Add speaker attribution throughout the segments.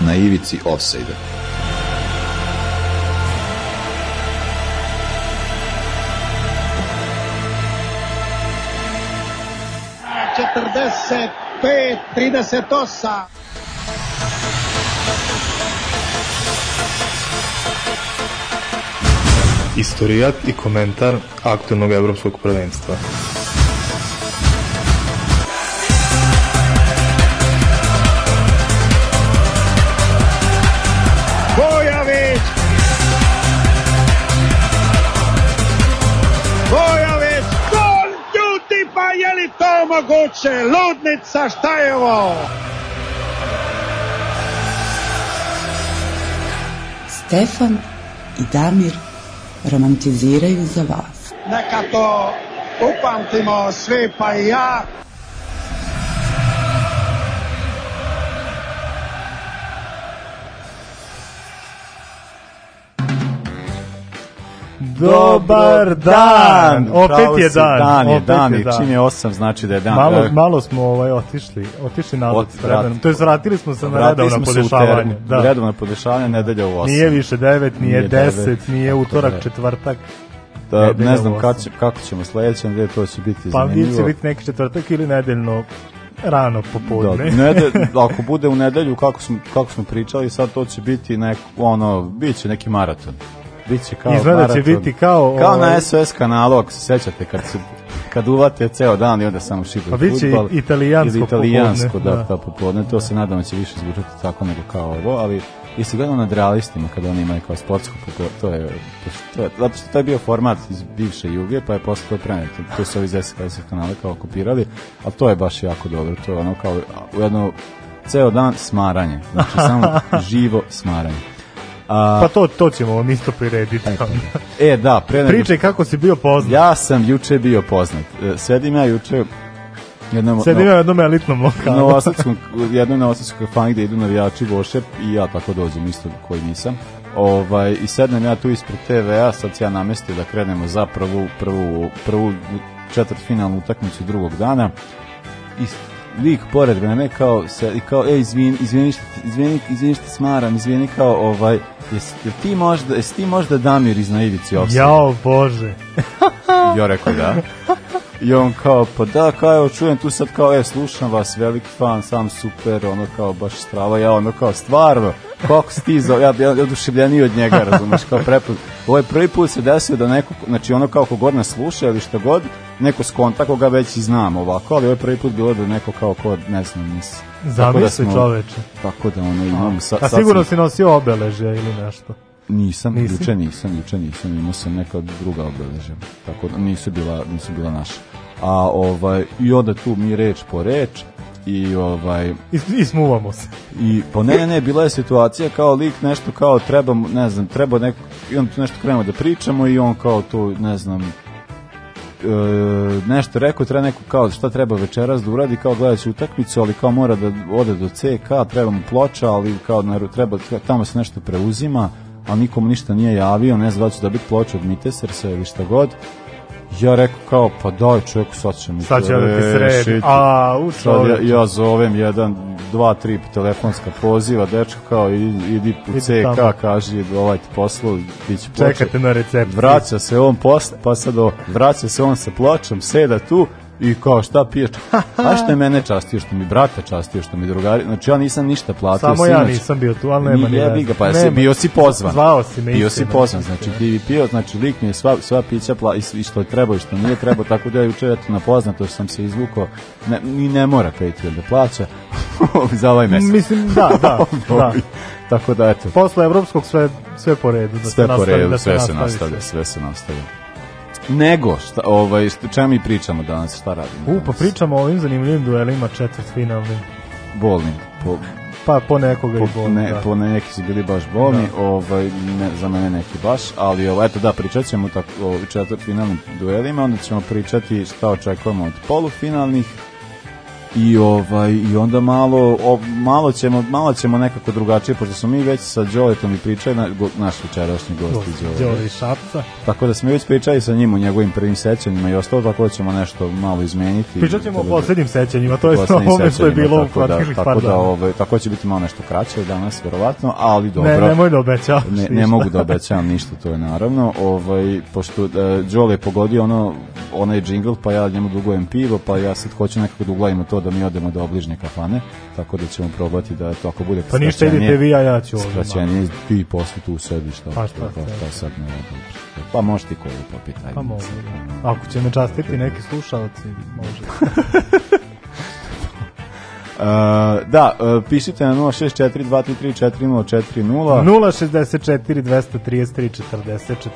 Speaker 1: na ivici ofsajda.
Speaker 2: A 45, 38.
Speaker 3: Istorijat i komentar aktualnog evropskog prvenstva.
Speaker 2: Bojović! Bojović! Gol ljudi, pa je li to moguće? Ludnica, šta je ovo?
Speaker 4: Stefan i Damir romantiziraju za vas.
Speaker 2: Neka to upamtimo svi, pa i ja.
Speaker 5: Dobar dan! Opet
Speaker 3: Pravo
Speaker 5: je
Speaker 3: si,
Speaker 5: dan.
Speaker 3: Dan je
Speaker 5: opet
Speaker 3: dan,
Speaker 5: je
Speaker 3: i
Speaker 5: dan.
Speaker 3: čim je 8 znači da je dan.
Speaker 5: Malo,
Speaker 3: E,
Speaker 5: malo smo ovaj otišli, otišli nazad
Speaker 3: Ot-
Speaker 5: s vremenom.
Speaker 3: vrat-
Speaker 5: To je vratili smo se na
Speaker 3: vratili
Speaker 5: redovno
Speaker 3: smo se u
Speaker 5: podešavanje.
Speaker 3: termin.
Speaker 5: Da.
Speaker 3: Redovno podešavanje nedelja u 8.
Speaker 5: Nije više 9, nije,
Speaker 3: Nije
Speaker 5: 10,
Speaker 3: devet.
Speaker 5: nije
Speaker 3: Tako
Speaker 5: utorak,
Speaker 3: da je.
Speaker 5: četvrtak.
Speaker 3: Da,
Speaker 5: nedelja
Speaker 3: ne
Speaker 5: u
Speaker 3: znam kad
Speaker 5: osam.
Speaker 3: će, kako ćemo sledeće nedelje, to će biti
Speaker 5: Pa ili
Speaker 3: zanimljivo.
Speaker 5: će biti neki četvrtak ili nedeljno rano popodne.
Speaker 3: Da, nede, ako bude u nedelju kako smo, kako smo pričali, sad to će biti nek, ono, bit će neki maraton. Biće kao
Speaker 5: Izgleda će
Speaker 3: maraton.
Speaker 5: biti kao,
Speaker 3: Kao
Speaker 5: ovaj-
Speaker 3: na SOS kanalu, ako se sećate, kad, se, kad uvate ceo dan i onda samo šipaju
Speaker 5: Pa bit će
Speaker 3: fudbal
Speaker 5: i- italijansko
Speaker 3: ili italijansko,
Speaker 5: popodne,
Speaker 3: da,
Speaker 5: da.
Speaker 3: da. Ta popodne. To se nadam da će više zvučati tako nego kao ovo, ali i se gledao nad realistima kada oni imaju kao sportsku popodne, to je, to je, zato što to je bio format iz bivše Juge, pa je posle to preneto. To su ovi iz SKS kanale kao kopirali, ali to je baš jako dobro, to je ono kao u jedno ceo dan smaranje, znači samo živo smaranje. A,
Speaker 5: Pa to, to ćemo vam isto prirediti.
Speaker 3: e, da, pre nego
Speaker 5: Pričaj kako si bio poznat.
Speaker 3: Ja sam juče bio poznat. E, Sedim ja juče u jednom
Speaker 5: Sedim ja u jednom elitnom lokalu.
Speaker 3: novosadskom, u jednom novosadskom kafani gde idu navijači Vošep i ja tako dođem isto koji nisam. Ovaj, I sednem ja tu ispred TV-a, sad se ja namestio da krenemo za prvu, prvu, prvu četvrtfinalnu utakmicu drugog dana. I s- lik pored mene kao se i kao ej izvini izvini što ti- izvini izvini što ti smaram izvini kao ovaj jes, jel ti možda jesi ti možda Damir iz na ivici ofsajda
Speaker 5: Jao Bože.
Speaker 3: ja rekao da. I on kao, pa da, kao evo čujem tu sad kao, e, slušam vas, veliki fan, sam super, ono kao baš strava, ja ono kao, stvarno, kako stizao, ja bi ja, oduševljeniji od njega, razumeš, kao prepun. Ovo je prvi put se desio da neko, znači ono kao kogod nas sluša ili šta god, neko skonta koga već i znam ovako, ali ovo je prvi put bilo da neko kao kod, ne znam, nis. Tako da
Speaker 5: Zamisli
Speaker 3: smo-
Speaker 5: čoveče.
Speaker 3: Tako da ono imamo, sa,
Speaker 5: A
Speaker 3: sad
Speaker 5: sigurno
Speaker 3: sam-
Speaker 5: si nosio obeležje ili nešto.
Speaker 3: Nisam,
Speaker 5: Nisi?
Speaker 3: juče nisam, juče nisam, imao sam neka druga obeležja, tako da nisu bila, nisu bila naša. A ovaj, i onda tu mi reč po reč, i ovaj
Speaker 5: I, i smuvamo se.
Speaker 3: i po ne ne bila je situacija kao lik nešto kao treba mu- ne znam treba neko i on tu nešto krenemo da pričamo i on kao tu ne znam e, nešto rekao, treba neko kao šta treba večeras da uradi, kao gledajući utakmicu, ali kao mora da ode do CK, treba mu ploča, ali kao naru, treba, tamo se nešto preuzima, ali nikomu ništa nije javio, ne znam da li će dobiti ploču od Mitesersa ili šta god. Ja rekao kao, pa daj čovjek, sad ćemo
Speaker 5: Sad ću ja da ti sredim. A, u
Speaker 3: Sad ja,
Speaker 5: čoveče.
Speaker 3: ja zovem jedan, dva, tri telefonska poziva, dečko kao idi, idi u
Speaker 5: Idi
Speaker 3: CK,
Speaker 5: tamo.
Speaker 3: kaži ovaj ti poslu, bit će ploče.
Speaker 5: Čekate na recept.
Speaker 3: Vraća se on posle, pa sad o, vraća se on sa pločom, seda tu i kao šta piješ? A što je mene častio, što mi brata častio, što mi drugari, znači ja nisam ništa platio.
Speaker 5: Samo ja
Speaker 3: sinoć.
Speaker 5: nisam bio tu, ali nema
Speaker 3: Ni
Speaker 5: ni
Speaker 3: jebi
Speaker 5: veze.
Speaker 3: ga, pa jesi
Speaker 5: Nema.
Speaker 3: bio si pozvan.
Speaker 5: Zvao si me,
Speaker 3: Bio si
Speaker 5: istina,
Speaker 3: pozvan,
Speaker 5: istina.
Speaker 3: znači ti bi pio, znači lik mi je sva, sva pića pla, i, s- i što je trebao i što nije trebao, tako da ja juče eto na poznato što sam se izvukao, ne, ni ne mora Patreon da plaća za ovaj mesec.
Speaker 5: Mislim, da, da, da.
Speaker 3: Tako da eto,
Speaker 5: Posle evropskog sve, sve po redu. Da se
Speaker 3: sve po
Speaker 5: nastavi,
Speaker 3: redu,
Speaker 5: da
Speaker 3: sve se
Speaker 5: nastavi
Speaker 3: nastavlja, sve se nastavlja. Nego, šta, ovaj, šta, čemu mi pričamo danas, šta radimo?
Speaker 5: U, pa
Speaker 3: danas?
Speaker 5: pričamo o ovim zanimljivim duelima četvrtfinalnim.
Speaker 3: Bolnim. Po,
Speaker 5: Pa po nekoga i
Speaker 3: po,
Speaker 5: bol.
Speaker 3: ne,
Speaker 5: da.
Speaker 3: po ne, neki su bili baš bolni, ovaj, ne, za mene neki baš, ali ovaj, eto da, pričat ćemo tako, o četvrtfinalnim duelima, onda ćemo pričati šta očekujemo od polufinalnih, I ovaj i onda malo o, malo ćemo malo ćemo nekako drugačije pošto smo mi već sa Đoletom i pričali na, go, naš večerašnji gost iz Đole.
Speaker 5: Đole iz Šapca.
Speaker 3: Tako da smo već pričali sa njim o njegovim prvim sećanjima i ostalo tako da ćemo nešto malo izmeniti.
Speaker 5: Pričat ćemo o
Speaker 3: Tako da-
Speaker 5: poslednjim sećanjima, to je
Speaker 3: poslednjim
Speaker 5: o ovome što je
Speaker 3: sećanjima,
Speaker 5: bilo u
Speaker 3: tako da,
Speaker 5: proteklih
Speaker 3: tako
Speaker 5: par
Speaker 3: da,
Speaker 5: dana.
Speaker 3: ovaj, tako će biti malo nešto kraće danas, verovatno, ali dobro.
Speaker 5: Ne, nemoj da obećavaš
Speaker 3: Ne, ne
Speaker 5: ništa.
Speaker 3: mogu da obećavam ništa, to je naravno. Ovaj, pošto uh, Đole je pogodio ono, onaj džingl, pa ja njemu dugujem pivo, pa ja sad hoću nekako da uglavimo to da mi odemo do obližnje kafane, tako da ćemo probati da to ako bude
Speaker 5: Pa ništa, idite vi, a ja ću ovdje.
Speaker 3: Skraćenje, ti posle tu sediš, šta,
Speaker 5: Pa
Speaker 3: pa
Speaker 5: šta
Speaker 3: šta, pa
Speaker 5: sad?
Speaker 3: šta sad ne dobro. Pa možeš ti koju popiti, ajde.
Speaker 5: Pa mogu. da. Ako će me častiti neki slušalci, može.
Speaker 3: Uh, da, uh, pišite na 064 233 4040.
Speaker 5: 064 233 40 40.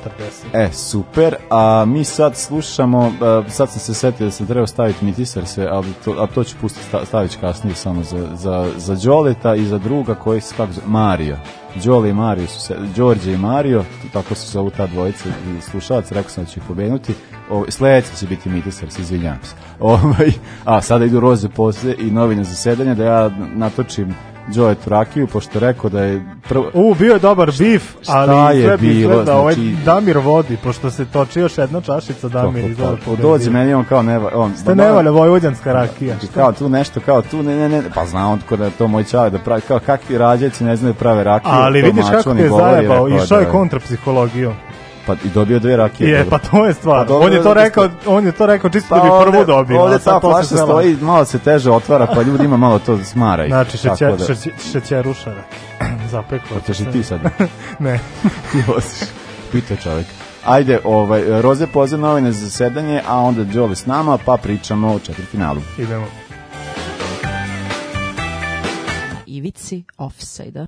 Speaker 3: E, super, a mi sad slušamo, uh, sad sam se setio da sam trebao staviti mitisar se, ali to, a to ću pustiti, sta- stavit ću kasnije samo za, za, za Đoleta i za druga koji se, kako zove, Mario. Đole i Mario su se, Đorđe i Mario, tako se zovu ta dvojica i slušalac, rekao sam da ću ih pobenuti. O, sledeći će biti mitisar se, izvinjavam se. Ovaj, a, sada idu roze posle i novine zasedanja da ja natočim Đoletu rakiju, pošto je rekao da je prvo...
Speaker 5: U, bio je dobar bif,
Speaker 3: šta
Speaker 5: ali
Speaker 3: je
Speaker 5: sve bi
Speaker 3: bilo,
Speaker 5: izgleda ovaj
Speaker 3: znači-
Speaker 5: Damir vodi, pošto se toči još jedna čašica Damir
Speaker 3: Kako
Speaker 5: izgleda
Speaker 3: tako?
Speaker 5: pobedi.
Speaker 3: Dođe Pa, meni on kao ne valja. On, pa,
Speaker 5: Te ne valja vojvođanska rakija.
Speaker 3: Šta? Znači, Kao tu nešto, kao tu, ne, ne, ne, pa zna on tko da je to moj čale da pravi, kao kakvi rađaci ne znaju da prave rakije.
Speaker 5: Ali
Speaker 3: to
Speaker 5: vidiš
Speaker 3: mačo
Speaker 5: kako
Speaker 3: ni
Speaker 5: te je
Speaker 3: govori,
Speaker 5: zajebao,
Speaker 3: rekao
Speaker 5: išao
Speaker 3: da
Speaker 5: je kontra psihologijom.
Speaker 3: Pa i dobio dve rakije.
Speaker 5: Je, pa
Speaker 3: dobro.
Speaker 5: to je stvar.
Speaker 3: Pa dobro,
Speaker 5: on je to
Speaker 3: zato što-
Speaker 5: rekao, on je to rekao čisto da bi
Speaker 3: ovde-
Speaker 5: prvu dobio.
Speaker 3: Ovde
Speaker 5: a sad
Speaker 3: ta
Speaker 5: to se
Speaker 3: flaša
Speaker 5: zna.
Speaker 3: stoji, malo se teže otvara, pa ljudima malo to smara. ih.
Speaker 5: Znači,
Speaker 3: Tako
Speaker 5: šećer,
Speaker 3: da-
Speaker 5: šećer, šećeruša rakija. Zapeklo.
Speaker 3: Hoćeš i ti sad.
Speaker 5: Ne.
Speaker 3: ti voziš. Pita čovjek. Ajde, ovaj, Roze poziv novine za sedanje, a onda Đole s nama, pa pričamo o četvrtfinalu.
Speaker 5: Idemo.
Speaker 1: ivici ofsajda.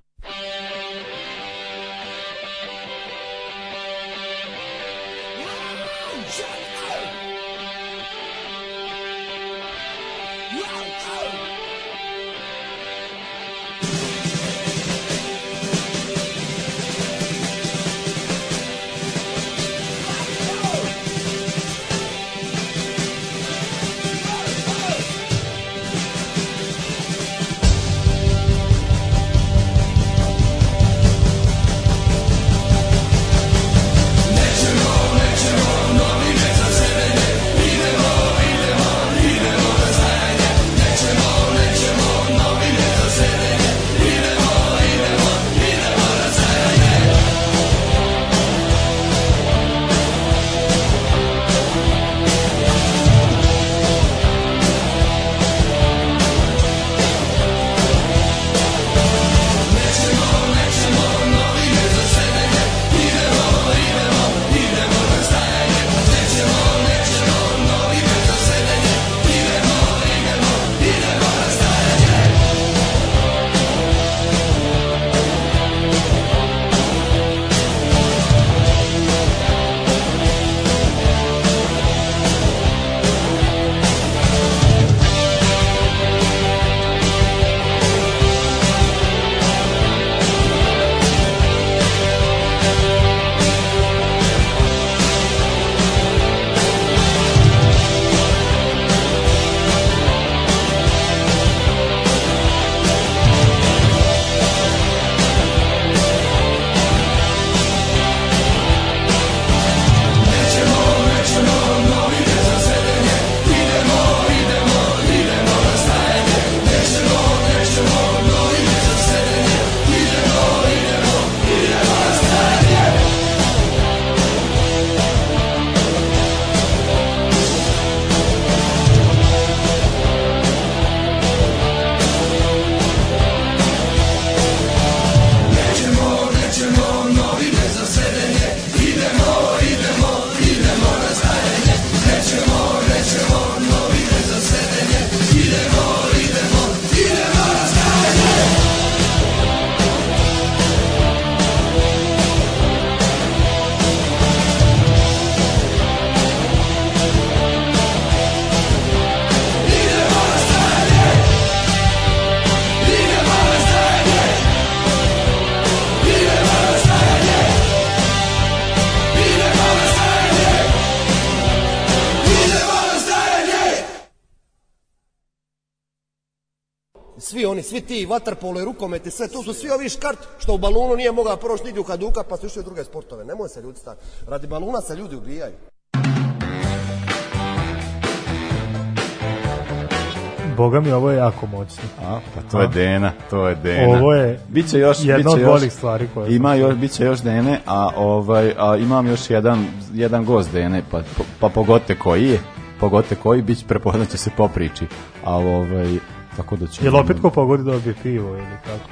Speaker 6: Nećemo, svi oni, svi ti vaterpolo i rukomet i sve, tu su svi ovi škart što u balonu nije mogao proći nigdje u kaduka pa su išli u druge sportove. Nemoj se ljudi stati. Radi baluna se ljudi ubijaju.
Speaker 5: Boga mi, ovo je jako moćno.
Speaker 3: A, pa to je Dena, to je Dena.
Speaker 5: Ovo je
Speaker 3: biće još,
Speaker 5: jedna
Speaker 3: biće
Speaker 5: od
Speaker 3: još-
Speaker 5: boljih stvari koje-
Speaker 3: Ima još, biće još Dene, a, ovaj, a imam još jedan, jedan gost Dene, pa, po- pa pogote koji je, pogote koji, bić prepoznaće se po priči. A ovaj, tako da ću...
Speaker 5: Jel opet ko pogodi dobije pivo ili tako?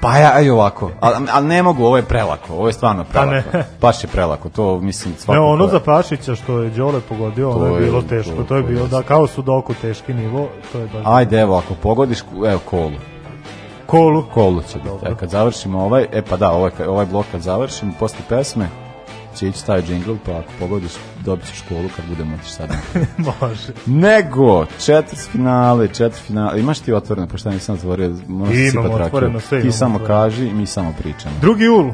Speaker 3: Pa ja, aj ovako, ali al ne mogu, ovo je prelako, ovo je stvarno prelako.
Speaker 5: Pa ne.
Speaker 3: Baš je prelako, to mislim svako...
Speaker 5: Ne, ono
Speaker 3: ko-
Speaker 5: za Pašića što je Đole pogodio,
Speaker 3: To
Speaker 5: ono je
Speaker 3: je-
Speaker 5: bilo teško.
Speaker 3: to-
Speaker 5: To, je
Speaker 3: to
Speaker 5: bilo,
Speaker 3: jest.
Speaker 5: da, kao su doku teški nivo, to je baš...
Speaker 3: Ajde, evo, ako pogodiš, evo, kolu.
Speaker 5: Kolu.
Speaker 3: Kolu će biti. E, kad završimo ovaj, e pa da, ovaj, ovaj blok kad završimo, posle pesme će ići taj džingl, pa ako pogodiš, dobit ćeš školu kad budemo otiš sad.
Speaker 5: Može.
Speaker 3: Nego, četvrt finale, četvrt finale, imaš ti otvoreno, pošto ja nisam otvorio, možda si
Speaker 5: Imamo
Speaker 3: pa
Speaker 5: otvoreno, sve
Speaker 3: Ti
Speaker 5: imamo
Speaker 3: samo
Speaker 5: otvoreno.
Speaker 3: kaži, mi samo pričamo.
Speaker 5: Drugi jul.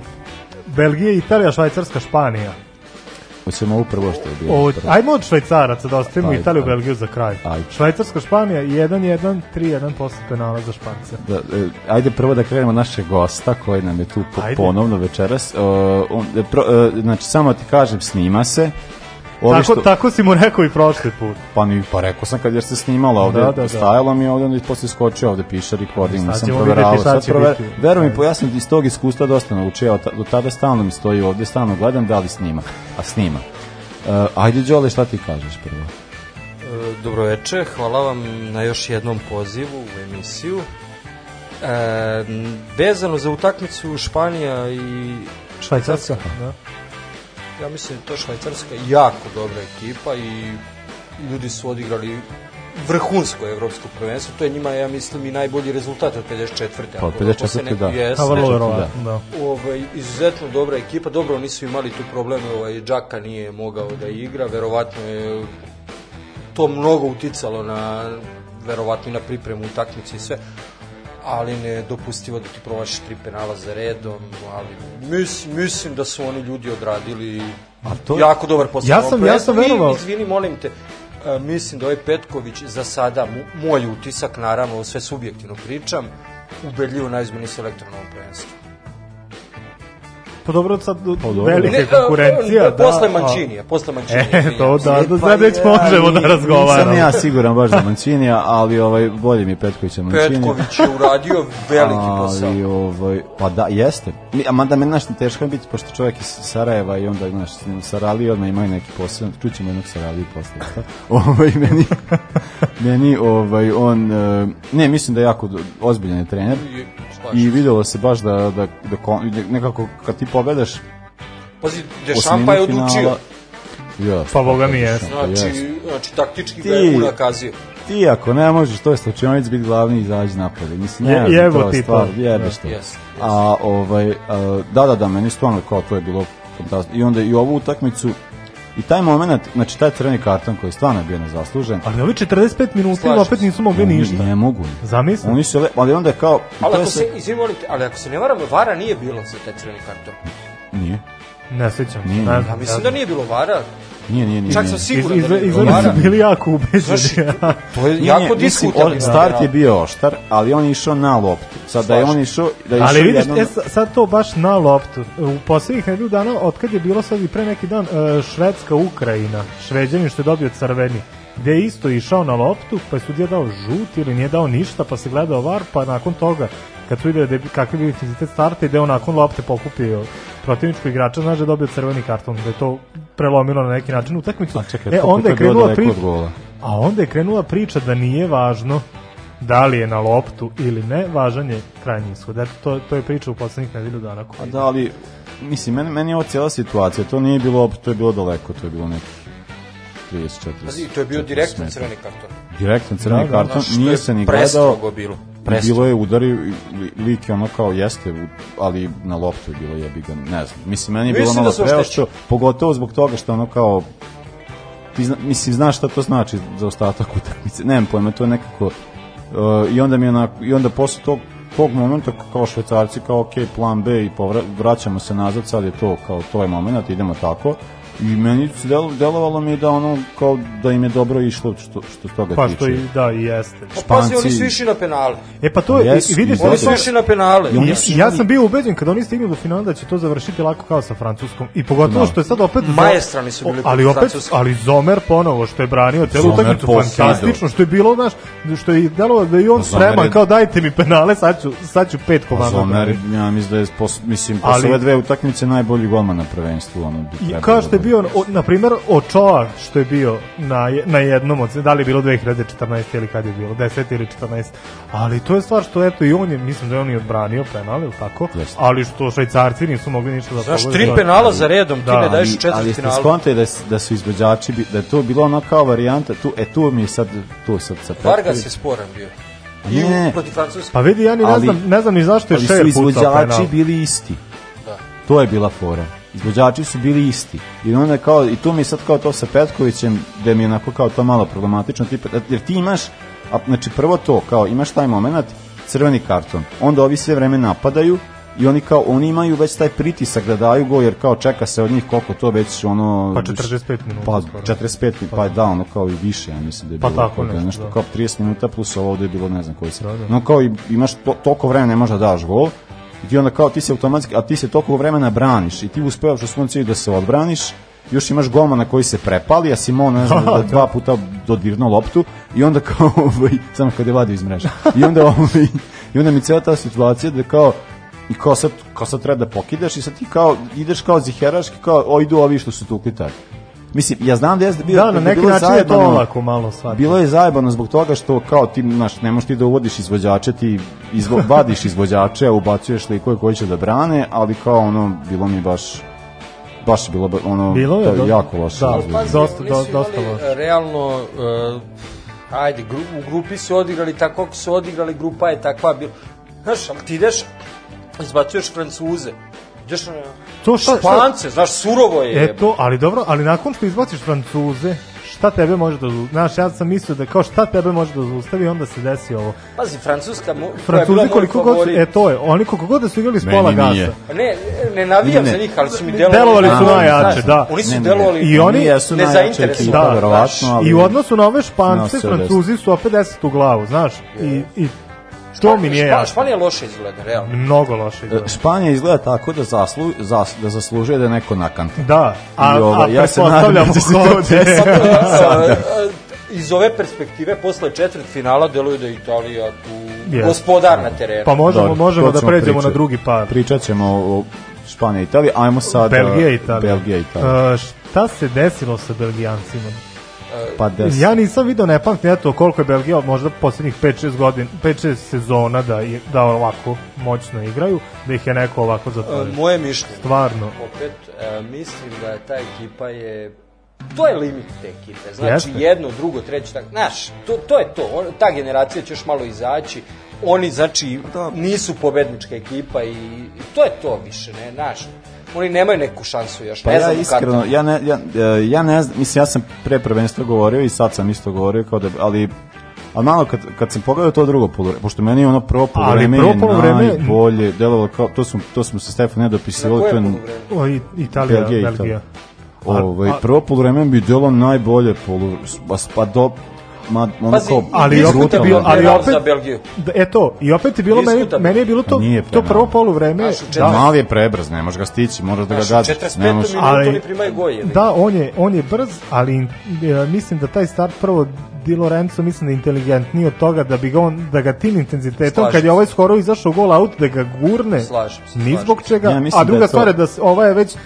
Speaker 5: Belgija, Italija, Švajcarska, Španija.
Speaker 3: Hoćemo upravo što je bilo.
Speaker 5: O,
Speaker 3: prvo.
Speaker 5: ajmo od Švajcaraca da ostavimo
Speaker 3: Ajde,
Speaker 5: Italiju,
Speaker 3: ajde.
Speaker 5: Belgiju za kraj.
Speaker 3: Ajde.
Speaker 5: Švajcarska, Španija 1-1, 3-1 posle penala za Špance.
Speaker 3: Da, e, ajde prvo da krenemo našeg gosta koji nam je tu po-
Speaker 5: Ajde.
Speaker 3: ponovno večeras. E, on, e, pro, e, znači, samo ti kažem, snima se. Ovi
Speaker 5: Tako,
Speaker 3: što-
Speaker 5: tako si mu rekao i prošli put.
Speaker 3: Pa, ni, pa rekao sam kad jer se snimala ovdje,
Speaker 5: Da, da, da.
Speaker 3: stajalo mi je ovdje, onda je poslije skočio ovdje, piše recording,
Speaker 5: Sad
Speaker 3: nisam
Speaker 5: ćemo
Speaker 3: proveravao.
Speaker 5: vidjeti šta
Speaker 3: Sad
Speaker 5: će
Speaker 3: prove-
Speaker 5: biti.
Speaker 3: Veruj mi, pojasnim iz tog iskustva dosta naučio, a od ta- do tada stalno mi stoji ovdje, stalno gledam da li snima, a snima. E, ajde, Đole, šta ti kažeš prvo?
Speaker 7: E, Dobroveče, hvala vam na još jednom pozivu u emisiju. E, m, vezano za utakmicu Španija i
Speaker 5: Švajcarska, da.
Speaker 7: ja mislim da je to Švajcarska jako dobra ekipa i ljudi su odigrali vrhunsko evropsko prvenstvo. To je njima, ja mislim, i najbolji rezultat od 54.
Speaker 3: Pa,
Speaker 7: Ako-
Speaker 3: od
Speaker 7: ako
Speaker 3: 54.,
Speaker 7: se ne-
Speaker 3: da.
Speaker 7: Jeste. znači,
Speaker 5: A vrlo
Speaker 3: da.
Speaker 5: verovatno, da.
Speaker 7: Ovaj, izuzetno dobra ekipa, dobro nisu imali tu probleme, ovaj, Džaka nije mogao da igra, verovatno je to mnogo uticalo na verovatno i na pripremu utakmice i sve ali ne dopustivo da ti provašiš tri penala za redom, ali mislim, mislim da su oni ljudi odradili
Speaker 3: to-
Speaker 7: jako dobar posao.
Speaker 5: Ja sam- ja sam
Speaker 7: I,
Speaker 5: verovao-
Speaker 7: Izvini, molim te, e, mislim da ovaj Petković za sada, mu- moj utisak, naravno, ovo sve subjektivno pričam, ubedljivo najzbiljniji selektor na ovom prvenstvu.
Speaker 5: Pa dobro, sad
Speaker 3: dobro.
Speaker 5: velika je
Speaker 7: Ne, a,
Speaker 5: konkurencija. da,
Speaker 7: posle
Speaker 5: a-
Speaker 7: Mančinija, posle Mančinija.
Speaker 5: E, to da, da,
Speaker 3: Pa
Speaker 5: sad već
Speaker 3: ja
Speaker 5: možemo da
Speaker 3: ni-
Speaker 5: razgovaramo.
Speaker 3: Nisam ja siguran baš za Mancinija, ali ovaj, bolje mi je Petkovića Mancinija.
Speaker 7: Petković je uradio veliki posao.
Speaker 3: Ali, ovaj, pa da, jeste. Mi, a mada meni znaš, teško je biti, pošto čovjek iz Sarajeva i onda, znaš, Saralije odmah imaju neki posao, čućemo jednog Saraliju posle. šta? ovaj, meni, meni, ovaj, on, e, ne, mislim da je jako do- ozbiljan je trener.
Speaker 7: I-
Speaker 3: I vidjelo se baš da, da, da kon- nekako kad ti pobedaš
Speaker 7: Pazi, Dešampa je
Speaker 3: osminu
Speaker 7: odučio.
Speaker 3: finala- Jes,
Speaker 5: Pa boga mi
Speaker 3: Dešampa,
Speaker 5: jeste.
Speaker 3: jes.
Speaker 7: Znači, znači taktički
Speaker 3: Ti-
Speaker 7: ga je unakazio.
Speaker 3: Ti ako ne možeš, to je slačionic biti glavni i izađi napolje. Mislim,
Speaker 5: Je-
Speaker 3: ne, znam,
Speaker 5: jevo
Speaker 3: to je
Speaker 5: ti to.
Speaker 3: stvar, jebeš to.
Speaker 7: Jeste,
Speaker 3: A, ovaj, a, da, da, da, meni stvarno kao to je bilo fantastično. I onda i ovu utakmicu, i taj moment, znači taj crveni karton koji je stvarno bio nezaslužen,
Speaker 5: Ali Pa ovi 45 minuta
Speaker 7: Slažem
Speaker 5: opet
Speaker 7: se.
Speaker 5: nisu mogli
Speaker 3: oni
Speaker 5: ništa.
Speaker 3: ne mogu.
Speaker 5: Zamisli.
Speaker 3: Oni su, le- ali onda je kao...
Speaker 7: Ali
Speaker 3: to je
Speaker 7: ako
Speaker 3: se-
Speaker 7: se, izvini, molim te, ali ako se ne varam, Vara nije bilo za taj crveni karton.
Speaker 3: Nije,
Speaker 5: Ne sjećam. se,
Speaker 3: Nije,
Speaker 5: ne
Speaker 3: nije.
Speaker 5: znam,
Speaker 7: Ja mislim da nije bilo Vara.
Speaker 3: nije, nije, nije.
Speaker 7: Čak
Speaker 3: nije.
Speaker 7: sam
Speaker 5: Iz,
Speaker 7: siguran
Speaker 5: iz,
Speaker 7: da nije bilo
Speaker 5: izgleda
Speaker 7: Vara.
Speaker 5: su bili jako ubeđeni.
Speaker 7: Znaš, to je
Speaker 3: Nije,
Speaker 7: jako
Speaker 3: nije, mislim,
Speaker 7: diskutabilno.
Speaker 3: on- Start je bio oštar, ali on je išao na loptu. Sad da je on išao... Da je
Speaker 5: Ali
Speaker 3: išao
Speaker 5: vidiš,
Speaker 3: jednom-
Speaker 5: e, sa- sad to baš na loptu. U posljednjih nedelju dana, otkad je bilo sad i pre neki dan, e, Švedska, Ukrajina, Šveđanin što je dobio crveni, gde je isto išao na loptu, pa je sudija dao žut ili nije dao ništa, pa se gledao var, pa nakon toga, kad su vidio da je, bi- kakav je bio intenzitet starta i da je on nakon lopte pokupio protivničkog igrača, znaš da je dobio crveni karton, da je to prelomilo na neki način utakmicu.
Speaker 3: A čekaj,
Speaker 5: e,
Speaker 3: koliko
Speaker 5: onda je
Speaker 3: to bilo
Speaker 5: krenula
Speaker 3: daleko od
Speaker 5: pri-
Speaker 3: gola?
Speaker 5: A onda je krenula priča da nije važno da li je na loptu ili ne, važan je krajnji ishod. Eto, to, to je priča u poslednjih nedelju dana.
Speaker 3: Pa
Speaker 5: koju-
Speaker 3: da, ali, mislim, meni, meni je ova cijela situacija, to nije bilo, op- to je bilo daleko, to je bilo neki 30, 40.
Speaker 7: Pazi, Pa to je bio
Speaker 3: 40
Speaker 7: direktno
Speaker 3: metara.
Speaker 7: crveni karton.
Speaker 3: Direktan crveni
Speaker 5: Da, da,
Speaker 3: karton,
Speaker 7: Znaš, to
Speaker 3: nije
Speaker 7: je
Speaker 3: se ni gledao.
Speaker 7: Prestrogo bilo.
Speaker 3: Bilo
Speaker 7: Prestrogo.
Speaker 3: je udari, li- lik je ono kao jeste, u- ali na loptu je bilo jebi ga, ne znam. Mislim, meni je bilo
Speaker 7: Mislim da
Speaker 3: malo
Speaker 7: su
Speaker 3: preošćo, pogotovo zbog toga što ono kao, ti zna, mislim, znaš šta to znači za ostatak utakmice, nemam pojma, to je nekako, uh, i onda mi je onako, i onda posle tog, tog momenta kao švecarci kao ok, plan B i povra, vraćamo se nazad, sad je to kao to je moment, idemo tako, I meni se del, delovalo mi je da ono kao da im je dobro išlo što što se toga
Speaker 5: Pa
Speaker 3: tiče.
Speaker 5: što i da, i jeste.
Speaker 7: Pa pazi, oni
Speaker 3: Španci-
Speaker 7: su išli na penale.
Speaker 5: E pa to je,
Speaker 3: Jesu,
Speaker 5: i- vidiš,
Speaker 3: i
Speaker 5: to
Speaker 7: Oni
Speaker 3: zato-
Speaker 5: su,
Speaker 7: su išli na penale.
Speaker 3: I oni
Speaker 5: ja,
Speaker 3: su
Speaker 5: ja
Speaker 3: imali-
Speaker 5: sam bio ubeđen kada oni stignu do finala da će to završiti lako kao sa Francuskom. I pogotovo
Speaker 3: Da.
Speaker 5: što je sad opet...
Speaker 7: Maestralni su bili
Speaker 5: O, Ali
Speaker 7: protiv
Speaker 5: opet,
Speaker 7: Francuske.
Speaker 5: ali Zomer ponovo što je branio celu
Speaker 3: Zomer
Speaker 5: utakmicu
Speaker 3: posadao.
Speaker 5: fantastično, što je bilo, znaš, što je delovalo da i on
Speaker 3: Pa Zomer je-
Speaker 5: spreman, kao dajte mi penale, sad ću, sad ću pet
Speaker 3: Pa
Speaker 5: komada.
Speaker 3: Zomer, ja mislim da je, pos, mislim, posle
Speaker 5: Ali-
Speaker 3: ove dve utakmice najbolji golman na prvenstvu. Ono, bi
Speaker 5: I
Speaker 3: trebalo
Speaker 5: kao što je
Speaker 3: da-
Speaker 5: bio, o, na primjer, Očoa, što je bio na, je- na jednom od, da li je bilo 2014. ili kad je bilo, 10. ili 14. Ali to je stvar što, eto, i on je, mislim da je on i odbranio penal, ili tako,
Speaker 3: Jeste.
Speaker 5: ali što švajcarci nisu mogli ništa da
Speaker 7: Znaš,
Speaker 5: pogode.
Speaker 7: tri penala za redom, ti
Speaker 5: Da,
Speaker 7: ne E, daješ
Speaker 3: Ali-
Speaker 7: u četvrt
Speaker 3: Ali ste
Speaker 7: finalu.
Speaker 3: skontali da, s- da su izvođači, bi- da je to bilo ono kao varijanta, tu, e tu mi je sad, tu sad sa
Speaker 7: Vargas je sporan bio. I
Speaker 3: Ne.
Speaker 7: u- protiv Francuske.
Speaker 5: Pa vidi, ja ni ne
Speaker 3: Ali-
Speaker 5: znam, ne znam ni zašto Pa je
Speaker 3: ali
Speaker 5: Šer
Speaker 3: su
Speaker 5: pucao
Speaker 3: izvođači
Speaker 5: penal.
Speaker 3: bili isti.
Speaker 7: Da.
Speaker 3: To je bila fora. Izvođači su bili isti. I onda kao, i tu mi je sad kao to sa Petkovićem, gde mi je onako kao to malo problematično, tipa, jer ti imaš, a, znači prvo to, kao imaš taj moment, crveni karton, onda ovi sve vreme napadaju, i oni kao oni imaju već taj pritisak da daju gol jer kao čeka se od njih koliko to već ono
Speaker 5: Pa 45 minuta
Speaker 3: pa
Speaker 5: skoro.
Speaker 3: 45 pa, pa da ono kao i više ja mislim da je
Speaker 5: Pa
Speaker 3: bilo
Speaker 5: tako
Speaker 3: kao da je
Speaker 5: nešto,
Speaker 3: nešto
Speaker 5: da.
Speaker 3: kao 30 minuta plus ovo ovde je bilo ne znam koji se.
Speaker 5: Da, da.
Speaker 3: No kao i, imaš to, toliko vremena ne možeš da daš gol i ti onda kao ti se automatski, a ti se toliko vremena braniš i ti uspevaš u svom cilju da se odbraniš još imaš golmana koji se prepali, a Simon, ne znam, da, dva puta dodirnuo loptu i onda kao, ovaj, samo kad je vadio iz mreže. I onda, ovaj, i onda mi cijela ta situacija da kao, i kao sad, kao sad treba da pokidaš i sad ti kao, ideš kao ziheraški, kao, o, idu ovi što su tukli tako. Mislim, ja znam da jeste bio...
Speaker 5: Da, na
Speaker 3: je
Speaker 5: neki
Speaker 3: bilo ono,
Speaker 5: način je to
Speaker 3: zajebano.
Speaker 5: olako pa- malo sad.
Speaker 3: Bilo je zajebano zbog toga što kao ti, znaš, ne možeš ti da uvodiš izvođače, ti izvo, vadiš izvođače, a ubacuješ likove koji će da brane, ali kao ono, bilo mi baš, baš je bilo, ba- ono,
Speaker 5: Bilo je,
Speaker 3: to
Speaker 5: da.
Speaker 3: jako loše.
Speaker 5: Da,
Speaker 3: izvedeno.
Speaker 5: Pazi, Dosta-
Speaker 7: oni
Speaker 5: do-
Speaker 7: su
Speaker 5: dosta
Speaker 7: imali,
Speaker 5: loše.
Speaker 7: e, Realno, e, ajde, gru, u grupi su odigrali tako kako su odigrali, grupa je takva bila. Znaš, ali ti ideš, izbacuješ Francuze, ideš na
Speaker 5: To šta- šta-
Speaker 7: Špance, znaš, surovo je.
Speaker 5: E to, ali dobro, ali nakon što izbaciš Francuze, šta tebe može da zaustavi? Znaš, ja sam mislio da kao šta tebe može da zaustavi, onda se desi ovo.
Speaker 7: Pazi, Francuska, mo, koja je bila
Speaker 5: Francuzi
Speaker 7: moj
Speaker 5: koliko god,
Speaker 7: favorit. Pa
Speaker 5: e to je, oni koliko god da su igrali s
Speaker 3: Meni
Speaker 5: pola
Speaker 3: nije.
Speaker 5: gasa.
Speaker 7: Ne, ne navijam
Speaker 3: Ne,
Speaker 7: za
Speaker 3: ne.
Speaker 7: njih, ali su mi delovali.
Speaker 5: Delovali su
Speaker 3: najjače,
Speaker 7: najjače,
Speaker 5: da.
Speaker 7: Oni su
Speaker 3: Ne, ne, ne.
Speaker 7: delovali
Speaker 5: I oni
Speaker 3: jesu najjača
Speaker 7: nezainteresovani,
Speaker 3: ekipa,
Speaker 7: znaš.
Speaker 3: verovatno, ali-
Speaker 5: I u odnosu na ove Špance,
Speaker 3: Nosio
Speaker 5: Francuzi su opet 10 u glavu, znaš, i, i to mi nije
Speaker 7: Špa-
Speaker 5: jasno. Mm.
Speaker 7: Španija loše izgleda, realno.
Speaker 5: Mnogo
Speaker 3: E,
Speaker 5: loše igra.
Speaker 3: Španija izgleda tako da, zaslu, zas, da zaslužuje da je neko nakanta.
Speaker 5: Da, a,
Speaker 3: I ovo,
Speaker 5: a
Speaker 3: ja se nadam
Speaker 5: pretpostavljamo
Speaker 3: da će se
Speaker 5: ko
Speaker 3: to
Speaker 5: će.
Speaker 3: desiti.
Speaker 7: E, e, iz ove perspektive, posle četvrt finala deluje da je Italija tu
Speaker 5: Jeste.
Speaker 7: gospodar na terenu.
Speaker 5: Pa možemo,
Speaker 3: Dobro,
Speaker 5: možemo
Speaker 3: to
Speaker 5: da
Speaker 3: ćemo
Speaker 5: pređemo
Speaker 3: pričati.
Speaker 5: na drugi par.
Speaker 3: Pričat ćemo o o Španija i Italija, ajmo sad...
Speaker 5: Belgija i
Speaker 3: e,
Speaker 5: Italija.
Speaker 3: Belgija i Italija.
Speaker 5: E, šta se desilo sa Belgijancima?
Speaker 3: pa des.
Speaker 5: Ja nisam video, ne pamtim, eto, koliko je Belgija, možda poslednjih 5-6 godina, 5-6 sezona da, je- da ovako moćno igraju, da ih je neko ovako
Speaker 7: E,
Speaker 5: zatvorio.
Speaker 7: moje mišljenje.
Speaker 5: Stvarno.
Speaker 7: Opet, e, mislim da ta ekipa je to je limit te ekipe. Znači
Speaker 5: Jeste.
Speaker 7: jedno, drugo, treće, tak, znaš, to, to je to. On- Ta generacija će još malo izaći. Oni znači
Speaker 3: Pa
Speaker 7: nisu pobednička ekipa i to je to više, ne, znaš. Oni nemaju neku šansu još,
Speaker 3: Pa
Speaker 7: ne
Speaker 3: ja
Speaker 7: znam
Speaker 3: iskreno, ja ne, ja, e, ja ne znam, mislim, ja sam pre prvenstva govorio i sad sam isto govorio, kao da, ali, ali malo kad, kad sam pogledao to drugo polovreme, pošto meni je ono prvo polovreme
Speaker 5: prvo
Speaker 3: je
Speaker 5: polovreme-
Speaker 3: najbolje, delovalo kao, to smo, to smo sa Stefan ne dopisivali, to je,
Speaker 5: O, i, Italija,
Speaker 3: Belgija i Italija.
Speaker 5: Belgija. Belgija.
Speaker 3: ovaj,
Speaker 5: a-
Speaker 3: prvo polovreme bi delo najbolje polovreme, pa, pa do, ma, ono
Speaker 7: Pazi,
Speaker 3: kao,
Speaker 5: ali
Speaker 7: Nismo
Speaker 5: opet je
Speaker 3: brutalno.
Speaker 5: bio, ali
Speaker 7: Penal
Speaker 5: opet
Speaker 7: za Belgiju.
Speaker 5: Da, e to, i opet je bilo meni,
Speaker 7: Diskutabilno.
Speaker 5: meni je bilo to
Speaker 3: Pa nije
Speaker 5: to
Speaker 3: penal.
Speaker 5: prvo poluvreme.
Speaker 7: Znaš, u
Speaker 5: Da,
Speaker 7: četvrtom-
Speaker 3: Mali je prebrz, ne možeš ga stići, moraš da ga
Speaker 7: Znaš, u
Speaker 3: gađaš.
Speaker 7: 45.
Speaker 3: ne možeš-
Speaker 7: minutu
Speaker 5: Ali-
Speaker 7: oni primaju goj, ili?
Speaker 5: da, on je on je brz, ali e, mislim da taj start prvo Di Lorenzo mislim da je inteligentniji od toga da bi ga on da ga tim intenzitetom
Speaker 7: Slažem
Speaker 5: kad
Speaker 7: se.
Speaker 5: je ovaj skoro izašao gol out da ga gurne.
Speaker 7: Slažem se,
Speaker 5: Ni
Speaker 7: slažem
Speaker 5: zbog
Speaker 7: se.
Speaker 5: čega,
Speaker 3: Ja mislim
Speaker 5: a
Speaker 3: da
Speaker 5: druga
Speaker 3: je to-
Speaker 5: stvar je da se, ova je već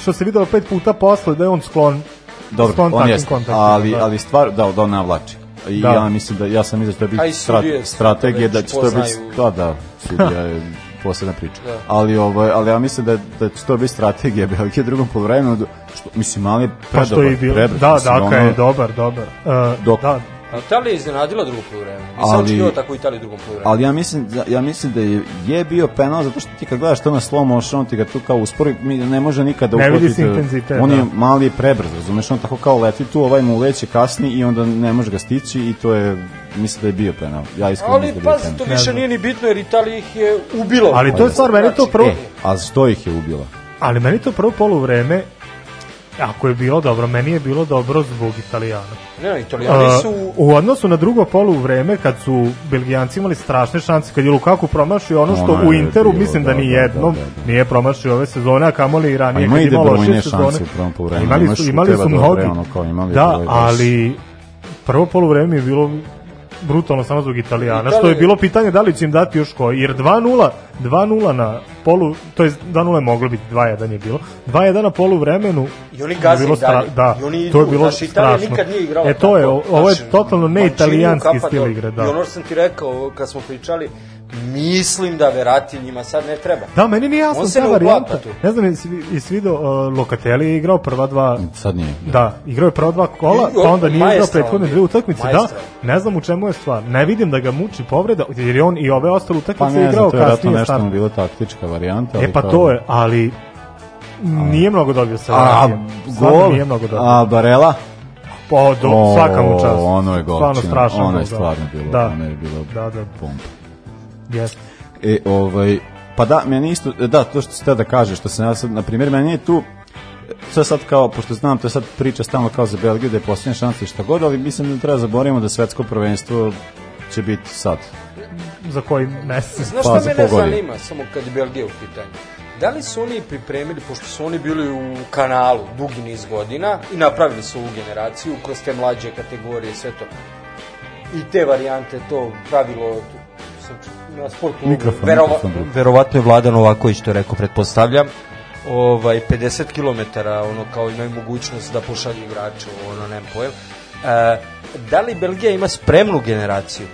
Speaker 5: što se videlo pet puta posle da je on sklon
Speaker 3: Dobro,
Speaker 5: sklon
Speaker 3: on
Speaker 5: takvim
Speaker 3: jeste,
Speaker 5: kontaktima,
Speaker 3: ali,
Speaker 5: da.
Speaker 3: ali stvar, da, da on navlači. I
Speaker 5: Da.
Speaker 3: ja mislim da, ja sam izaći da bi
Speaker 7: A i sudije
Speaker 3: strat,
Speaker 7: su
Speaker 3: strategije,
Speaker 7: već
Speaker 3: da će to biti, pa
Speaker 7: poznaju.
Speaker 3: da, da, sudija je posebna priča. Ali, ovo, ali ja mislim da, da će to biti strategija Belgije drugom polovremenu, do- što, mislim, ali je
Speaker 5: pa što je i
Speaker 3: predobar,
Speaker 5: bilo.
Speaker 3: prebrz,
Speaker 5: Da,
Speaker 3: mislim,
Speaker 5: da,
Speaker 3: ono-
Speaker 5: je dobar, dobar. E,
Speaker 3: Dok-
Speaker 5: da,
Speaker 7: A Italija je iznenadila drugo polovreme. I
Speaker 3: Ali-
Speaker 7: sam očekivao tako Italiju u drugom polovremenu.
Speaker 3: Ali ja mislim, da- ja mislim da je, je bio penal zato što ti kad gledaš to na slow motion, on ti ga tu kao uspori, mi ne može nikada
Speaker 5: Ne vidi
Speaker 3: uhvatiti-
Speaker 5: se intenzitet,
Speaker 3: On je
Speaker 5: da.
Speaker 3: mali i prebrz, razumeš, on tako kao leti tu, ovaj mu leće kasni i onda ne može ga stići i to je, mislim da je bio penal. Ja iskreno
Speaker 7: Ali,
Speaker 3: mislim da je bio
Speaker 7: pazi, to
Speaker 3: penal.
Speaker 5: Ne
Speaker 7: više
Speaker 5: znam.
Speaker 7: nije ni bitno jer Italija ih je ubila.
Speaker 5: Ali to je stvar, meni to
Speaker 7: Znači,
Speaker 5: prvo-
Speaker 3: E, a što ih je ubila?
Speaker 5: ali meni to prvo poluvreme Ako je bilo dobro, meni je bilo dobro zbog Italijana.
Speaker 7: Ne, italijani su...
Speaker 5: Uh, u odnosu na drugo polu vreme, kad su Belgijanci imali strašne šanse, kad je Lukaku promašio ono što
Speaker 3: Ono je
Speaker 5: u Interu,
Speaker 3: bilo,
Speaker 5: mislim da,
Speaker 3: da,
Speaker 5: ni
Speaker 3: da, da,
Speaker 5: jednom
Speaker 3: da, da.
Speaker 5: nije promašio ove sezone, a kamoli i ranije.
Speaker 3: A ima
Speaker 5: kad
Speaker 3: i De
Speaker 5: imalo
Speaker 3: Bruyne
Speaker 5: šest
Speaker 3: šanse
Speaker 5: sezone.
Speaker 3: u prvom poluvremenu,
Speaker 5: Imali
Speaker 3: imaš
Speaker 5: su, imali
Speaker 3: Kuteva
Speaker 5: su
Speaker 3: dobro,
Speaker 5: mnogi.
Speaker 3: ono kao imali
Speaker 5: da,
Speaker 3: bilo je baš-
Speaker 5: ali prvo poluvreme je bilo brutalno samo zbog Italijana,
Speaker 7: Italija-
Speaker 5: što je bilo pitanje da li će im dati još koji, jer 2-0, 2-0 na polu, to je 2-0 je moglo biti, 2-1 je bilo, 2-1 na polu vremenu,
Speaker 7: I oni gaze
Speaker 5: je bilo
Speaker 7: i dalje.
Speaker 5: da,
Speaker 7: I oni
Speaker 5: to je
Speaker 7: idu,
Speaker 5: bilo
Speaker 7: znaš, Italija
Speaker 5: strašno.
Speaker 7: nikad nije igrala
Speaker 5: e to je,
Speaker 7: tako,
Speaker 5: ovo je
Speaker 7: znaš,
Speaker 5: totalno ne
Speaker 7: Mancini,
Speaker 5: italijanski
Speaker 7: Kapador,
Speaker 5: stil igre, da.
Speaker 7: I ono što sam ti rekao kad smo pričali, mislim da Verati njima sad ne treba.
Speaker 5: Da, meni nije jasno
Speaker 7: On se
Speaker 5: ta
Speaker 7: ne
Speaker 5: varijanta.
Speaker 7: uklapa tu.
Speaker 5: Ne znam, jesi, jesi vidio, uh, Lokatelli je igrao prva dva
Speaker 3: Sad nije.
Speaker 5: Da, igrao je prva dva kola,
Speaker 7: I-
Speaker 5: pa onda nije igrao
Speaker 7: maestro
Speaker 5: prethodne
Speaker 7: on je.
Speaker 5: dve utakmice. Da,
Speaker 7: Maestro.
Speaker 5: ne znam u čemu je stvar. Ne vidim da ga muči povreda, jer je on i ove ostale
Speaker 3: Pa
Speaker 5: utakmice
Speaker 3: ne
Speaker 5: igrao
Speaker 3: znam, to je vjerojatno
Speaker 5: kasnije
Speaker 3: nešto
Speaker 5: start.
Speaker 3: mu bila taktička varijanta. ali
Speaker 5: E pa
Speaker 3: kao-
Speaker 5: to je, ali nije mnogo dobio sa
Speaker 3: A,
Speaker 5: Varadijem. Stvarno
Speaker 3: gol,
Speaker 5: Nije mnogo dobio.
Speaker 3: a Barela,
Speaker 5: Pa, do,
Speaker 3: O,
Speaker 5: svaka mu čast.
Speaker 3: ono je golčina,
Speaker 5: Stvarno strašan
Speaker 3: ono je
Speaker 5: gol, da.
Speaker 3: stvarno bilo-
Speaker 5: da.
Speaker 3: ono je bilo-
Speaker 5: Da, da,
Speaker 3: pompa.
Speaker 5: jeste.
Speaker 3: E, ovaj, pa da, meni isto, da, to što ste da kaže, što sam ja sad, na primjer, meni je tu, to je sad kao, pošto znam, to je sad priča stalno kao za Belgiju, da je posljednja šansa i šta god, ali mislim da treba zaboravimo da svetsko prvenstvo će biti sad.
Speaker 5: Za koji mesec.
Speaker 7: Znaš
Speaker 3: Pa,
Speaker 7: šta
Speaker 3: za
Speaker 7: mene
Speaker 3: pogodinu.
Speaker 7: zanima, samo kad je Belgija u pitanju? Da li su oni pripremili, pošto su oni bili u kanalu dugi niz godina i napravili su ovu generaciju kroz te mlađe kategorije, sve to. I te varijante, to pravilo sam- na sportu.
Speaker 3: Mikrofon, mikrofon, drugi.
Speaker 7: Verovatno je Vladan Novaković to rekao, pretpostavljam. Ovaj, 50 km, ono, kao imaju mogućnost da pošalju igrače, ono, nem pojem. E, da li Belgija ima spremnu generaciju?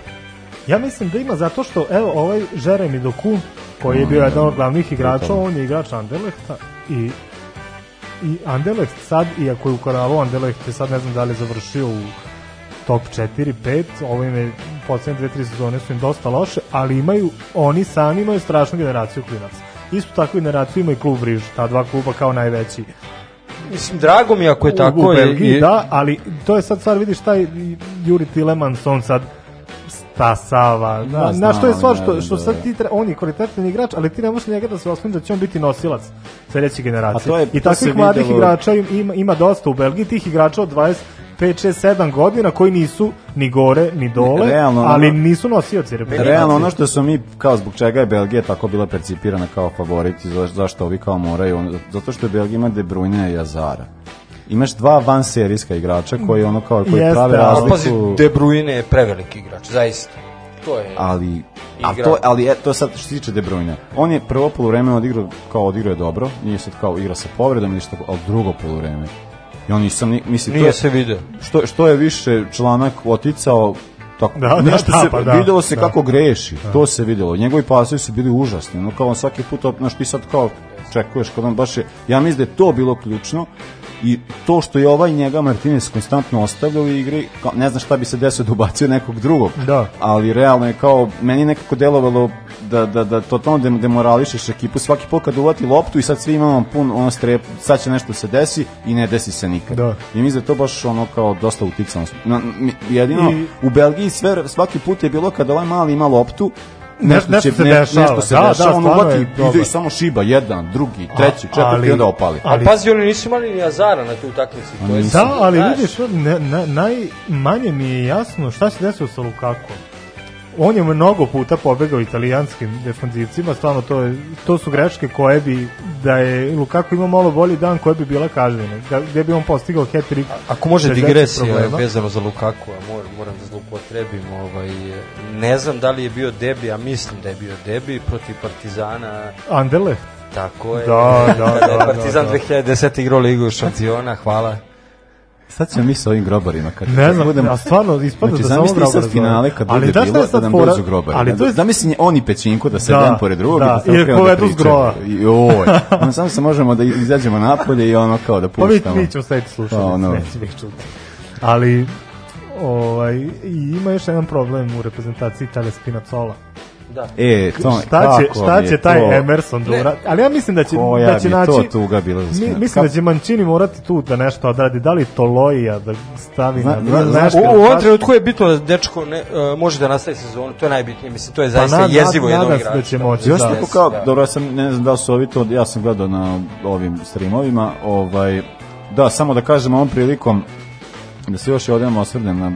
Speaker 5: Ja mislim da ima zato što evo ovaj Jeremy Doku koji je bio jedan od glavnih igrača, on je igrač Anderlechta i i Anderlecht sad, iako je u Koralu Anderlecht je sad ne znam da li je završio u top 4, 5, ovo im je poslednje dve, tri sezone su im dosta loše, ali imaju, oni sami imaju strašnu generaciju klinaca. Istu takvu generaciju ima i klub Riž, ta dva kluba kao najveći.
Speaker 7: Mislim, drago mi je ako je
Speaker 5: U-
Speaker 7: tako.
Speaker 5: u
Speaker 7: i-
Speaker 5: Belgiji,
Speaker 7: i-
Speaker 5: da, ali to je sad stvar, vidiš taj Juri Tilemans, on sad stasava. Da, na,
Speaker 3: znam,
Speaker 5: što je stvar,
Speaker 3: ali ne
Speaker 5: što,
Speaker 3: znam
Speaker 5: što
Speaker 3: da
Speaker 5: sad
Speaker 3: je.
Speaker 5: ti tre, on je kvalitetan igrač, ali ti ne možeš njega da se osnovi da će on biti nosilac sledeće generacije.
Speaker 3: A to je-
Speaker 5: I
Speaker 3: to se
Speaker 5: takvih mladih
Speaker 3: videlo-
Speaker 5: igrača im- ima, ima dosta u Belgiji, tih igrača od 25, 6, 7 godina koji nisu ni gore, ni dole,
Speaker 3: realno,
Speaker 5: ali
Speaker 3: ono-
Speaker 5: nisu nosioci reprezentacije.
Speaker 3: Realno, ono što su mi, kao zbog čega je Belgija tako bila percipirana kao favorit i za, zašto ovi kao moraju, ono, zato što Belgija ima De Bruyne i Azara. Imaš dva van serijska igrača koji ono kao koji
Speaker 5: Jeste,
Speaker 3: prave
Speaker 5: ali-
Speaker 7: A pazi,
Speaker 3: razliku.
Speaker 7: De Bruyne je prevelik igrač, zaista. To je...
Speaker 3: ali a
Speaker 7: Igra.
Speaker 3: to, ali e, to sad što se tiče De Bruyne. On je prvo poluvreme odigrao kao odigrao je dobro, nije sad kao igra sa povredom ili što, al drugo poluvreme. I on nisam ni- mislim to
Speaker 7: Nije
Speaker 3: je,
Speaker 7: se video.
Speaker 3: što što je više članak oticao tako
Speaker 5: Da, da,
Speaker 3: nešto se
Speaker 5: tapa, da.
Speaker 3: videlo se
Speaker 5: Da.
Speaker 3: kako greši. To se videlo. Njegovi pasovi su bili užasni. Ono kao on svaki put op- znaš ti sad kao čekuješ kad on baš je ja mislim da je to bilo ključno i to što je ovaj njega Martinez konstantno ostavljao u igri, kao, ne znam šta bi se desilo da ubacio nekog drugog
Speaker 5: Da.
Speaker 3: ali realno je kao, meni je nekako delovalo da, da, da totalno dem- demorališeš ekipu svaki put kad uvati loptu i sad svi imamo pun ono strep, sad će nešto se desi i ne desi se nikad.
Speaker 5: Da.
Speaker 3: I mislim da je to baš ono kao dosta uticano. Na, mi- jedino,
Speaker 5: I-
Speaker 3: u Belgiji sve, svaki put je bilo kad ovaj mali ima loptu,
Speaker 5: Ne-
Speaker 3: nešto,
Speaker 5: nešto
Speaker 3: će,
Speaker 5: se
Speaker 3: ne-
Speaker 5: dešava.
Speaker 3: nešto se
Speaker 5: Da, da,
Speaker 3: dešava, on
Speaker 5: stvarno
Speaker 3: uvati
Speaker 5: je
Speaker 3: i ide
Speaker 5: dobar.
Speaker 3: i samo šiba, jedan, drugi, treći,
Speaker 5: ali-
Speaker 3: četvrti i onda opali.
Speaker 5: ali-
Speaker 7: Ali, pazi, oni nisu imali ni Azara na tu utakmici. To je
Speaker 5: Da, ali
Speaker 7: znaš,
Speaker 5: vidiš, ne, na, najmanje mi je jasno šta se desilo sa Lukakom. On je mnogo puta pobegao italijanskim defanzivcima, stvarno to, je, to su greške koje bi, da je Lukaku imao malo bolji dan, koje bi bila kažnjena, da, gde bi on postigao hat-trick.
Speaker 7: Ako može
Speaker 5: bez većih
Speaker 7: digresija
Speaker 5: problema.
Speaker 7: vezano za Lukaku, a mor, moram da zloupotrebim, ovaj, ne znam da li je bio debi, a mislim da je bio debi protiv Partizana,
Speaker 5: Anderlecht.
Speaker 7: tako je.
Speaker 5: Da, da,
Speaker 7: Kada je
Speaker 5: da,
Speaker 7: Partizan
Speaker 5: da,
Speaker 7: 2010. igrao Ligu šampiona, hvala.
Speaker 3: Sad ćemo mi sa ovim grobarima. Kad
Speaker 5: Ne znam,
Speaker 3: budemo-
Speaker 5: a stvarno ispada
Speaker 3: Znači,
Speaker 5: da samo
Speaker 3: zamisli sad
Speaker 5: Grobar
Speaker 3: finale kad
Speaker 5: zove. Ali
Speaker 3: bude
Speaker 5: znaš šta
Speaker 3: bilo
Speaker 5: je
Speaker 3: da
Speaker 5: sad
Speaker 3: nam
Speaker 5: fora?
Speaker 3: dođu grobari.
Speaker 5: Ali
Speaker 3: Da-
Speaker 5: to je-
Speaker 3: Zamisli oni pećinku da se
Speaker 5: Da,
Speaker 3: jedan pored drugog
Speaker 5: da,
Speaker 3: da samo
Speaker 5: i
Speaker 3: krenu da
Speaker 5: povedu s grova.
Speaker 3: pričaju. I oj, ono, samo se možemo da izađemo napolje i ono kao da
Speaker 5: Pa mi,
Speaker 3: puštamo.
Speaker 5: mi ćemo staviti slušati,
Speaker 3: Pa, ono.
Speaker 5: neće bih čuti. Ali, ovaj, i ima još jedan problem u reprezentaciji Tele Spinacola.
Speaker 7: Da.
Speaker 3: E, to,
Speaker 5: šta će,
Speaker 3: kako mi
Speaker 5: šta
Speaker 3: je
Speaker 5: će taj
Speaker 3: to-
Speaker 5: Emerson da uradi? Ali ja mislim da će,
Speaker 3: Koja
Speaker 5: da će
Speaker 3: mi je
Speaker 5: naći...
Speaker 3: to tuga bila za
Speaker 5: Mi,
Speaker 3: Spinazzola.
Speaker 5: mislim da će Mancini morati tu da nešto odradi. Da li Toloja da stavi
Speaker 3: Zna-
Speaker 5: na...
Speaker 3: zna-
Speaker 5: na-
Speaker 3: znaš
Speaker 5: na-
Speaker 3: kad-
Speaker 7: U, u ovom trenutku je bitno da dečko ne, e, može da nastavi sezonu, to je najbitnije, mislim, to je Pa zaista
Speaker 5: nad-
Speaker 7: jezivo
Speaker 5: nad-
Speaker 7: jednog
Speaker 5: nadam se
Speaker 7: igrača.
Speaker 5: da će moći,
Speaker 3: Još
Speaker 5: da.
Speaker 3: neko
Speaker 7: Yes,
Speaker 3: kao,
Speaker 7: da.
Speaker 3: dobro, ja sam, ne znam da li su ovi to, ja sam gledao na ovim streamovima, ovaj, Da, samo da kažem ovom prilikom da se još jednom osvrnem na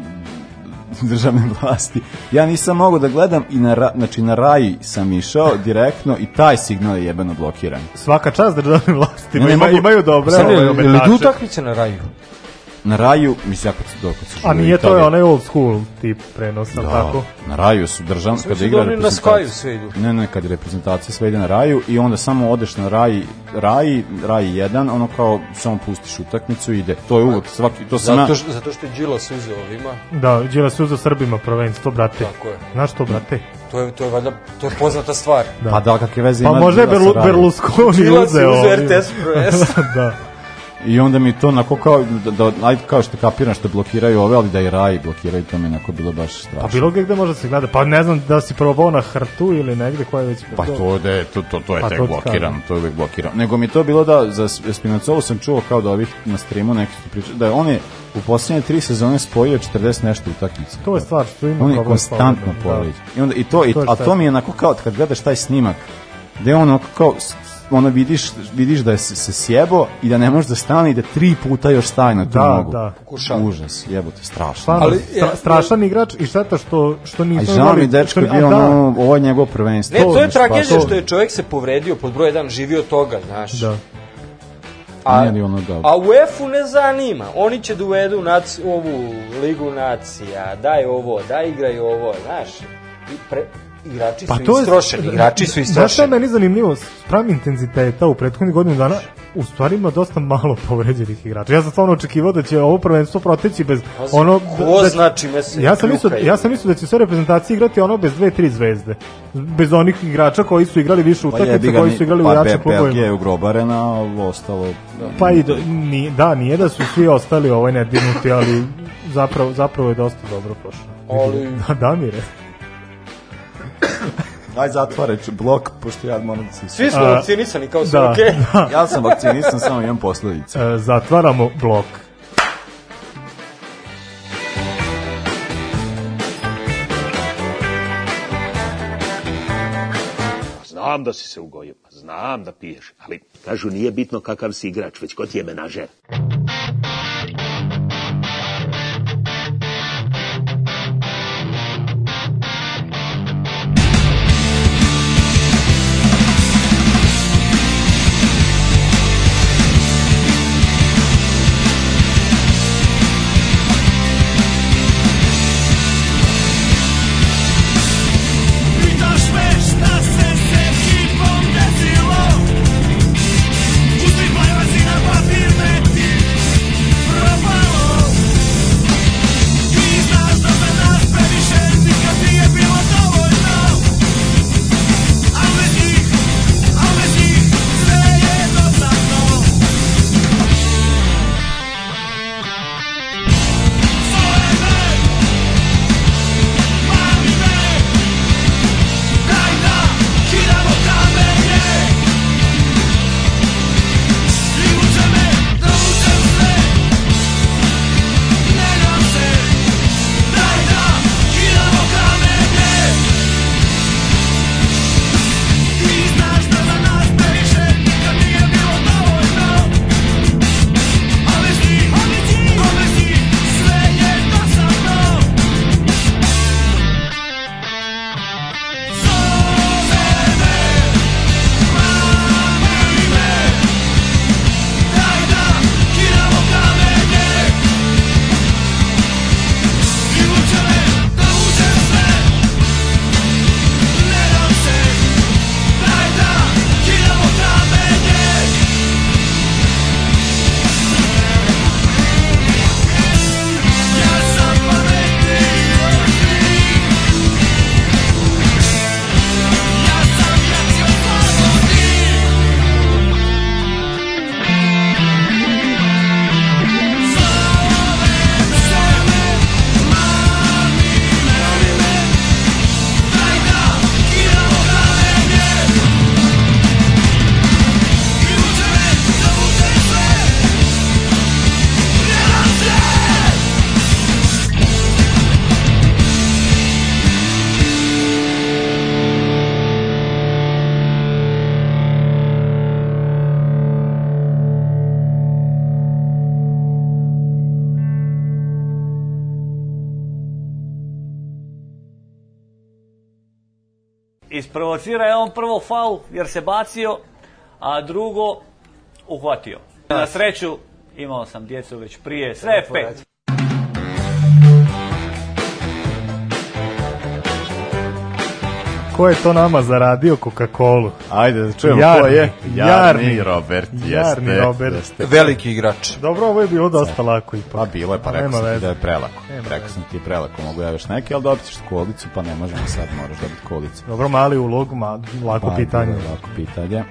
Speaker 3: državne vlasti. Ja nisam mogao da gledam i na, ra- znači na raji sam išao direktno i taj signal je jebeno blokiran.
Speaker 5: Svaka čast državnim vlastima,
Speaker 3: Ne, ne
Speaker 5: ima,
Speaker 3: mogu-
Speaker 5: imaju dobre
Speaker 3: Sad je-
Speaker 5: ovaj,
Speaker 3: je li
Speaker 5: ometače.
Speaker 7: Idu utakmice na raju.
Speaker 3: Na raju, mislim, jako se doko se
Speaker 5: A nije to je onaj old school tip prenosa,
Speaker 3: Da,
Speaker 5: tako?
Speaker 3: na raju su državni,
Speaker 7: Mislim
Speaker 3: kada
Speaker 7: da
Speaker 3: igra
Speaker 7: oni na
Speaker 3: reprezentacija-
Speaker 7: Skaju sve idu.
Speaker 3: Ne, ne, kad je reprezentacija sve ide na raju i onda samo odeš na raj, raj, raj 1, ono kao samo pustiš utakmicu i ide. To je uvek, svaki, to sam
Speaker 7: Zato,
Speaker 3: ja...
Speaker 7: što, zato što je Đilas uzeo ovima,
Speaker 5: Da, Đela se uzeo Srbima prvenstvo, brate.
Speaker 7: Tako je.
Speaker 5: Znaš to, brate?
Speaker 7: to je, to je, valjda, to je poznata stvar.
Speaker 5: Da.
Speaker 3: Pa da, kakve veze
Speaker 5: Pa
Speaker 3: ima
Speaker 5: možda je
Speaker 3: Đilas sa
Speaker 5: Berlu,
Speaker 3: rajem?
Speaker 5: Berlusconi
Speaker 7: Đilas je
Speaker 5: uzeo.
Speaker 7: uzeo
Speaker 5: ovim.
Speaker 7: RTS prvenstvo.
Speaker 5: da.
Speaker 3: I onda mi to onako kao, da, da, ajde kao što kapiram što blokiraju ove, ali da i raj blokiraju, to mi je onako bilo baš strašno.
Speaker 5: Pa bilo gde gde može da se gleda. Pa ne znam da si probao na hrtu ili negde koja je već...
Speaker 3: Pa to, da je, to, to, to je
Speaker 5: Pa
Speaker 3: tek
Speaker 5: to ti
Speaker 3: blokirano,
Speaker 5: kažem.
Speaker 3: to je uvek blokirano. Nego mi je to bilo da, za S- Spinacolu sam čuo kao da ovih na streamu neki su pričali, da je on je u posljednje tri sezone spojio 40 nešto utakmica.
Speaker 5: To je stvar što ima
Speaker 3: On je
Speaker 5: problem s
Speaker 3: konstantno
Speaker 5: povredom, da.
Speaker 3: povređen. I onda i to, i,
Speaker 5: To je
Speaker 3: a to
Speaker 5: strašno.
Speaker 3: mi je onako kao kad gledaš taj snimak, da je on onako kao s- ono vidiš, vidiš da je se, se sjebo i da ne može da stane i da tri puta još staje na tu
Speaker 5: Da,
Speaker 3: nogu.
Speaker 5: da.
Speaker 7: Pokušava.
Speaker 3: Užas, jebote, strašno.
Speaker 5: Stvarno,
Speaker 7: Ali,
Speaker 5: stra,
Speaker 7: ja-
Speaker 5: strašan igrač i šteta što, što
Speaker 3: Aj,
Speaker 5: nisam...
Speaker 3: žao mi je dečko je bio ono, ovo je njegovo prvenstvo.
Speaker 7: Ne, to je
Speaker 3: Znaš, pa
Speaker 7: tragedija
Speaker 3: to-
Speaker 7: što je čovjek se povredio pod broj 1, živio toga, znaš.
Speaker 5: Da.
Speaker 7: A,
Speaker 3: Nije ni ono da-
Speaker 7: a UEFA-u ne zanima. Oni će da uvedu naci, ovu ligu nacija, daj ovo, daj igraj ovo, znaš. I pre, igrači
Speaker 5: Pa
Speaker 7: su
Speaker 5: to je-
Speaker 7: istrošeni, igrači su
Speaker 5: Znaš šta je
Speaker 7: istrošeni.
Speaker 5: meni zanimljivo? Spram intenziteta u prethodnih godinu dana u stvari ima dosta malo povređenih igrača. Ja sam stvarno očekivao da će ovo prvenstvo proteći bez
Speaker 3: Pa
Speaker 7: Pazi,
Speaker 5: ono...
Speaker 7: ko
Speaker 5: da-
Speaker 7: znači mesec
Speaker 5: Ja sam, mislio,
Speaker 7: kljuka
Speaker 5: ja sam mislio da će sve reprezentacije igrati ono bez dve, tri zvezde. Bez onih igrača koji su igrali više
Speaker 3: Pa jebi
Speaker 5: utakmica,
Speaker 3: ga,
Speaker 5: koji su igrali u
Speaker 3: pa Be-
Speaker 5: jače
Speaker 3: Belgija je
Speaker 5: klubovima.
Speaker 3: ugrobarena, a ovo ostalo...
Speaker 5: Pa i da, ni, da, nije da su svi ostali ovaj nedirnuti, ali zapravo, zapravo je dosta dobro prošlo.
Speaker 7: Ali-
Speaker 5: Da, Damire.
Speaker 3: Aj zatvareč blok, pošto ja moram da se...
Speaker 7: Svi smo
Speaker 5: A,
Speaker 7: vakcinisani kao su,
Speaker 5: da.
Speaker 7: okej.
Speaker 3: Ja sam vakcinistan, samo imam posledice.
Speaker 5: E, zatvaramo blok.
Speaker 8: Znam da si se ugojio, pa znam da piješ, ali kažu nije bitno kakav si igrač, već ko ti je menažer.
Speaker 9: Pitaš me šta se s ekipom desilo Pusti bajvaci na papir meti
Speaker 10: Isprovocira je on prvo faul jer se bacio, a drugo uhvatio. Na sreću imao sam djecu već prije, sve je pet.
Speaker 5: Ko je to nama zaradio Coca-Cola?
Speaker 3: Ajde, da čujemo ko
Speaker 5: Jarni,
Speaker 3: je.
Speaker 5: Jarni.
Speaker 11: Robert, jeste.
Speaker 5: Jarni Robert.
Speaker 11: jeste.
Speaker 7: Veliki igrač.
Speaker 5: Dobro, ovo je bilo dosta lako ipak.
Speaker 3: Pa bilo je, pa rekao
Speaker 5: Nema
Speaker 3: sam ti
Speaker 5: veze.
Speaker 3: da je prelako.
Speaker 5: Nema
Speaker 3: Rekao sam ti je prelako, mogu ja još neke, ali dobit ćeš kolicu, pa ne možemo sad, moraš dobiti kolicu.
Speaker 5: Dobro, mali ulog, ma, lako
Speaker 3: Pa,
Speaker 5: pitanje.
Speaker 3: bilo je Lako pitanje.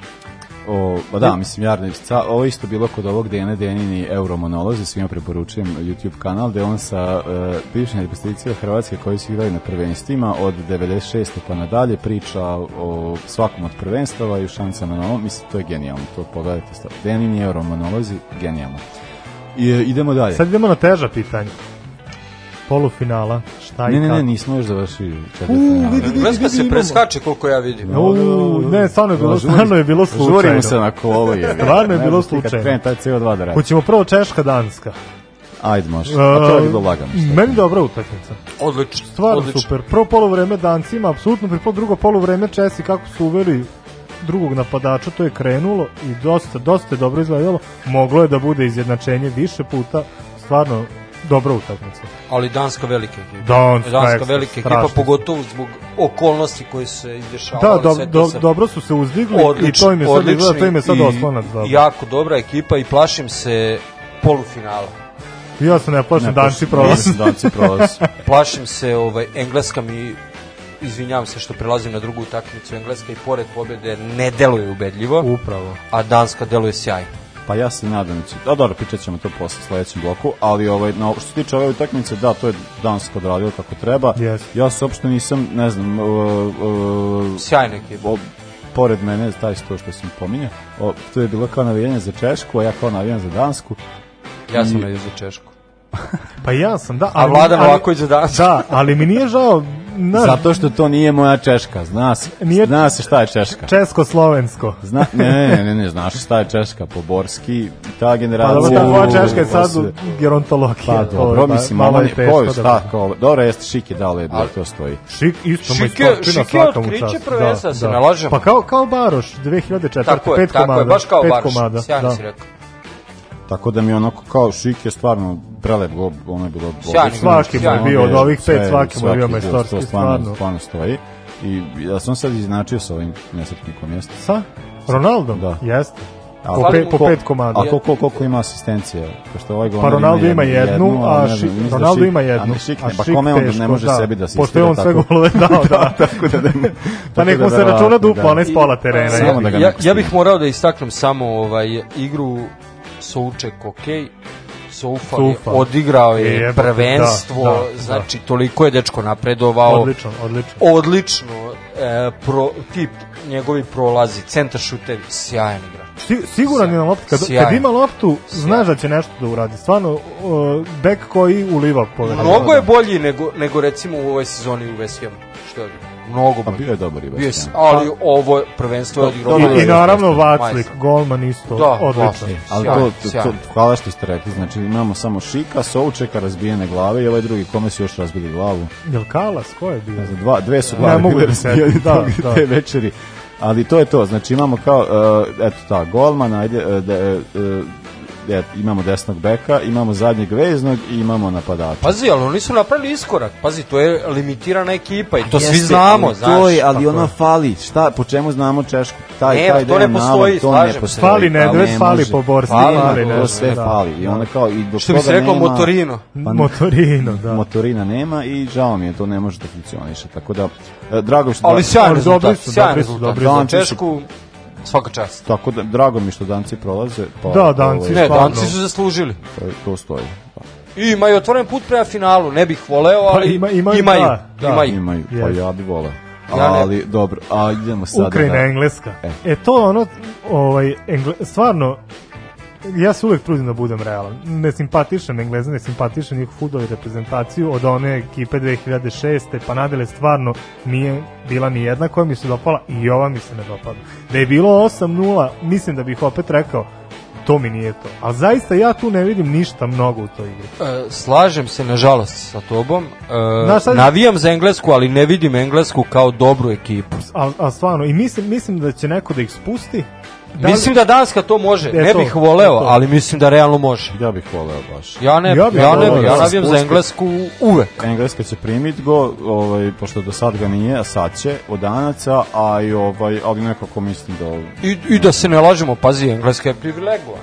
Speaker 3: O, pa da, mislim, Jarni, ca- ovo je isto bilo kod ovog Dejana Denini Euromonolozi, svima preporučujem YouTube kanal, gde on sa e, bivšim reprezentacijama Hrvatske koji su igrali na prvenstvima od 96. pa nadalje priča o svakom od prvenstava i o šansama na ovom, mislim, to je genijalno, to pogledajte. sta- Denini Euromonolozi, genijalno. I, e, idemo dalje.
Speaker 5: Sad idemo na teža pitanja. Polufinala, šta i
Speaker 3: Ne, ne, ne,
Speaker 5: kako.
Speaker 3: nismo još završili četvrtfinal.
Speaker 7: Vreska se preskače koliko ja vidim.
Speaker 5: Uuu, ne, stvarno je bilo,
Speaker 3: Žurimo-
Speaker 5: stvarno je bilo slučajno.
Speaker 3: Žurimo se na kolo. Je.
Speaker 5: Stvarno je bilo slučajno.
Speaker 3: Kad krene taj CO2 da radi.
Speaker 5: Hoćemo prvo Češka, Danska.
Speaker 3: Ajde, može. A Pa to je bilo lagano.
Speaker 5: E, Meni dobra utakmica.
Speaker 7: Odlično.
Speaker 5: Stvarno
Speaker 7: odlično.
Speaker 5: super. Prvo polovreme Dancima, apsolutno pripalo drugo polovreme Česi kako su uveli drugog napadača, to je krenulo i dosta, dosta je dobro izgledalo. Moglo je da bude izjednačenje više puta. Stvarno, dobra utakmica.
Speaker 7: Ali Danska velika ekipa.
Speaker 5: Danska, ekstra,
Speaker 7: velika ekipa,
Speaker 5: strašno.
Speaker 7: pogotovo zbog okolnosti koje se izdešavale.
Speaker 5: Da, do,
Speaker 7: sve to
Speaker 5: do,
Speaker 7: sam-
Speaker 5: dobro su se uzdigli i to im je sad,
Speaker 7: odlični
Speaker 5: izgleda, to im je sad
Speaker 7: i
Speaker 5: oslonac. Dobro. Ja,
Speaker 7: Jako dobra ekipa i plašim se polufinala.
Speaker 5: ja se ne plašim, Danci prolaz.
Speaker 3: prolazi. Danci prolazi.
Speaker 7: Plašim se ovaj, Engleska mi izvinjavam se što prelazim na drugu utakmicu Engleska i pored pobjede ne deluje ubedljivo,
Speaker 5: Upravo.
Speaker 7: a Danska deluje sjajno.
Speaker 3: Pa ja se nadam da će... A dobro, pričat ćemo to posle u sledećem bloku, ali ovaj, na, što se tiče ove utakmice, da, to je Danska odradila kako treba.
Speaker 5: Yes.
Speaker 3: Ja se uopšte nisam, ne znam, uh, uh,
Speaker 7: Sjajna ekipa.
Speaker 3: o, pored mene, taj sto što sam pominjao, o, to je bilo kao navijanje za Češku, a ja kao navijanje za Dansku.
Speaker 7: Ja sam na za Češku.
Speaker 5: Pa ja sam, da.
Speaker 7: A
Speaker 5: ali-
Speaker 7: Vlada
Speaker 5: ali-
Speaker 7: Novaković za Dansku.
Speaker 5: Da, ali mi nije žao, znaš,
Speaker 3: Zato što to nije moja Češka, zna se,
Speaker 5: Nije-
Speaker 3: zna se šta je Češka.
Speaker 5: Česko-Slovensko.
Speaker 3: Zna, ne, ne, ne, ne, znaš šta je Češka, po Borski, ta
Speaker 5: Pa
Speaker 3: generacija...
Speaker 5: dobro, ta tvoja
Speaker 3: u-
Speaker 5: češka je sad u ovaj,
Speaker 3: se-
Speaker 5: gerontologiji.
Speaker 3: Pa dobro, mislim, ovo je to je šta, kao, dobro, jeste šike dale, da to stoji.
Speaker 5: Šik, isto mu
Speaker 7: Šike-
Speaker 5: ispočina
Speaker 7: Šike je
Speaker 5: svaka mu
Speaker 7: otkriće
Speaker 5: čast.
Speaker 7: prvenstva, se ne lažemo.
Speaker 5: Pa kao, kao Baroš, 2004.
Speaker 7: Tako je,
Speaker 5: pet
Speaker 7: tako
Speaker 5: komada,
Speaker 7: je, baš kao
Speaker 5: pet
Speaker 7: Baroš.
Speaker 5: komada,
Speaker 7: Sjajno
Speaker 5: da.
Speaker 7: si rekao.
Speaker 3: Tako da mi onako kao šik je stvarno prelep gol, ono je bilo
Speaker 7: Sjajni
Speaker 3: odlično.
Speaker 7: Svaki mu je
Speaker 3: Ono
Speaker 5: bio, od
Speaker 3: je
Speaker 5: ovih pet
Speaker 3: sve,
Speaker 5: svaki mu je bio
Speaker 3: svaki
Speaker 5: majstorski,
Speaker 3: to stvarno.
Speaker 5: stvarno.
Speaker 3: Stvarno stoji. I ja sam sad izjednačio sa ovim nesretnikom, jeste.
Speaker 5: Sa? Ronaldom?
Speaker 3: Pa Da.
Speaker 5: Jeste.
Speaker 3: A
Speaker 5: Po,
Speaker 7: fali
Speaker 5: pe,
Speaker 7: mu-
Speaker 5: po
Speaker 7: ko-
Speaker 5: pet komada.
Speaker 3: A koliko, koliko ima asistencija? Pošto ovaj
Speaker 5: Pa
Speaker 3: golman
Speaker 5: Ronaldo ima
Speaker 3: jednu,
Speaker 5: jednu, a
Speaker 3: ne znam,
Speaker 5: Šik-
Speaker 3: mislim da
Speaker 5: Ronaldo
Speaker 3: Šik-
Speaker 5: ima
Speaker 3: a
Speaker 5: jednu.
Speaker 3: ne Šik,
Speaker 5: a
Speaker 3: ne, pa
Speaker 5: Šik
Speaker 3: kome on
Speaker 5: teško,
Speaker 3: ne može
Speaker 5: da.
Speaker 3: sebi da asistira?
Speaker 5: Pošto je on sve
Speaker 3: tako?
Speaker 5: golove dao, da.
Speaker 3: tako da, da
Speaker 5: Pa nek mu se računa duplo, onaj s pola terena.
Speaker 3: Samo
Speaker 5: je.
Speaker 3: da ga
Speaker 7: ja,
Speaker 3: neko
Speaker 7: ja bih morao da istaknem samo ovaj igru Souček, ok, Soufa, je
Speaker 5: Soufa.
Speaker 7: odigrao je
Speaker 5: Jebote,
Speaker 7: prvenstvo,
Speaker 5: da, da, da.
Speaker 7: znači toliko je dečko napredovao,
Speaker 5: Odlično, odlično.
Speaker 7: odlično e, pro, tip njegovi prolazi, centar šutevi, sjajan igrač.
Speaker 5: Si- siguran je na loptu. Kad, kad
Speaker 7: Sjajno.
Speaker 5: ima loptu, znaš da će nešto da uradi. Stvarno, uh, bek koji uliva povreda.
Speaker 7: Mnogo je bolji nego, nego recimo u ovoj sezoni u Vesijem, što je
Speaker 3: Pa
Speaker 7: mnogo bolji.
Speaker 3: bio je dobar i
Speaker 7: Bio
Speaker 3: West
Speaker 7: si,
Speaker 3: Ham.
Speaker 7: ali ovo prvenstvo je odigrao.
Speaker 5: I, i naravno Vaclik,
Speaker 7: Majstor.
Speaker 5: golman isto,
Speaker 7: Da,
Speaker 5: odlično.
Speaker 7: Vaclik.
Speaker 3: Ali
Speaker 7: Sjajno,
Speaker 3: to, to, to,
Speaker 7: sjajno.
Speaker 3: hvala što ste rekli, znači imamo samo Šika, Součeka, razbijene glave i ovaj drugi, kome su još razbili glavu?
Speaker 5: Jel Kalas, ko je bio?
Speaker 3: Ne znam, dva, dve su glave
Speaker 5: mogu
Speaker 3: bile
Speaker 5: da se setim,
Speaker 3: razbijene
Speaker 5: da,
Speaker 3: tog-
Speaker 5: da.
Speaker 3: te večeri. Ali to je to, znači imamo kao, uh, eto ta, golman, ajde, uh, de, uh, et, imamo desnog beka, imamo zadnjeg veznog i imamo napadača.
Speaker 7: Pazi, ali oni su napravili iskorak. Pazi, to je limitirana ekipa i to svi
Speaker 3: Jeste,
Speaker 7: znamo,
Speaker 3: ali
Speaker 7: znaš.
Speaker 3: To je, ali ono ona fali. Šta, po čemu znamo Češku? Taj,
Speaker 7: Ne,
Speaker 3: taj
Speaker 7: to ne
Speaker 3: deo
Speaker 7: postoji,
Speaker 3: navod, to
Speaker 7: slažem se.
Speaker 3: ne postoji. pa
Speaker 5: Fali Nedved,
Speaker 3: ne
Speaker 5: fali
Speaker 3: može.
Speaker 5: Poborski,
Speaker 3: Fali,
Speaker 5: fali
Speaker 3: to
Speaker 5: nešto,
Speaker 3: sve
Speaker 5: da.
Speaker 3: fali. I onda kao, i dok
Speaker 7: Što bi se
Speaker 3: toga
Speaker 7: reklo,
Speaker 3: nema-
Speaker 7: motorino.
Speaker 3: Pa ne-
Speaker 5: Motorino, da.
Speaker 3: motorina nema i žao mi je, to ne može da funkcioniše. Tako da, e, drago mi što...
Speaker 7: Ali sjajan
Speaker 5: Ali dobri
Speaker 7: rezultat,
Speaker 5: su,
Speaker 7: sjajan
Speaker 5: dobri su,
Speaker 7: rezultat.
Speaker 5: dobri
Speaker 3: su.
Speaker 7: Za
Speaker 3: Danci su-
Speaker 7: Češku, svaka čast.
Speaker 3: Tako da, drago mi je što danci prolaze. Pa,
Speaker 5: Da, Danci.
Speaker 3: ovaj,
Speaker 7: Ne,
Speaker 5: Stvarno.
Speaker 7: Danci su zaslužili.
Speaker 3: to, to stoji. Pa,
Speaker 7: I imaju otvoren put prema finalu, ne bih voleo,
Speaker 5: Pa
Speaker 7: ali
Speaker 5: ima- imaju,
Speaker 7: imaju, imaju.
Speaker 5: da, da.
Speaker 3: imaju, pa
Speaker 5: Jeste.
Speaker 3: ja bi volao.
Speaker 7: Ja ne.
Speaker 3: ali, dobro, a idemo sada.
Speaker 5: Ukrajina,
Speaker 3: da-
Speaker 5: Engleska.
Speaker 3: E.
Speaker 5: E to ono, ovaj, engle, stvarno, ja se uvek trudim da budem realan. Ne simpatišem Engleze, ne simpatišem njih futbol i reprezentaciju od one ekipe 2006. pa nadalje stvarno nije bila ni jedna koja mi se dopala i ova mi se ne dopada. Da je bilo 8-0, mislim da bih opet rekao to mi nije to. A zaista ja tu ne vidim ništa mnogo u toj igri.
Speaker 7: E, slažem se, nažalost, sa tobom. E,
Speaker 5: Znaš šta-
Speaker 7: Navijam za Englesku, ali ne vidim Englesku kao dobru ekipu.
Speaker 5: A, a stvarno, i mislim, mislim da će neko da ih spusti. li-
Speaker 7: Mislim da Danska to može,
Speaker 5: E
Speaker 7: ne
Speaker 5: to,
Speaker 7: bih voleo,
Speaker 5: e to.
Speaker 7: ali mislim da realno može.
Speaker 3: Ja bih voleo baš.
Speaker 7: Ja ne,
Speaker 5: Ja
Speaker 7: ja,
Speaker 5: bih
Speaker 7: ne,
Speaker 5: voleo
Speaker 7: bih,
Speaker 5: da
Speaker 7: ja
Speaker 5: se
Speaker 7: navijam za
Speaker 3: spusti.
Speaker 7: Englesku uvek.
Speaker 3: Engleska će primiti go, ovaj, pošto do sad ga nije, a sad će, od danaca, a i ovaj, ali nekako mislim da... ovaj-
Speaker 7: I, I da se ne lažemo, pazi, Engleska je privilegovana.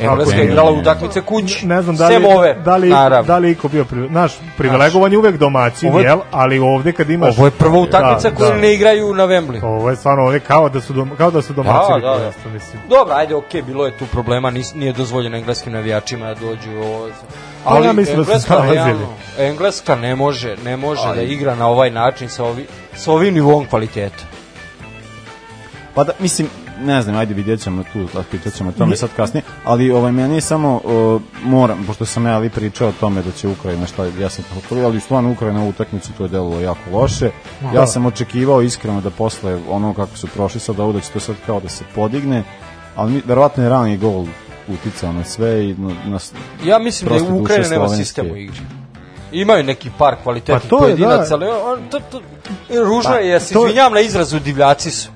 Speaker 7: Engleska je
Speaker 3: je,
Speaker 7: igrala
Speaker 3: je.
Speaker 7: utakmice kući,
Speaker 5: Pa Ne znam da li,
Speaker 7: sem ove,
Speaker 5: da li,
Speaker 7: naravno.
Speaker 5: da li iko bio, pri, znaš, privilegovan je uvek domaćin,
Speaker 7: Ovo je-
Speaker 5: jel? Ali ovde kad imaš...
Speaker 7: Ovo je prva utakmica
Speaker 5: Da,
Speaker 7: koju
Speaker 5: da. Pa
Speaker 7: ne igraju na Wembley.
Speaker 5: Ovo je stvarno ovde kao da su, dom, kao da su domaći.
Speaker 7: Da, da, da.
Speaker 5: prvenstvo, mislim.
Speaker 7: Dobro, ajde, okej, bilo je tu problema, nis, nije dozvoljeno engleskim navijačima da dođu ovo.
Speaker 5: Ali Pa ja mislim da su
Speaker 7: Engleska
Speaker 5: snalazili.
Speaker 7: realno- Engleska ne može, ne može da igra na ovaj način sa, ovi, sa ovim nivom kvaliteta.
Speaker 3: Pa da, mislim, ne znam, ajde vidjet ćemo tu, da pitat ćemo o tome sad kasnije, ali ovaj, meni je samo, o, moram, pošto sam ja ali pričao o tome da će Ukrajina, šta, ja sam pokolio, ali stvarno Ukrajina u utakmicu to je delovalo jako loše. Ja sam očekivao iskreno da posle ono kako su prošli sad ovo, da će to sad kao da se podigne, ali mi, verovatno je rani gol uticao na sve i na, na s-
Speaker 7: Ja mislim
Speaker 3: Proste
Speaker 7: da je
Speaker 3: duše
Speaker 7: Ukrajina nema
Speaker 3: slovenske.
Speaker 7: sistem u igri. Imaju neki par kvalitetnih
Speaker 5: Pa to je,
Speaker 7: pojedinaca,
Speaker 5: da. Pa,
Speaker 7: ali on, to, to, ružno je, ja se
Speaker 5: to je-
Speaker 7: izvinjam na izrazu, divljaci su.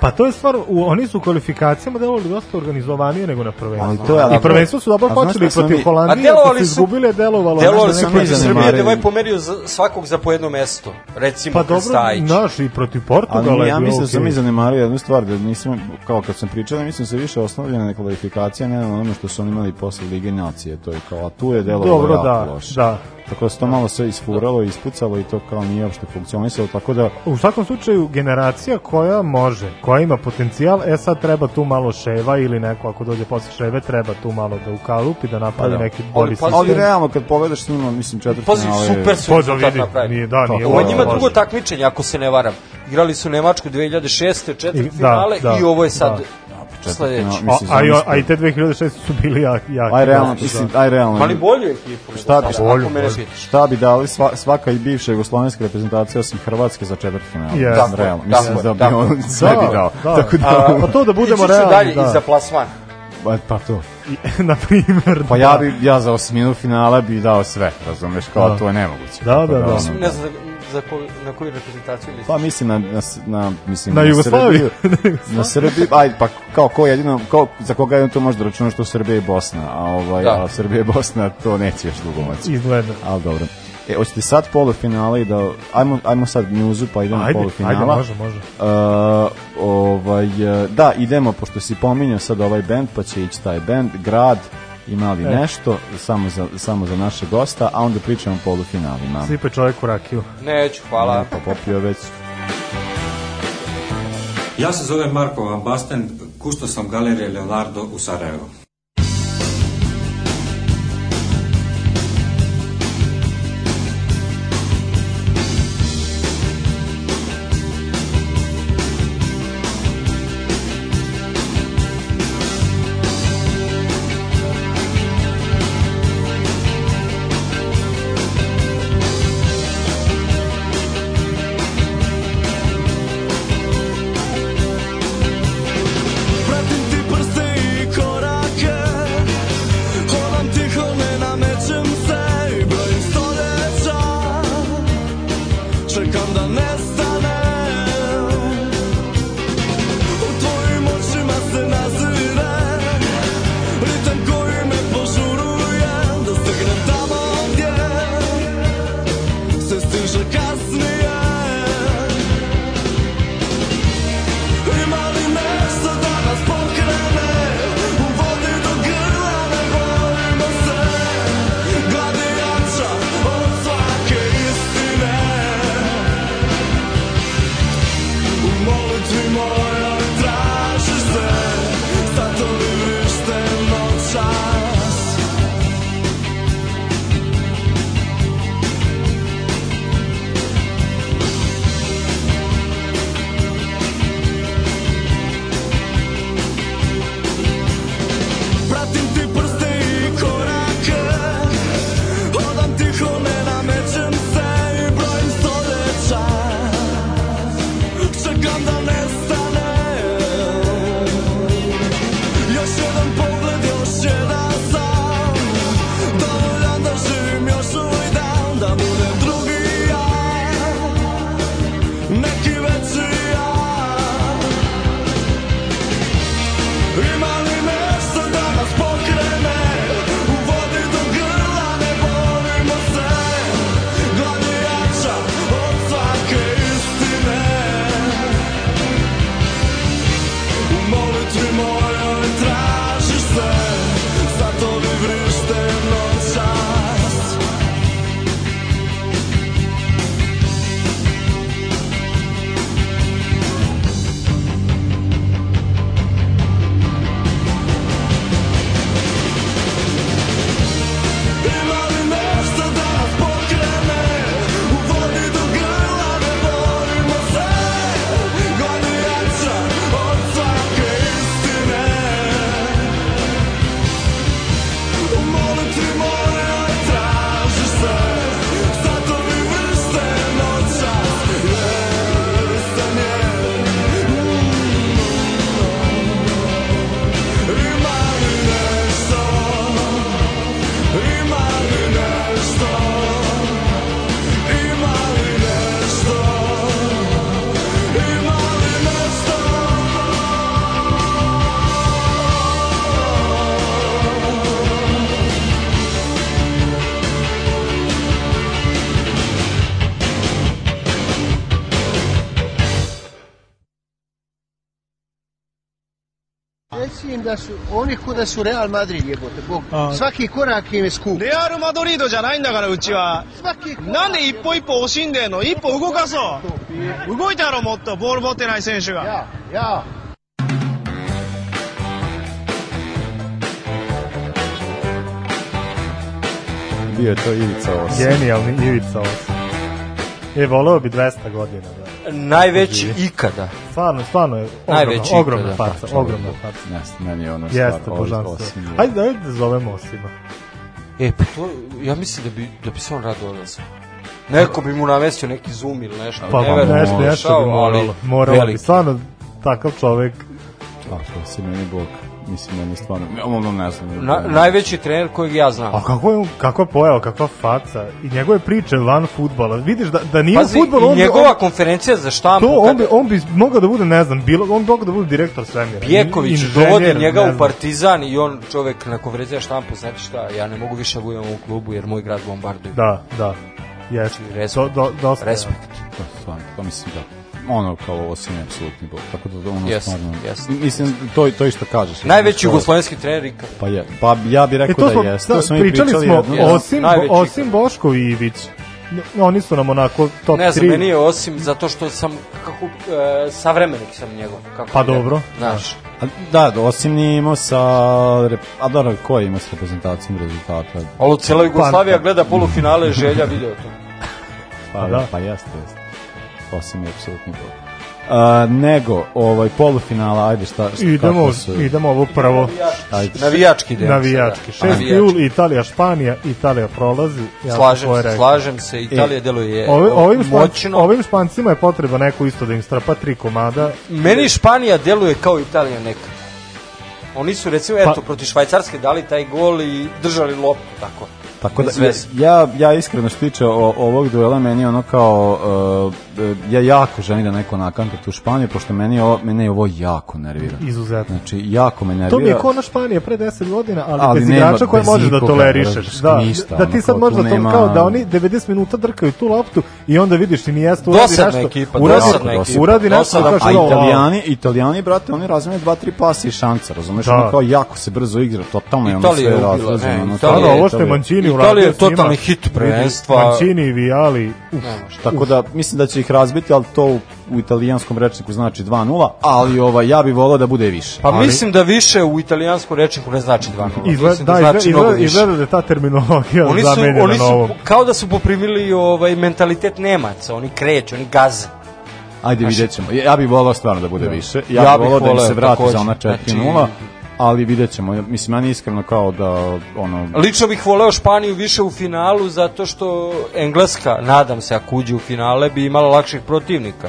Speaker 5: Pa to je stvar, u, oni su u kvalifikacijama delovali dosta organizovanije nego na
Speaker 3: Ali
Speaker 5: prvenstvu.
Speaker 3: to je, ali-
Speaker 5: I prvenstvo su dobro
Speaker 3: A znaš
Speaker 5: počeli
Speaker 3: šta sam
Speaker 5: protiv
Speaker 3: mi-
Speaker 7: A
Speaker 5: Holandije, kad
Speaker 7: delovali
Speaker 5: su
Speaker 7: su-
Speaker 5: izgubili, delovalo.
Speaker 7: Delovali
Speaker 5: nešto Pa
Speaker 7: su
Speaker 5: neko-
Speaker 3: neki
Speaker 7: protiv Srbije,
Speaker 3: zanemarili.
Speaker 7: da je ovaj pomerio za, svakog za po jedno mesto. Recimo,
Speaker 5: Pa
Speaker 7: pa
Speaker 5: dobro, naš i protiv Portugala
Speaker 3: Ali
Speaker 5: je
Speaker 3: ja
Speaker 5: bilo
Speaker 3: mislim da sam
Speaker 5: okej.
Speaker 3: i zanemario jednu stvar, da nisam, kao kad sam pričao, da mislim se više osnovljena na kvalifikacija, ne na onome što su oni imali posle Lige nacije, to je kao, a tu je delo
Speaker 5: Dobro,
Speaker 3: jako
Speaker 5: da,
Speaker 3: loše.
Speaker 5: da.
Speaker 3: Tako da se to malo sve isfuralo, ispucalo i to kao nije uopšte funkcionisalo, tako da
Speaker 5: U svakom slučaju, generacija koja može, koja ima potencijal, e sad treba tu malo ševa ili neko, ako dođe posle ševe, treba tu malo da ukalupi, da napravi
Speaker 3: Pa da.
Speaker 5: neki bolji
Speaker 7: Ali pazi-
Speaker 5: sistem.
Speaker 3: Ali realno, kad pogledaš s njima, mislim četvrtine...
Speaker 7: Pazi, super su
Speaker 5: Pozdrav
Speaker 7: rezultat
Speaker 5: Pa vidi,
Speaker 7: napravili.
Speaker 5: nije, da, nije
Speaker 7: Ovo je
Speaker 5: loše,
Speaker 7: njima
Speaker 5: loše.
Speaker 7: drugo takmičenje, ako se ne varam. Igrali su Nemačku 2006.
Speaker 5: I-
Speaker 7: četvrt
Speaker 5: da,
Speaker 7: finale
Speaker 5: da,
Speaker 7: i ovo je sad pa
Speaker 5: da.
Speaker 7: da, sledeći.
Speaker 5: A,
Speaker 3: Mislim,
Speaker 5: a, i-
Speaker 3: zamisli.
Speaker 5: a i te 2006 su bili jaki. jaki
Speaker 3: Aj realno,
Speaker 5: dosta,
Speaker 3: mislim,
Speaker 5: da.
Speaker 3: aj realno.
Speaker 7: Ali bolju ekipu. nego
Speaker 3: Šta bi-
Speaker 7: sada, ako
Speaker 5: bolju,
Speaker 7: mene
Speaker 5: bolju.
Speaker 7: pitaš.
Speaker 3: Šta bi dali sva, svaka i bivša jugoslovenska reprezentacija osim Hrvatske za četvrtfinale?
Speaker 5: Yes.
Speaker 3: Mislim,
Speaker 5: Tako
Speaker 7: je,
Speaker 3: realno.
Speaker 7: tako
Speaker 3: Mislim
Speaker 7: je,
Speaker 3: da bi
Speaker 7: tako je.
Speaker 3: on sve bi dao.
Speaker 5: Da,
Speaker 3: Tako da,
Speaker 5: A, pa to da budemo
Speaker 7: Ići ću
Speaker 5: realni.
Speaker 7: dalje
Speaker 5: da.
Speaker 7: i za plasman.
Speaker 3: pa, pa to.
Speaker 5: I- na primer.
Speaker 3: Pa ja bi, ja za osminu finala bi dao sve, razumeš, kao
Speaker 5: Da.
Speaker 3: to je nemoguće.
Speaker 5: Da,
Speaker 3: Tako
Speaker 5: da, da.
Speaker 3: ono,
Speaker 7: Ne znam za, za koju, na koju reprezentaciju misliš.
Speaker 3: Pa mislim na, na, s- na mislim,
Speaker 5: Na Jugoslaviju.
Speaker 3: Srbiju. na Srbiju, aj, pa kao ko jedino, kao, za koga jedino to može da računa što Srbija i Bosna, a, ovaj,
Speaker 7: Da.
Speaker 3: a Srbija i Bosna to neće još dugo moći.
Speaker 5: Izgleda.
Speaker 3: Ali dobro. E, hoćete sad polufinale i da... Ajmo, ajmo sad njuzu pa idemo
Speaker 5: Ajde,
Speaker 3: polufinala.
Speaker 5: ajde, može, može.
Speaker 3: Uh, ovaj, e, da, idemo, pošto si pominjao sad ovaj band, pa će ići taj band, grad, imali
Speaker 5: E.
Speaker 3: nešto, samo za, samo za naše gosta, a onda pričamo o polufinalima.
Speaker 5: Sipe čovjek u rakiju.
Speaker 7: Neću, hvala.
Speaker 3: Pa popio je već.
Speaker 11: Ja se zovem Marko Van Basten, kusto sam galerije Leonardo u Sarajevu.
Speaker 9: Pratim ti prste i korake Hodam tiho, ne namećem se I brojim stoljeća Čekam da nestane U tvojim očima se nazire Ritam koji me požuruje Da stignem tamo gdje Se stiže kasnije ima li mesta da nas pokrene U vodi do grla ne bojimo se Gladi jača od svake istine
Speaker 12: reći im da su oni ko da su Real Madrid jebote, Bog.
Speaker 13: A.
Speaker 12: Svaki korak im je skup.
Speaker 13: レアル・マドリードじゃないんだからうちはなんで一歩一歩惜しんでんの一歩動かそう動いたろもっとボール持ってない選手が
Speaker 12: や
Speaker 3: Bio je to Ivica Os.
Speaker 5: Genijalni Ivica Os. E, voleo bi 200 godina. Da.
Speaker 7: Najveći
Speaker 5: Živi.
Speaker 7: ikada.
Speaker 5: Stvarno, stvarno je ogromna,
Speaker 7: Najveći
Speaker 5: ogromna
Speaker 7: ikada.
Speaker 5: faca,
Speaker 7: Pa, čovjek.
Speaker 5: ogromna faca.
Speaker 3: Jeste, meni je ono
Speaker 5: Jeste,
Speaker 3: stvarno
Speaker 5: božanstvo.
Speaker 3: os- osim-
Speaker 5: Hajde, hajde da zovemo Osima.
Speaker 7: E, pa to, ja mislim da bi, da bi se on rado odazvao. Neko bi mu namestio neki zoom ili nešto.
Speaker 5: Pa,
Speaker 7: ne
Speaker 5: pa
Speaker 7: verujem
Speaker 5: nešto,
Speaker 7: da je
Speaker 5: nešto bi
Speaker 7: došao, ali
Speaker 5: moralo. Moralo bi,
Speaker 7: veliki.
Speaker 5: stvarno, takav čovek.
Speaker 3: Ako Pa, si meni bog, mislim, meni je stvarno, ono ne znam.
Speaker 7: Na, najveći trener kojeg ja znam.
Speaker 5: A kako je, kako je pojao, kakva faca i njegove priče van futbala. Vidiš da, da nije
Speaker 7: Pazi,
Speaker 5: futbol,
Speaker 7: i
Speaker 5: on bi,
Speaker 7: njegova
Speaker 5: on,
Speaker 7: konferencija za štampu,
Speaker 5: to, on
Speaker 7: kad
Speaker 5: bi, on bi mogao da bude, ne znam, bilo, on bi mogao da bude direktor svemira.
Speaker 7: Pjeković
Speaker 5: inženjer,
Speaker 7: dovodi
Speaker 5: ne
Speaker 7: njega
Speaker 5: znam.
Speaker 7: u Partizan i on čovek na konferenciji za štampu, znači šta, ja ne mogu više da budem u ovom klubu jer moj grad bombarduje.
Speaker 5: Da, da. Jeste. Do, do, dosta.
Speaker 7: Znači, Respekt.
Speaker 3: To, stvarno, to mislim da ono kao osim je apsolutni bog. Tako da ono
Speaker 7: Jeste,
Speaker 3: stvarno...
Speaker 7: jeste.
Speaker 3: Mislim, to, to je što kažeš. Ono
Speaker 7: Najveći
Speaker 3: Što-
Speaker 7: jugoslovenski trener ikada.
Speaker 3: Pa je, pa ja bih
Speaker 5: E,
Speaker 3: rekao
Speaker 5: to smo,
Speaker 3: da jeste. To smo mi
Speaker 5: pričali smo,
Speaker 3: jednom.
Speaker 5: osim,
Speaker 7: Najveći
Speaker 5: osim Boško i Ivić, n- oni su nam onako top 3.
Speaker 7: Ne znam, meni je osim zato što sam kako, e, savremenik sam njegov. Kako
Speaker 5: Pa
Speaker 7: bi rekao.
Speaker 5: dobro.
Speaker 7: Znaš.
Speaker 3: A, Da, da, osim nije imao sa... rep- A dobro, ko je imao sa reprezentacijom rezultata?
Speaker 7: Ali cijela Jugoslavija gleda polufinale želja video to.
Speaker 3: Pa,
Speaker 7: Pa
Speaker 3: pa,
Speaker 7: da.
Speaker 3: da. pa jeste, jeste. Osim je apsolutni bog. A, nego, ovaj, polufinala, ajde šta, šta
Speaker 5: Idemo,
Speaker 3: kako su?
Speaker 5: idemo ovo prvo.
Speaker 3: Ajde.
Speaker 7: Navijački idemo
Speaker 5: Navijački.
Speaker 7: sada.
Speaker 5: 6.
Speaker 7: Navijački.
Speaker 5: jul, Italija, Španija, Italija prolazi. Ja
Speaker 7: Slažem
Speaker 5: sam svoje
Speaker 7: se,
Speaker 5: rekao. E,
Speaker 7: slažem se, Italija deluje
Speaker 5: Ovi, ovim, špan-
Speaker 7: moćno.
Speaker 5: ovim špancima je potreba neko isto da im strapa tri komada.
Speaker 7: Meni Španija deluje kao Italija nekad. Oni su recimo,
Speaker 5: Pa-
Speaker 7: eto, protiv Švajcarske dali taj gol i držali loptu tako.
Speaker 3: Tako da,
Speaker 7: Bez veze.
Speaker 3: ja, ja iskreno što tiče o, ovog duela, meni je ono kao, uh, e, ja jako želim da neko nakanta tu Španiju, pošto meni je ovo, mene je ovo jako nervira.
Speaker 5: Izuzetno.
Speaker 3: Znači, jako me nervira.
Speaker 5: To mi je kao ona Španija pre 10 godina, ali,
Speaker 3: Ali
Speaker 5: bez
Speaker 3: nema,
Speaker 5: igrača koje
Speaker 3: bez
Speaker 5: možeš da
Speaker 3: nikoga,
Speaker 5: tolerišeš.
Speaker 3: razumiješ,
Speaker 5: Da,
Speaker 3: ništa,
Speaker 5: da
Speaker 3: ono,
Speaker 5: ti sad
Speaker 3: kao
Speaker 5: možda
Speaker 3: tu
Speaker 5: to
Speaker 3: nema-
Speaker 5: kao da oni 90 minuta drkaju tu loptu i onda vidiš i Iniesta uradi
Speaker 3: Dosadna
Speaker 5: nešto.
Speaker 3: ekipa,
Speaker 5: uradi,
Speaker 3: dosadna ekipa.
Speaker 5: uradi nešto.
Speaker 3: Dosadna-
Speaker 5: kažeš,
Speaker 3: a
Speaker 5: "O,
Speaker 3: italijani, italijani, brate, oni razmene dva, tri pasa i šanca, razumeš?
Speaker 5: Da.
Speaker 3: Ono kao jako se brzo igra, totalno je ono
Speaker 7: Italija
Speaker 3: sve
Speaker 7: je ubila,
Speaker 3: razloženo.
Speaker 7: ne,
Speaker 3: ono,
Speaker 7: Italija
Speaker 3: kao-
Speaker 7: je-
Speaker 5: pa Ovo što je Mancini
Speaker 7: Italija
Speaker 5: uradio
Speaker 7: je
Speaker 5: s njima,
Speaker 7: totalni hit prvenstva.
Speaker 5: vidi, Mancini i Viali. Uf,
Speaker 3: Tako da mislim da će ih razbiti, ali to u, u italijanskom rečniku znači 2-0, ali ovaj ja bih voleo da bude više.
Speaker 7: Pa
Speaker 3: ali,
Speaker 7: mislim da više u italijanskom rečniku ne znači 2-0.
Speaker 5: Izgleda,
Speaker 7: Mislim da,
Speaker 5: da,
Speaker 7: znači
Speaker 5: izgleda,
Speaker 7: mnogo više.
Speaker 5: izgleda da je ta terminologija
Speaker 7: Oni su,
Speaker 5: zamenjena
Speaker 7: oni
Speaker 5: na ovom.
Speaker 7: su kao da su poprimili ovaj mentalitet Nemaca, oni kreću, oni gaze.
Speaker 3: Ajde vidjet ćemo. Ja bih volao stvarno da bude
Speaker 7: Da.
Speaker 3: više.
Speaker 7: Ja
Speaker 3: Ja, bih
Speaker 7: bih
Speaker 3: volao da im
Speaker 7: voleo
Speaker 3: se vrati
Speaker 7: takođe.
Speaker 3: za ona 4-0,
Speaker 7: Znači-
Speaker 3: ali vidjet ćemo. Ja- Mislim, meni iskreno kao da ono...
Speaker 7: Lično bih voleo Španiju više u finalu zato što Engleska, nadam se, ako uđe u finale, bi imala lakših protivnika.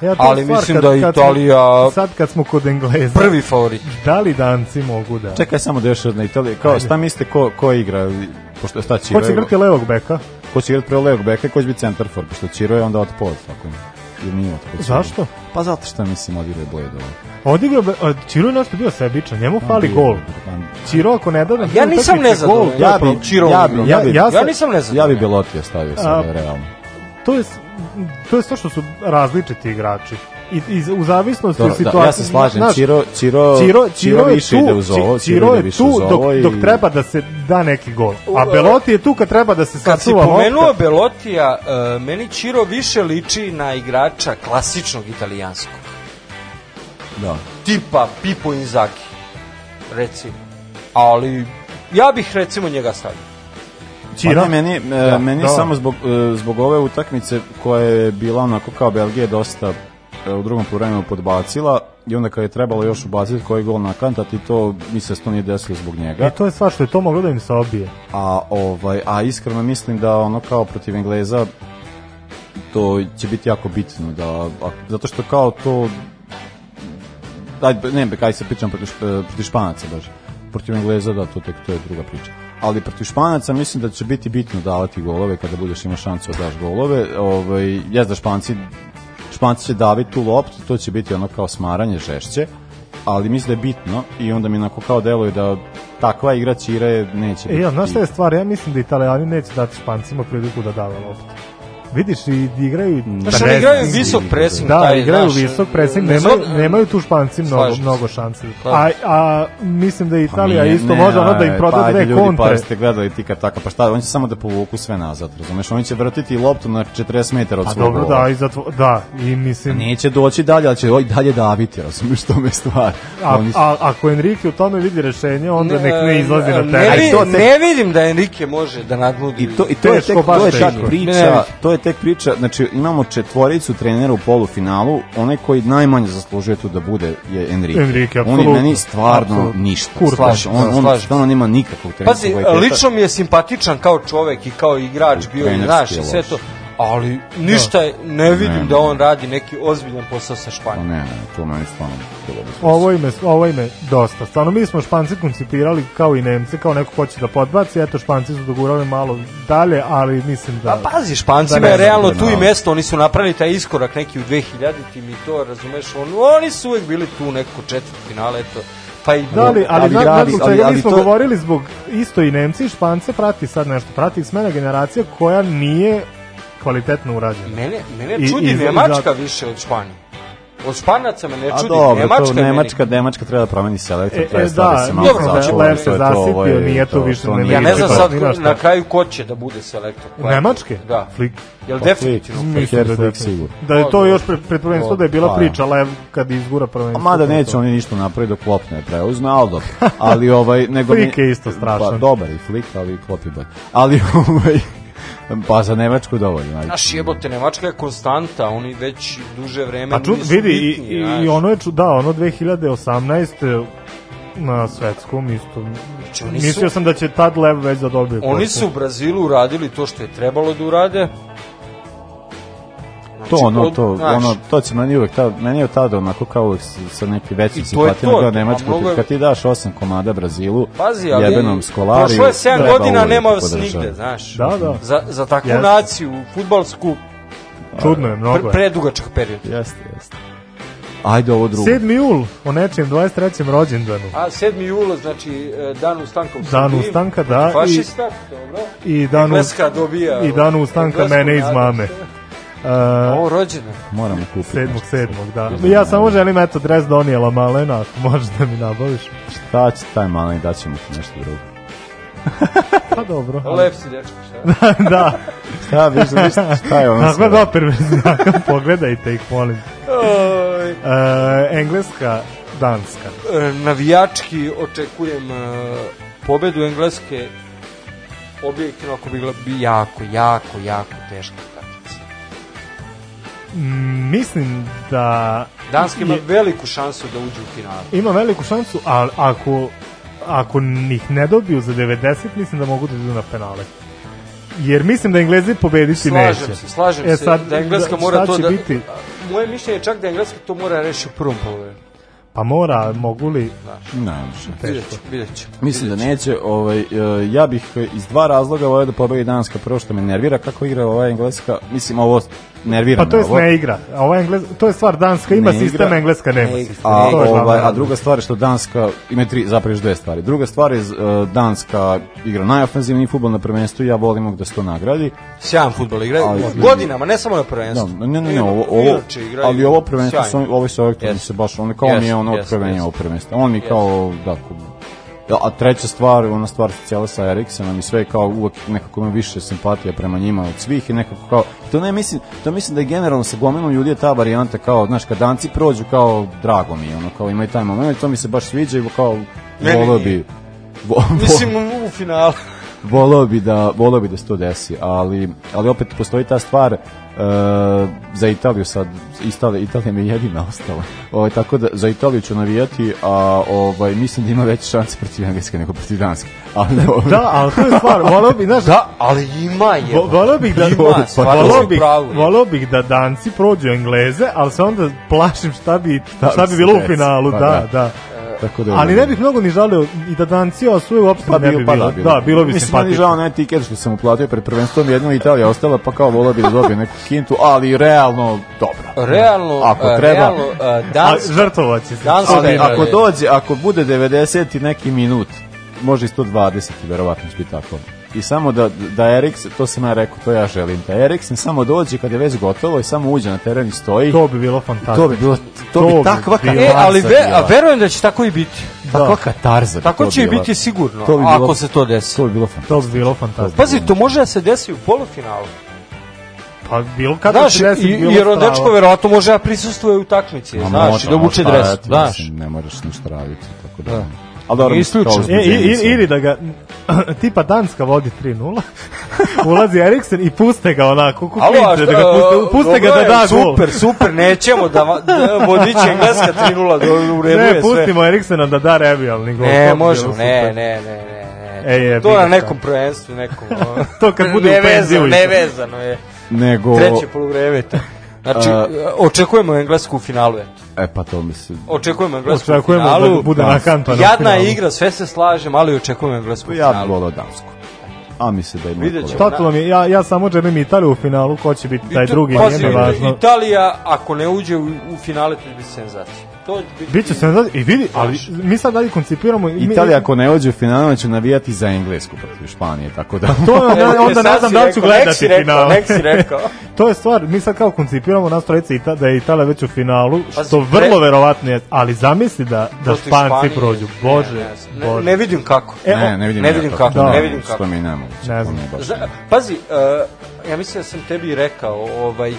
Speaker 5: Ja, to je
Speaker 7: Ali
Speaker 5: stvar,
Speaker 7: mislim
Speaker 5: kad-
Speaker 7: da je
Speaker 5: kad smo-
Speaker 7: Italija
Speaker 5: sad kad smo kod Engleza.
Speaker 7: prvi favorit.
Speaker 5: Da li danci mogu da...
Speaker 3: Čekaj samo da još jedna Italija. Kao,
Speaker 5: Ajde.
Speaker 3: šta mislite ko, ko igra? Pošto, šta će
Speaker 5: Ko će igrati levog beka?
Speaker 3: Ko će igrati prvo levog beka i ko će biti centarfor? Pošto Čiro je onda otpod, tako Ili nije otpod.
Speaker 5: Zašto?
Speaker 3: Pa zato što mislim odigrao je boje dole.
Speaker 5: Odigrao be... a, Čiro je nešto bio sebičan, njemu fali
Speaker 3: bio,
Speaker 5: Pa gol. Čiro ako ne da... na
Speaker 7: Ja
Speaker 5: tu
Speaker 7: nisam
Speaker 5: utakmicu
Speaker 7: nezadovoljan.
Speaker 5: gol, to je
Speaker 3: Ja
Speaker 5: problem.
Speaker 3: bi, Čiro ja bi, ja, bi,
Speaker 5: sam-
Speaker 3: Ja bi Belotija stavio sada, realno.
Speaker 5: To je, s- to je to što su različiti igrači. I, i u zavisnosti
Speaker 3: Dobro,
Speaker 5: od
Speaker 3: da,
Speaker 5: situacije.
Speaker 3: ja se slažem,
Speaker 5: znaš,
Speaker 3: Ciro- Ciro-
Speaker 5: Ciro,
Speaker 3: Ciro
Speaker 5: je
Speaker 3: više
Speaker 5: tu,
Speaker 3: ide uz ovo, Ciro
Speaker 5: Ci- Ciro
Speaker 3: ide
Speaker 5: je
Speaker 3: više
Speaker 5: tu
Speaker 3: uz
Speaker 5: dok,
Speaker 3: ovo i-
Speaker 5: dok treba da se da neki gol. A Beloti je tu kad treba da se
Speaker 7: Kad si
Speaker 5: sačuva lopta.
Speaker 7: pomenuo Belotija, e, meni Čiro više liči na igrača klasičnog italijanskog.
Speaker 3: Da.
Speaker 7: Tipa Pipo Inzaghi, recimo. Ali ja bih recimo njega stavio.
Speaker 3: Pa ne, meni, e,
Speaker 7: Da,
Speaker 3: meni
Speaker 7: da.
Speaker 3: samo zbog, e, zbog ove utakmice koja je bila onako kao Belgija dosta e, u drugom vremenu podbacila i onda kad je trebalo još ubaciti koji gol na kantati to mi se to nije desilo zbog njega.
Speaker 5: I E, to je sva što je to moglo da im se obije.
Speaker 3: A ovaj a iskreno mislim da ono kao protiv Engleza to će biti jako bitno da a- zato što kao to daj ne be kaj se pričam protiv, Šp- protiv Španaca baš. Protiv Engleza da to tek to je druga priča. Ali protiv Španaca mislim da će biti bitno davati golove kada budeš imao šansu da daš golove. Ovaj jes da Španci Španci će daviti tu loptu, to će biti ono kao smaranje žešće, ali mislim da je bitno i onda mi onako kao deluje da takva igra Čire neće
Speaker 5: E,
Speaker 3: biti.
Speaker 5: ja, znaš šta je stvar? Ja mislim da Italijani neće dati Špancima priliku da dave loptu. Vidiš, i igraju i
Speaker 7: Znaš, oni igraju visok pressing,
Speaker 5: Da,
Speaker 7: taj,
Speaker 5: igraju
Speaker 7: znaš,
Speaker 5: visok pressing,
Speaker 7: bez
Speaker 5: nemaju,
Speaker 7: ob-
Speaker 5: nemaju tu španci mnogo,
Speaker 7: Slažem se.
Speaker 5: mnogo šanse.
Speaker 7: Slažem
Speaker 5: A,
Speaker 7: se.
Speaker 5: a mislim da je Italija
Speaker 3: Pa nije,
Speaker 5: isto
Speaker 3: ne,
Speaker 5: može ono da
Speaker 3: aj,
Speaker 5: im proda
Speaker 3: pa ajde,
Speaker 5: dve
Speaker 3: ljudi,
Speaker 5: kontre.
Speaker 3: Pa ste gledali ti kad tako, pa šta, oni će samo da povuku sve nazad, razumeš? Oni će vrtiti loptu na 40 metara od
Speaker 5: Pa
Speaker 3: svog
Speaker 5: dobro,
Speaker 3: gola.
Speaker 5: da, i zatvo, da, i
Speaker 7: Pa
Speaker 5: mislim...
Speaker 3: Neće doći dalje, ali će oj, dalje daviti, razumeš, to me stvar.
Speaker 5: A,
Speaker 3: Oni su-
Speaker 5: a, ako Enrique u tome vidi rešenje, onda nek ne izlazi na
Speaker 7: Ne,
Speaker 5: teren.
Speaker 7: vi- ne vidim da Enrique može da nadmudi.
Speaker 3: I to, i to je tek,
Speaker 5: baš
Speaker 3: to je tek
Speaker 5: teško.
Speaker 7: Ne, ne.
Speaker 3: priča, to je tek priča, znači imamo četvoricu trenera u polufinalu, onaj koji najmanje zaslužuje tu da bude je Enrique.
Speaker 5: Enrique,
Speaker 3: on je
Speaker 5: apsolutno.
Speaker 3: meni stvarno
Speaker 5: Apsolutno.
Speaker 3: ništa.
Speaker 5: Kurta.
Speaker 3: Slažem se,
Speaker 5: Slažem se,
Speaker 3: on, on
Speaker 5: slažem se.
Speaker 3: stvarno nema nikakvog
Speaker 7: Pazi,
Speaker 3: trenerskog kvaliteta.
Speaker 7: lično mi je simpatičan kao čovek i kao igrač bio, i
Speaker 3: Trenerski
Speaker 7: znaš,
Speaker 3: je
Speaker 7: i sve
Speaker 3: loš.
Speaker 7: to, ali ništa je, ne vidim
Speaker 3: Ne,
Speaker 7: da on radi neki ozbiljan posao sa
Speaker 3: Pa
Speaker 7: Španijom.
Speaker 3: ne, ne, to meni stvarno bilo bez
Speaker 5: Ovo ime, ovo ime dosta. Stvarno, mi smo Španci koncipirali kao i Nemci, kao neko ko će da podbaci, eto Španci su dogurali malo dalje, ali mislim da...
Speaker 7: Pa pazi, Špancima
Speaker 5: Da ne
Speaker 7: je
Speaker 5: znam,
Speaker 7: realno
Speaker 5: da
Speaker 7: tu
Speaker 5: ne
Speaker 7: i
Speaker 5: znam.
Speaker 7: mesto, oni su napravili taj iskorak neki u 2000-tim i to, razumeš, on, oni su uvek bili tu u neko četvrt finale, eto, pa i...
Speaker 5: Da li, ali, na, na
Speaker 7: gradi-
Speaker 5: zbog čega
Speaker 7: ali-
Speaker 5: mi
Speaker 7: ali
Speaker 5: smo
Speaker 7: to-
Speaker 5: govorili zbog isto i Nemci i Špance prati sad nešto, prati ih smena generacija koja nije kvalitetno urađena.
Speaker 7: Mene,
Speaker 5: I-
Speaker 7: mene čudi
Speaker 5: i- i
Speaker 7: Nemačka
Speaker 5: zato-
Speaker 7: više od Španije. Od Španaca me ne
Speaker 3: A
Speaker 7: Pa čudi,
Speaker 3: dobro,
Speaker 7: Nemačka
Speaker 3: to
Speaker 7: je meni-
Speaker 3: Nemačka, Nemačka treba da promeni selektor,
Speaker 5: E,
Speaker 3: treba
Speaker 5: e,
Speaker 3: stvar
Speaker 5: da,
Speaker 3: se malo
Speaker 5: dobro,
Speaker 3: začuva,
Speaker 5: Lev se
Speaker 3: to je to, ovo je-
Speaker 5: zasitio, nije to više ne
Speaker 3: nije
Speaker 7: Ja ne
Speaker 3: to.
Speaker 7: znam sad
Speaker 5: Ni na Pa, šta.
Speaker 7: na kraju ko će da bude selektor. Ko je?
Speaker 5: Nemačke?
Speaker 7: Da.
Speaker 5: Flick.
Speaker 7: Jel
Speaker 3: Pa
Speaker 7: definitivno
Speaker 3: Flick.
Speaker 7: Flick?
Speaker 3: Mislim da
Speaker 5: da,
Speaker 3: Flick sigurno.
Speaker 5: da je to
Speaker 7: O,
Speaker 5: još pre, pred prvenstvo da je bila
Speaker 3: Pa,
Speaker 5: priča Lev kad izgura prvenstvo.
Speaker 3: Mada
Speaker 5: to je
Speaker 3: neće
Speaker 5: to.
Speaker 3: oni ništa napraviti dok Klopp ne preuzme, ali dobro. Ali ovaj, nego
Speaker 5: Flick je isto strašan.
Speaker 3: Pa, dobar i Flick, ali i Klopp je bolji. Ali ovaj, pa za Nemačku dovoljno. ajde.
Speaker 7: Naš jebote, Nemačka je konstanta, oni već duže vreme
Speaker 5: Pa ču,
Speaker 7: nisu
Speaker 5: vidi, i,
Speaker 7: bitni,
Speaker 5: i,
Speaker 7: znaš.
Speaker 5: i ono je ču, da, ono 2018 na svetskom isto.
Speaker 7: Znači, oni su-
Speaker 5: Mislio sam da će tad Lev već da dobije.
Speaker 7: Oni
Speaker 5: posao.
Speaker 7: su u Brazilu uradili to što je trebalo da urade.
Speaker 3: To
Speaker 7: Znači,
Speaker 3: ono,
Speaker 7: od-
Speaker 3: to,
Speaker 7: znaš,
Speaker 3: ono, to će meni uvek, ta, meni je od tada onako kao uvek s- sa neki
Speaker 7: I
Speaker 3: većim
Speaker 7: to
Speaker 3: simpatima
Speaker 7: je to,
Speaker 3: gledao
Speaker 7: a
Speaker 3: Nemačku,
Speaker 7: mnogo je-
Speaker 3: kad ti daš osam komada Brazilu,
Speaker 7: Pazi, ali
Speaker 3: jebenom skolariju,
Speaker 7: prošlo je 7
Speaker 3: treba
Speaker 7: godina,
Speaker 3: uvek da
Speaker 7: nema vas
Speaker 3: podržava.
Speaker 7: nigde, znaš.
Speaker 5: Da, da.
Speaker 7: Za, za takvu
Speaker 5: Jeste.
Speaker 7: naciju, futbalsku,
Speaker 5: Čudno je, mnogo
Speaker 7: pre,
Speaker 5: je.
Speaker 7: predugačak period.
Speaker 3: Jeste, jeste. Ajde ovo drugo.
Speaker 5: 7. jul, o nečijem 23. rođendanu.
Speaker 7: A 7. jula, znači e, dan ustanka u
Speaker 5: Dan
Speaker 7: Srbiji,
Speaker 5: ustanka, da,
Speaker 7: Fašista, dobro.
Speaker 5: I dan,
Speaker 7: Engleska dobija, ovaj,
Speaker 5: i dan ustanka
Speaker 7: englesku
Speaker 5: mene iz
Speaker 7: nadu.
Speaker 5: mame.
Speaker 7: Ovo rođena.
Speaker 3: Moramo kupiti.
Speaker 5: Sedmog,
Speaker 3: nešto.
Speaker 5: sedmog, da. Ja samo želim, eto, dres Donijela Malena, ako možeš da mi nabaviš.
Speaker 3: Šta će taj mali, daćemo ti nešto drugo.
Speaker 5: Pa dobro.
Speaker 7: Lep si dečko, šta?
Speaker 5: da.
Speaker 3: Šta, viš, viš, šta je ono
Speaker 5: Tako
Speaker 3: sve?
Speaker 5: da, perverzno, pogledajte ih, molim.
Speaker 7: Oj.
Speaker 5: E, engleska, Danska.
Speaker 7: E, navijački očekujem e, pobedu Engleske objektivno ako bi bila bi jako, jako, jako teška utakmica.
Speaker 5: Mm, Mislim da
Speaker 7: Danska ima
Speaker 5: je-
Speaker 7: veliku šansu da uđe u finalu.
Speaker 5: ima veliku šansu, ali ako, ako ih ne dobiju za 90, mislim da mogu da idu na penale. Jer mislim da Englezi pobediti neće.
Speaker 7: Slažem se, slažem
Speaker 5: E
Speaker 7: se
Speaker 5: sad,
Speaker 7: da Engleska
Speaker 5: da-
Speaker 7: mora
Speaker 5: šta
Speaker 7: to
Speaker 5: će
Speaker 7: da...
Speaker 5: biti?
Speaker 7: a, Moje mišljenje je čak da Engleska to mora reši u prvom polovremenu.
Speaker 5: Pa mora, mogu li...
Speaker 3: Ne, više.
Speaker 7: Vidjet ću, vidjet ću.
Speaker 3: Mislim da neće, ovaj, e, ja bih e, iz dva razloga volio da pobedi Danska, prvo što me nervira kako igra ova Engleska, mislim ovo nervira
Speaker 5: Pa to
Speaker 3: me
Speaker 5: je
Speaker 3: ovo.
Speaker 5: ne igra. A ova Engles, to je stvar Danska ima
Speaker 3: Ne
Speaker 5: sistem,
Speaker 3: igra.
Speaker 5: Engleska nema
Speaker 7: Ne igra.
Speaker 5: sistem.
Speaker 3: A,
Speaker 5: To je glavna
Speaker 3: ovaj, a
Speaker 5: razlika.
Speaker 3: druga stvar je što Danska ima tri, zapravo još dve stvari. Druga stvar je e, Danska igra najofenzivniji fudbal na prvenstvu, ja volim uvek da se to nagradi.
Speaker 7: Sjajan futbol igraju.
Speaker 3: Ali-
Speaker 7: Godinama, ne samo na prvenstvu.
Speaker 3: Da, ne, ne, ne,
Speaker 7: Igra-
Speaker 3: ovo, ovo
Speaker 7: E, inače igraju
Speaker 3: ali ovo prvenstvo, su,
Speaker 7: sjajno.
Speaker 3: oni- ovo sa ovaj
Speaker 7: Jeste.
Speaker 3: se baš, on kao mi je
Speaker 7: Jeste,
Speaker 3: ono
Speaker 7: jeste,
Speaker 3: otkrivenje
Speaker 7: jeste.
Speaker 3: ovo prvenstvo. On mi kao, da, ko- a treća stvar, ona stvar socijala sa Eriksenom i sve kao uvek nekako imam više simpatija prema njima od svih i nekako kao, to ne mislim, to mislim da je generalno sa gomilom ljudi je ta varijanta kao, znaš, kad danci prođu kao drago mi je, ono kao imaju taj moment, to mi se baš sviđa i kao,
Speaker 7: Meni
Speaker 3: voleo
Speaker 7: nije.
Speaker 3: bi, vo- vo-
Speaker 7: Mislim u finalu.
Speaker 3: voleo bi da voleo bi da se to desi, ali ali opet postoji ta stvar e, za Italiju sad Italija Italija mi je jedina ostala. Ovaj tako da za Italiju ću navijati, a ovaj mislim da ima veće šanse protiv engleske nego protiv danske. Ali dobro.
Speaker 5: Da, ali to je stvar, voleo bih, znaš,
Speaker 7: Da, ali ima je.
Speaker 5: vo- voleo bih da, pa
Speaker 7: Ima, stvarno
Speaker 5: voleo
Speaker 7: si u
Speaker 5: bih,
Speaker 7: pravu.
Speaker 5: voleo bih da Danci prođu Engleze, ali se onda plašim šta bi, šta bi
Speaker 3: se
Speaker 5: bilo u
Speaker 3: desi.
Speaker 5: finalu,
Speaker 3: Pa
Speaker 5: da, da.
Speaker 3: Tako da ovaj,
Speaker 5: Ali ne bih mnogo ni žalio i da Danci osvoje uopšte
Speaker 3: Pa
Speaker 5: ne bi
Speaker 3: bilo, pa da,
Speaker 5: bilo. Da, bilo bi
Speaker 3: Mislim, meni
Speaker 5: simpatično.
Speaker 3: žao na tiket što sam uplatio pred prvenstvom, jedno Italija ostala, pa kao volao bi da dobije neku kintu, ali realno dobro.
Speaker 7: Realno,
Speaker 3: Ako
Speaker 7: e,
Speaker 3: treba.
Speaker 7: realno e,
Speaker 5: A
Speaker 7: Danska,
Speaker 5: žrtvovaće se.
Speaker 7: Danska
Speaker 3: Ali
Speaker 7: je-
Speaker 3: ako dođe, ako bude 90 i neki minut, može i 120 i verovatno će biti tako. i samo da, da Eriksen, to sam ja rekao, to ja želim, da Eriksen samo dođe kad je već gotovo i samo uđe na teren i stoji.
Speaker 5: To bi bilo fantastično.
Speaker 3: To bi bilo, to, bi takva katarza
Speaker 7: E, ali ve,
Speaker 3: bila.
Speaker 7: a verujem da će tako i biti.
Speaker 3: Takva katarza bi
Speaker 7: Tako
Speaker 3: to
Speaker 7: će i
Speaker 3: bila.
Speaker 7: biti sigurno,
Speaker 3: To bi bilo-
Speaker 7: ako se to desi.
Speaker 3: To bi bilo fantastično.
Speaker 5: To bi bilo fantastično.
Speaker 7: Pazi, to može da se desi u polufinalu.
Speaker 5: Pa bilo kada
Speaker 7: znaš,
Speaker 5: se desi,
Speaker 7: i-
Speaker 5: bilo
Speaker 7: jer
Speaker 5: strava.
Speaker 7: dečko verovatno može da prisustuje u takmici,
Speaker 3: A
Speaker 7: znaš,
Speaker 3: može,
Speaker 7: i da obuče
Speaker 5: pa
Speaker 3: ono,
Speaker 7: dres,
Speaker 3: šta je, ti
Speaker 7: znaš.
Speaker 3: mislim, Ne moraš ništa raditi, tako da.
Speaker 7: Da.
Speaker 3: Ali dobro, mislim, kao
Speaker 5: E, i, i,
Speaker 3: uzbuđenje sve.
Speaker 5: ili da ga, tipa Danska vodi 3-0, ulazi Eriksen i puste ga onako,
Speaker 7: a
Speaker 5: kukupice,
Speaker 7: šta,
Speaker 5: da ga puste, puste ga da
Speaker 7: dobro je,
Speaker 5: da gol.
Speaker 7: Super, super, nećemo da, va- da vodiće Engleska 3:0 do u redu
Speaker 5: Ne,
Speaker 7: je sve.
Speaker 5: pustimo Eriksena da da revijalni gol.
Speaker 7: Ne,
Speaker 5: to bi bilo
Speaker 7: možemo, ne,
Speaker 5: super.
Speaker 7: ne, ne, ne,
Speaker 5: E,
Speaker 7: ne.
Speaker 5: je,
Speaker 7: to na
Speaker 5: vidiš
Speaker 7: nekom
Speaker 5: šta.
Speaker 7: prvenstvu, nekom... ono,
Speaker 5: To kad bude u
Speaker 7: nevezano,
Speaker 5: penziju i to.
Speaker 7: Nevezano je.
Speaker 3: Nego-
Speaker 7: Treće polovreme. to. Znači,
Speaker 3: A-
Speaker 7: očekujemo Englesku u finalu, eto.
Speaker 3: E, pa to mislim.
Speaker 7: Očekujemo Englesku u
Speaker 5: Očekujemo da
Speaker 7: finalu.
Speaker 5: bude
Speaker 7: Da.
Speaker 5: nakampana u
Speaker 7: Jadna
Speaker 5: finalu.
Speaker 7: igra, sve se slažem, ali očekujemo Englesku u
Speaker 3: Ja bih
Speaker 7: finalu.
Speaker 3: volao Dansku. A mi se da ima
Speaker 7: Vidjet
Speaker 3: kola.
Speaker 7: ćemo.
Speaker 5: Totalno mi je, ja, ja samo želim Italiju u finalu, ko će biti taj
Speaker 7: Ita-
Speaker 5: drugi,
Speaker 7: pazi,
Speaker 5: nije mi važno.
Speaker 7: Italija, ako ne uđe u, u finale, to će biti senzacija. To će biti...
Speaker 5: Biće se i vidi, ali mi sad dalje koncipiramo... i mi-
Speaker 3: Italija ako ne uđe u finalu će navijati za Englesku protiv Španije, tako da.
Speaker 5: To je onda,
Speaker 7: Evo,
Speaker 5: ne,
Speaker 7: e,
Speaker 5: onda ne
Speaker 7: sad
Speaker 5: znam
Speaker 7: si
Speaker 5: da li ću
Speaker 7: rekao, nek
Speaker 5: gledati
Speaker 7: si rekao,
Speaker 5: finale.
Speaker 7: nek si rekao.
Speaker 5: to je stvar, mi sad kao koncipiramo nas trojice Ita, da je Italija već u finalu,
Speaker 7: Pazi,
Speaker 5: što
Speaker 7: pre-
Speaker 5: vrlo verovatno je, ali zamisli da, da
Speaker 7: Protiv
Speaker 5: Španci
Speaker 7: Španije.
Speaker 5: prođu.
Speaker 7: Ne,
Speaker 5: Bože,
Speaker 7: ne znam. ne,
Speaker 5: Bože.
Speaker 7: ne vidim kako.
Speaker 5: E,
Speaker 3: Ne, ne vidim,
Speaker 7: ne
Speaker 3: ja
Speaker 7: vidim
Speaker 3: to.
Speaker 7: kako,
Speaker 5: Da.
Speaker 7: ne vidim kako.
Speaker 3: Što mi je nemoguće.
Speaker 5: Ne
Speaker 3: to
Speaker 5: znam.
Speaker 3: mi je baš
Speaker 7: Za- pazi, e, ja mislim da sam tebi i rekao, ovaj, e,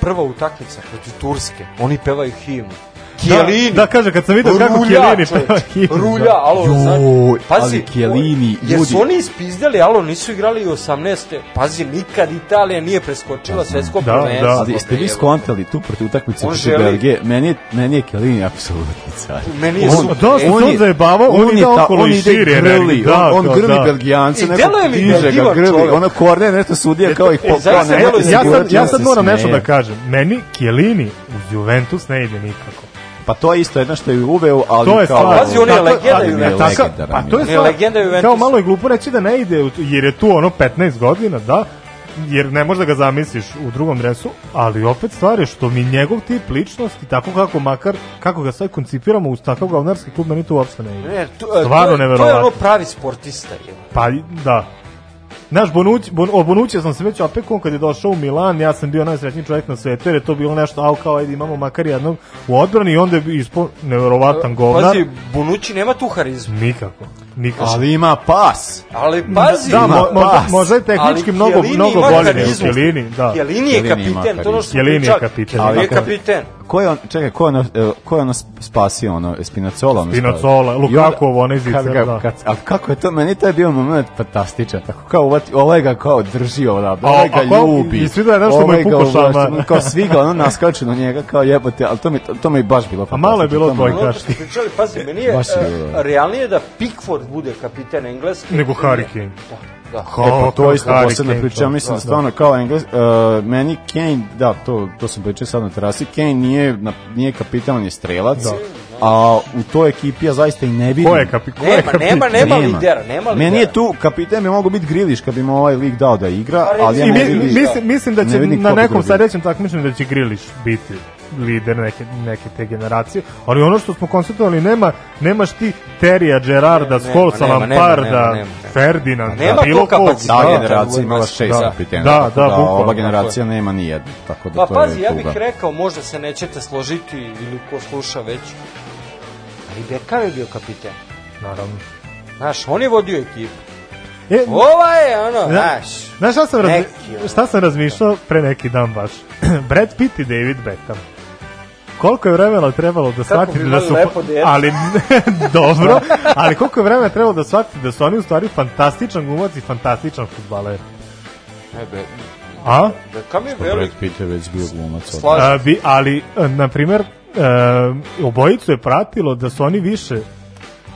Speaker 7: prva utakmica protiv Turske, oni pevaju himnu. Kijelini,
Speaker 5: Da, da, kaže, kad sam vidio kako Chiellini
Speaker 7: čoveč,
Speaker 5: peva himnu,
Speaker 7: Rulja,
Speaker 5: da.
Speaker 7: alo,
Speaker 3: Joj,
Speaker 7: znači, pazi,
Speaker 3: ali Chiellini,
Speaker 7: o- jer su
Speaker 3: ljudi.
Speaker 7: oni ispizdali, alo, nisu igrali 18. Pazi, nikad Italija nije preskočila svetsko
Speaker 5: Da,
Speaker 7: prvenstvo.
Speaker 5: da.
Speaker 3: Ali jeste vi
Speaker 7: bre,
Speaker 3: skontali tu protiv utakmice
Speaker 7: On
Speaker 3: protiv
Speaker 7: želi-
Speaker 3: Belgije? Meni je, meni je Kelini apsolutni car.
Speaker 7: Meni je super.
Speaker 5: Da, se on
Speaker 3: je-
Speaker 5: zajebavao, on ide
Speaker 3: je ta-
Speaker 5: okolo
Speaker 3: on
Speaker 5: i
Speaker 3: ide
Speaker 5: širi
Speaker 3: grli,
Speaker 5: energiju. Da,
Speaker 3: on, on
Speaker 5: da,
Speaker 3: grli
Speaker 5: da.
Speaker 3: Belgijance,
Speaker 7: I
Speaker 3: neko
Speaker 7: deluje mi da je
Speaker 3: diže ga,
Speaker 7: divan
Speaker 3: grli,
Speaker 7: čovek.
Speaker 3: ono korne nešto sudija kao i
Speaker 7: e,
Speaker 3: pop,
Speaker 7: zaista
Speaker 3: kao nemojte
Speaker 7: deluje
Speaker 3: se
Speaker 5: ja sad,
Speaker 3: gurati,
Speaker 5: ja
Speaker 3: on
Speaker 5: sad
Speaker 3: se
Speaker 5: moram
Speaker 3: smeje.
Speaker 5: nešto da kažem. Meni Chiellini uz Juventus ne ide nikako.
Speaker 3: Pa to je isto jedno što je uveo, ali
Speaker 5: to je
Speaker 3: kao...
Speaker 5: stvar.
Speaker 7: Pazi, on je
Speaker 5: Tako-
Speaker 7: legenda
Speaker 5: ali-
Speaker 7: Juventusa.
Speaker 5: tako-
Speaker 3: Legendaran
Speaker 5: Pa to je
Speaker 3: je.
Speaker 5: stvar.
Speaker 7: Ne, legenda Juventusa.
Speaker 5: Kao malo je glupo reći da ne ide, u- jer je tu ono 15 godina, da, jer ne možeš da ga zamisliš u drugom dresu, ali opet stvar je što mi njegov tip ličnosti, tako kako makar, kako ga sad koncipiramo uz takav gavnarski klub, meni to uopšte ne ide.
Speaker 7: Ne, to, e,
Speaker 5: Stvarno
Speaker 7: to, je- to je
Speaker 5: neverovatno.
Speaker 7: ono pravi sportista. Je.
Speaker 5: Pa, da. Znaš, Bonuć, bon, o Bonuću sam se već opekao kad je došao u Milan, ja sam bio najsrećniji čovjek na svetu, jer je to bilo nešto, au kao, ajde imamo makar jednog u odbrani i onda je ispo
Speaker 3: Pa,
Speaker 5: neverovatan govnar.
Speaker 7: Pazi, Bonucci nema tu harizmu.
Speaker 5: Nikako. Nikako.
Speaker 3: Ali ima pas.
Speaker 7: Ali pazi,
Speaker 5: da,
Speaker 3: ima
Speaker 5: mo, možda,
Speaker 3: pas.
Speaker 5: možda je tehnički mnogo, mnogo bolje nego Kelini. Da.
Speaker 7: Kelini je
Speaker 3: Chiellini ima
Speaker 7: kapiten, to ono što
Speaker 5: Chiellini je
Speaker 7: priča-
Speaker 5: kapiten.
Speaker 7: Chiellini je
Speaker 5: Ali-
Speaker 7: kapiten.
Speaker 3: Ko je on, čekaj, ko je ono, e, ko je ono spasio, ono, Spinacola? ono
Speaker 5: Spinazzola,
Speaker 3: spasio?
Speaker 5: Lukaku,
Speaker 3: I onda-
Speaker 5: onaj zicer,
Speaker 3: kad ga-
Speaker 5: da.
Speaker 3: Kad, ali kako je to, meni to je bio moment fantastičan, tako kao uvati, ovaj ga kao drži, ono, ovaj
Speaker 5: a
Speaker 3: ga
Speaker 5: kao-
Speaker 3: ljubi.
Speaker 5: i svi da je nešto mu je
Speaker 3: ovaj ga
Speaker 5: pukao
Speaker 3: uvlači,
Speaker 5: šamar.
Speaker 3: Kao svi ga, ono, naskaču na njega, kao jebote, ali to mi, to, to mi baš bilo
Speaker 5: A
Speaker 3: fantastično.
Speaker 5: malo je bilo
Speaker 3: to mi-
Speaker 5: tvoj
Speaker 7: Ono što ste pričali, pazi, meni je
Speaker 3: Baš je
Speaker 7: e,
Speaker 3: bilo, da.
Speaker 7: realnije da Pickford bude kapiten engleski.
Speaker 5: Nego Harry Kane.
Speaker 7: Da.
Speaker 3: E, pa to je
Speaker 5: Kao
Speaker 3: isto
Speaker 5: Harry
Speaker 3: posebna
Speaker 5: Kane,
Speaker 3: priča,
Speaker 5: to,
Speaker 3: ja mislim
Speaker 5: da,
Speaker 3: da stvarno kao Engles, uh, meni Kane, da, to, to sam pričao sad na terasi, Kane nije, na, nije kapitan, on je strelac, a u toj ekipi ja zaista i ne vidim.
Speaker 5: Ko je kapi, ko je
Speaker 7: Nema,
Speaker 5: kapi?
Speaker 7: nema, E, pa nema lidera, nema lidera.
Speaker 3: Meni je tu, kapitan bi mogao biti Griliš kad bi mu ovaj lik dao da igra,
Speaker 7: Pa
Speaker 3: ali ja
Speaker 5: I
Speaker 3: ne
Speaker 5: mi,
Speaker 7: vidim
Speaker 3: vidim.
Speaker 5: mislim, mislim da
Speaker 3: ne
Speaker 5: će
Speaker 3: vidim
Speaker 5: na
Speaker 3: ko bi
Speaker 5: nekom
Speaker 3: drugi.
Speaker 5: sledećem takmičenju da će Grilić biti lider neke, neke te generacije, ali ono što smo konstatovali nema, nemaš ti Terija, Gerarda,
Speaker 7: nema,
Speaker 5: Skolsa,
Speaker 7: nema, nema, nema,
Speaker 5: Lamparda,
Speaker 7: nema, nema.
Speaker 5: Ferdinanda,
Speaker 7: Nema
Speaker 5: bilo
Speaker 7: to
Speaker 5: kog.
Speaker 3: Ta
Speaker 7: kapaciteta.
Speaker 5: Da,
Speaker 3: generacija imala šest
Speaker 5: Da.
Speaker 3: kapitena,
Speaker 5: Da,
Speaker 3: tako
Speaker 5: da,
Speaker 3: da,
Speaker 5: bukvalno,
Speaker 3: ova
Speaker 5: tako
Speaker 3: generacija nema ni jednu, tako da
Speaker 7: Pa
Speaker 3: to
Speaker 7: pazi,
Speaker 3: je
Speaker 7: ja
Speaker 3: tuga.
Speaker 7: bih rekao, možda se nećete složiti ili ko sluša već, ali Deka je bio kapiten.
Speaker 5: Naravno.
Speaker 7: Znaš, on je vodio ekipu.
Speaker 5: E,
Speaker 7: Ova je, ono,
Speaker 5: Zna-
Speaker 7: znaš,
Speaker 5: Znaš šta sam, razmi,
Speaker 7: Neki, ono.
Speaker 5: šta sam razmišljao pre neki dan baš? Brad Pitt i David Beckham. Koliko je vremena trebalo da shvatite
Speaker 7: bi
Speaker 5: da
Speaker 7: imali
Speaker 5: su...
Speaker 7: lepo dete.
Speaker 5: ali, dobro, ali koliko je vremena trebalo da shvatite da su oni u stvari fantastičan glumac i fantastičan futbaler.
Speaker 7: Ebe,
Speaker 5: A?
Speaker 7: Beckham je
Speaker 3: Brad
Speaker 7: velik.
Speaker 3: Pitt je već bio glumac.
Speaker 7: Slažem
Speaker 5: A, bi, ali, e, na primer, e, obojicu je pratilo da su oni više e,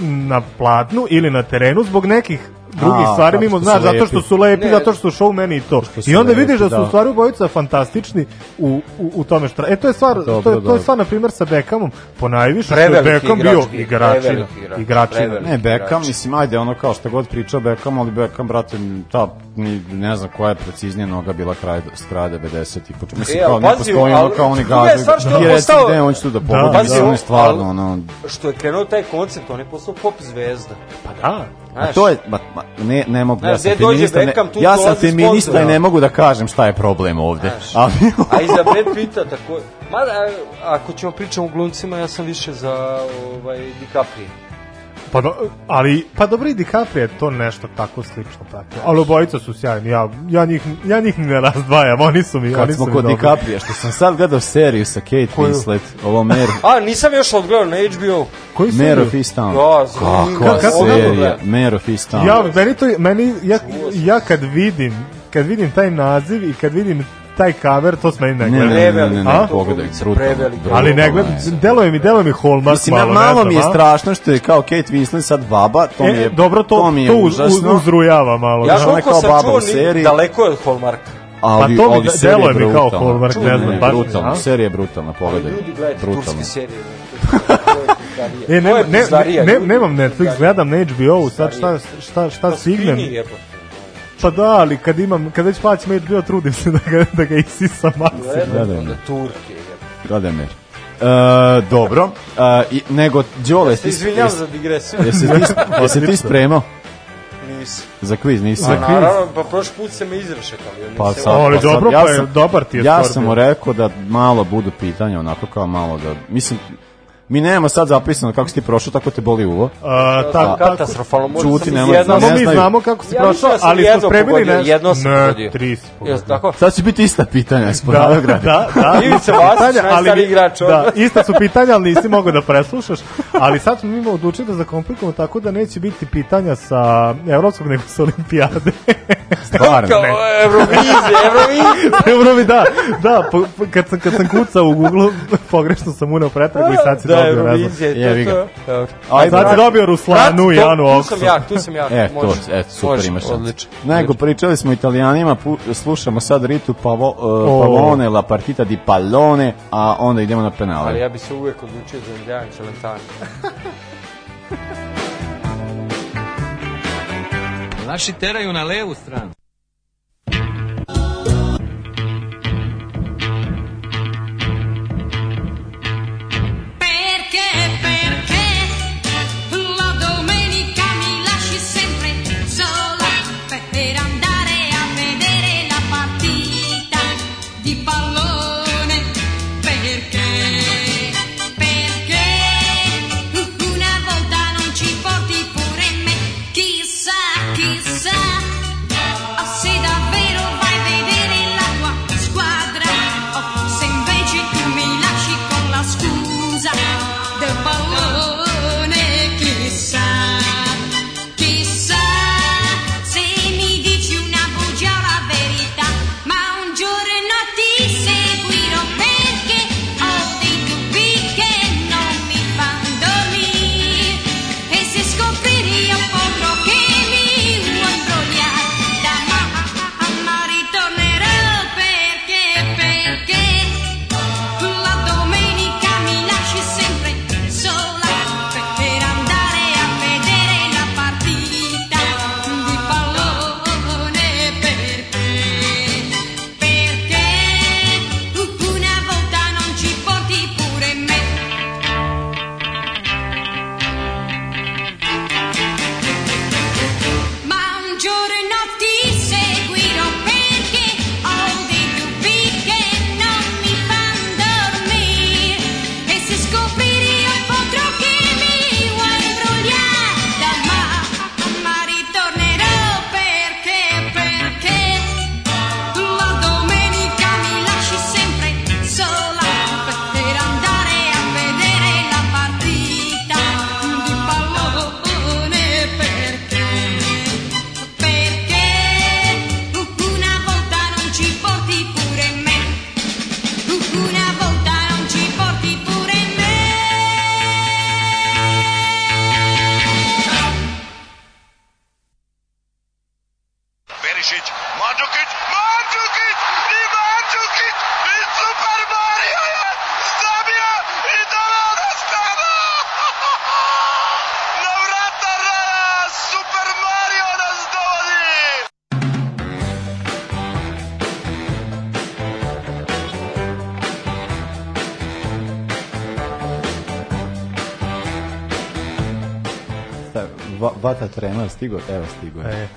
Speaker 5: na platnu ili na terenu zbog nekih drugih
Speaker 3: A,
Speaker 5: stvari
Speaker 3: zato
Speaker 5: mimo,
Speaker 3: što su
Speaker 5: znaš, zato što
Speaker 3: lepi.
Speaker 5: su lepi,
Speaker 7: Ne.
Speaker 5: zato što su showmeni i to.
Speaker 3: su
Speaker 5: I onda
Speaker 3: lepi,
Speaker 5: vidiš da su
Speaker 3: da.
Speaker 5: u stvari obojica fantastični u, u, u tome što... E, to je stvar,
Speaker 3: Dobro,
Speaker 5: to je, to
Speaker 3: dobro.
Speaker 5: je stvar, na primer, sa Beckhamom, ponajviše što je
Speaker 7: Preveliki
Speaker 5: Beckham
Speaker 7: igrač
Speaker 5: bio
Speaker 7: bio,
Speaker 5: igračina.
Speaker 7: preveliki igrač,
Speaker 5: Igračina.
Speaker 7: preveliki.
Speaker 3: Ne, Beckham,
Speaker 7: igrač.
Speaker 3: mislim, ajde, ono kao što god pričao Beckham, ali Beckham, brate, ta, ni, ne znam koja je preciznije noga bila kraj, s kraja 90. i početka. Mislim,
Speaker 7: E, ali
Speaker 3: kao ne
Speaker 7: pazi,
Speaker 3: postoji
Speaker 7: ali
Speaker 3: ono kao oni
Speaker 7: druga je
Speaker 3: gažu.
Speaker 7: stvar što je
Speaker 3: Ti
Speaker 7: on
Speaker 3: reci
Speaker 7: postao-
Speaker 3: gde on će tu da
Speaker 5: Da,
Speaker 3: pobodi,
Speaker 7: pazi,
Speaker 3: da, on
Speaker 7: on-
Speaker 3: je stvarno,
Speaker 7: ali-
Speaker 3: ono,
Speaker 7: Što je krenuo taj koncept, on je postao pop zvezda.
Speaker 5: Pa da.
Speaker 3: A to je, ma, ma, ne, ne mogu,
Speaker 7: Znaš,
Speaker 3: ja sam
Speaker 7: gde dođe
Speaker 3: feminista, ne-
Speaker 7: Beckham, tu
Speaker 3: ja sam
Speaker 7: dolazi
Speaker 3: feminista
Speaker 7: sponzor,
Speaker 3: i ne
Speaker 7: ono.
Speaker 3: mogu da kažem šta je problem ovde.
Speaker 7: Znaš.
Speaker 3: Ali,
Speaker 7: A i za Brad Pitta tako... Mada, a- ako ćemo pričati o glumcima, ja sam više za ovaj, DiCaprio.
Speaker 5: Pa, do, ali, pa dobro i DiCaprio je to nešto tako slično tako. Ali obojica su sjajni, ja, ja, njih, ja njih ne razdvajam, oni su mi, oni
Speaker 3: kad
Speaker 5: su
Speaker 3: smo
Speaker 5: mi
Speaker 3: kod
Speaker 5: dobri.
Speaker 3: DiCaprio, što sam sad gledao seriju sa Kate
Speaker 5: Koju?
Speaker 3: Winslet, ovo Mare,
Speaker 7: A, nisam još odgledao na HBO.
Speaker 5: Koji
Speaker 3: Mare of East Town.
Speaker 7: Da,
Speaker 3: Kakva serija, Mare of East Town.
Speaker 5: Ja, meni to, meni, ja, ja kad vidim, kad vidim taj naziv i kad vidim taj cover, to se meni ne
Speaker 3: Ne,
Speaker 5: gleda.
Speaker 3: ne, ne, ne, ne,
Speaker 5: A?
Speaker 3: pogledaj, brutalno, brutalno,
Speaker 5: Ali ne gleda, deluje mi, deluje mi Hallmark
Speaker 3: Mislim, malo,
Speaker 5: malo, ne
Speaker 3: malo
Speaker 5: znam,
Speaker 3: mi je
Speaker 5: a?
Speaker 3: strašno što je kao Kate Winslet sad baba, to
Speaker 5: E,
Speaker 3: mi je,
Speaker 5: dobro, to-
Speaker 3: mi je
Speaker 5: to uz- uz-
Speaker 3: užasno.
Speaker 5: uzrujava malo,
Speaker 7: Ja
Speaker 3: Znaš, ona je
Speaker 7: koliko
Speaker 3: kao
Speaker 7: sam
Speaker 3: baba
Speaker 7: čuo,
Speaker 3: u
Speaker 7: ni,
Speaker 3: seriji,
Speaker 7: daleko je od Hallmarka.
Speaker 3: ali,
Speaker 5: Pa to mi
Speaker 3: ali
Speaker 5: de-
Speaker 3: serija
Speaker 5: deluje
Speaker 3: je
Speaker 5: mi kao
Speaker 3: brutalna.
Speaker 5: Hallmark, ne znam, baš mi,
Speaker 3: brutalna,
Speaker 5: a?
Speaker 3: serija je brutalna, pogledaj.
Speaker 7: Ljudi, gledajte
Speaker 3: Brutalno.
Speaker 7: turske serije.
Speaker 5: E,
Speaker 7: To
Speaker 5: ne,
Speaker 7: je
Speaker 5: ne,
Speaker 7: pizdarija,
Speaker 5: ne,
Speaker 7: ljudi.
Speaker 5: nemam Netflix, gledam na HBO-u, sad šta, šta, šta
Speaker 7: Pa
Speaker 5: stignem.
Speaker 7: skini, jebote.
Speaker 5: Pa da, ali kad imam, kad već plaćam HBO, trudim se da ga, da ga isisam maksimum.
Speaker 3: Gledaj me.
Speaker 7: Turke, jebote.
Speaker 3: Gledaj me. E, dobro, e, i, nego, Đole, jesi ti-
Speaker 7: izvinjavam
Speaker 3: jesi-
Speaker 7: za digresiju.
Speaker 3: Jesi ti, jesi ti
Speaker 7: Odlično.
Speaker 3: spremao?
Speaker 7: Nisam.
Speaker 3: Za kviz nisi.
Speaker 7: A, naravno, pa prošli put se me izrešetali.
Speaker 3: Pa sad,
Speaker 5: Ali
Speaker 3: pa sad,
Speaker 5: dobro, pa je-
Speaker 3: sam-
Speaker 5: dobar ti je
Speaker 3: Ja
Speaker 5: stvar
Speaker 3: sam
Speaker 5: bio.
Speaker 3: mu rekao da malo budu pitanja, onako kao malo da... Mislim, mi nemamo sad zapisano kako si ti prošao, tako te boli uvo.
Speaker 5: A, ta-
Speaker 7: Ja
Speaker 5: tako-
Speaker 7: sam katastrofalno, možda
Speaker 3: Čuti,
Speaker 7: sam
Speaker 3: ne
Speaker 7: iz
Speaker 3: može- ne
Speaker 7: jednog-
Speaker 5: Samo mi
Speaker 3: znaju.
Speaker 5: znamo kako si
Speaker 7: Ja
Speaker 5: prošao,
Speaker 7: mislim da sam
Speaker 5: ali smo
Speaker 7: jedno
Speaker 5: spremili
Speaker 7: pogodio,
Speaker 5: nešto.
Speaker 7: jedno sam
Speaker 5: ne,
Speaker 7: pogodio.
Speaker 5: tri si pogodio.
Speaker 7: Jesi tako?
Speaker 3: Sad će biti ista pitanja, ispod da,
Speaker 5: da, da, da.
Speaker 7: Ivica
Speaker 5: ista su
Speaker 7: Vasić,
Speaker 5: pitanja, ali-
Speaker 7: najstariji igrač ono. ovdje.
Speaker 5: Da, ista su pitanja, ali nisi mogao da preslušaš. Ali sad smo mi odlučili da zakomplikujemo tako da neće biti pitanja sa evropskog nego sa olimpijade.
Speaker 3: Stvarno?
Speaker 5: Kao
Speaker 7: Eurovizija, Eurovizija.
Speaker 5: Eurovi, da, da, po, po- kad, sam, kad sam kucao u Google, pogrešno sam unao pretragu i sad si
Speaker 7: Da,
Speaker 5: dobio, ne
Speaker 7: Eurovizija,
Speaker 5: znam.
Speaker 7: je to,
Speaker 5: Jevi ga.
Speaker 7: to. Dobro.
Speaker 5: A sad si dobio Ruslanu i Anu
Speaker 7: Tu sam
Speaker 5: Oksu.
Speaker 7: ja, tu sam ja.
Speaker 3: E, to,
Speaker 7: Može.
Speaker 3: e, super
Speaker 7: Može,
Speaker 3: imaš šanse.
Speaker 7: Odlično.
Speaker 3: Nego, pričali smo italijanima, pu- slušamo sad Ritu Pavo, uh,
Speaker 5: O.
Speaker 3: Pavone, La Partita di Pallone, a onda idemo na penale.
Speaker 7: Ali ja bi se uvek odlučio za Indijan Čelentani.
Speaker 14: Naši teraju na levu stranu.
Speaker 15: Perché, perché la domenica mi lasci sempre sola per andare a vedere la partita di pallone? Perché, perché una volta non ci porti pure me? Chissà, chissà.
Speaker 16: Oh,
Speaker 3: Va, vata trema, stigo? Evo, stigo je.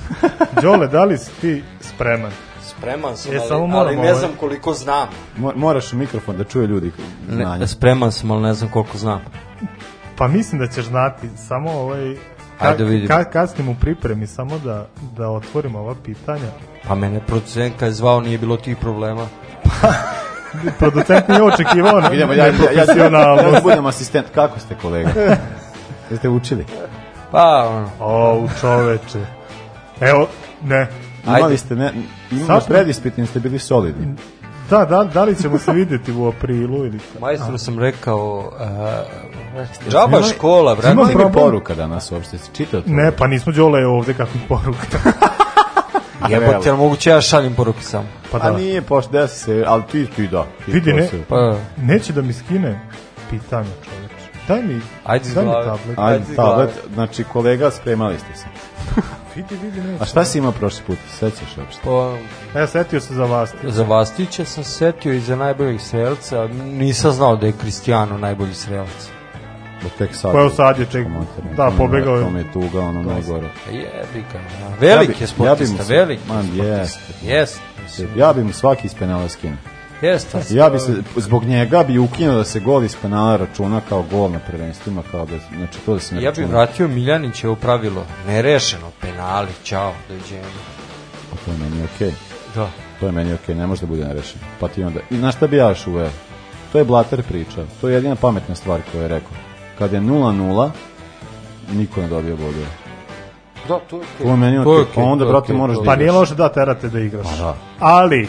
Speaker 5: Đole, da li si ti spreman?
Speaker 7: Spreman sam,
Speaker 5: E,
Speaker 7: ali,
Speaker 5: samo
Speaker 7: ali
Speaker 5: moramo
Speaker 7: ne
Speaker 5: ovaj-
Speaker 7: znam koliko znam.
Speaker 3: Mo- Moraš u mikrofon da čuje ljudi znanje.
Speaker 7: Ne, spreman sam, ali ne znam koliko znam.
Speaker 5: Pa mislim da ćeš znati, samo ovaj...
Speaker 7: Ajde vidim.
Speaker 5: Ka, kasnim u pripremi, samo da, da otvorimo ova pitanja.
Speaker 7: Pa mene producentka je zvao, nije bilo tih problema.
Speaker 5: Producent nije očekivao ne,
Speaker 3: Idemo, ja, ja, ja, ja, ja,
Speaker 5: neprofesionalnost.
Speaker 3: da budem asistent. Kako ste, kolega? Jeste učili?
Speaker 7: Pa, ono.
Speaker 5: O, čoveče. Evo, ne.
Speaker 3: Imali ste, ne, imali
Speaker 5: Sad-
Speaker 3: predispitni, ste bili solidni.
Speaker 5: Da, da, da li ćemo se videti u aprilu ili...
Speaker 7: Majstru
Speaker 5: A.
Speaker 7: sam rekao, uh, džaba škola, brate.
Speaker 3: Ima problem. poruka danas uopšte, si čitao to?
Speaker 5: Ne, pa nismo Đole ovde kakvih poruka.
Speaker 7: Jebote, ali moguće ja šaljem poruke samo.
Speaker 5: Pa
Speaker 3: Pa
Speaker 5: da.
Speaker 3: A nije, pošto desi se, ali ti, ti da. Ti
Speaker 5: Vidi,
Speaker 3: to
Speaker 5: ne,
Speaker 3: se-
Speaker 7: Pa.
Speaker 5: neće da mi skine pitanje, čoveče. Daj mi,
Speaker 7: Ajde iz
Speaker 5: daj mi
Speaker 7: glave.
Speaker 5: tablet.
Speaker 3: Ajde,
Speaker 7: Ajde,
Speaker 3: tablet,
Speaker 7: glave.
Speaker 3: znači kolega, spremali ste se.
Speaker 5: Vidi, vidi, neće.
Speaker 3: A šta si imao prošli put, sećaš uopšte?
Speaker 7: Pa,
Speaker 5: E, setio se za vas.
Speaker 7: za Vastića sam setio i za najboljeg strelca. Nisam znao da je Kristijano najbolji strelac.
Speaker 3: Da tek sad.
Speaker 5: Pa evo sad je ček-
Speaker 3: komentar.
Speaker 5: da, pobegao je.
Speaker 3: To mi je tuga, ono najgore.
Speaker 7: Pa Jebika. Velik je sportista, velik je
Speaker 3: Man,
Speaker 7: sportista. Jest.
Speaker 3: Mislim, Ja bi mu svaki iz penala skinuo.
Speaker 7: Jeste.
Speaker 3: Ja bi se, zbog njega bi ukinuo da se gol iz penala računa kao gol na prvenstvima, kao da, znači to da se ne
Speaker 7: Ja bih
Speaker 3: računa.
Speaker 7: vratio Miljanićevo pravilo. Nerešeno, penali, čao, dođemo.
Speaker 3: Pa To je meni okej.
Speaker 7: Da.
Speaker 3: To je meni okej, ne može da bude nerešeno. Pa ti onda, i znaš šta bi ja još uveo? To je Blater priča, to je jedina pametna stvar koju je rekao. Kad je 0-0, niko ne dobio bodove.
Speaker 7: Da, to je
Speaker 3: To je meni
Speaker 7: To je
Speaker 3: okej, pa
Speaker 7: okej,
Speaker 3: onda,
Speaker 7: to je
Speaker 3: brate,
Speaker 7: okej,
Speaker 3: moraš
Speaker 7: to je
Speaker 3: da
Speaker 5: Pa
Speaker 3: igraš.
Speaker 5: nije loše da terate da igraš.
Speaker 3: Pa da.
Speaker 5: Ali,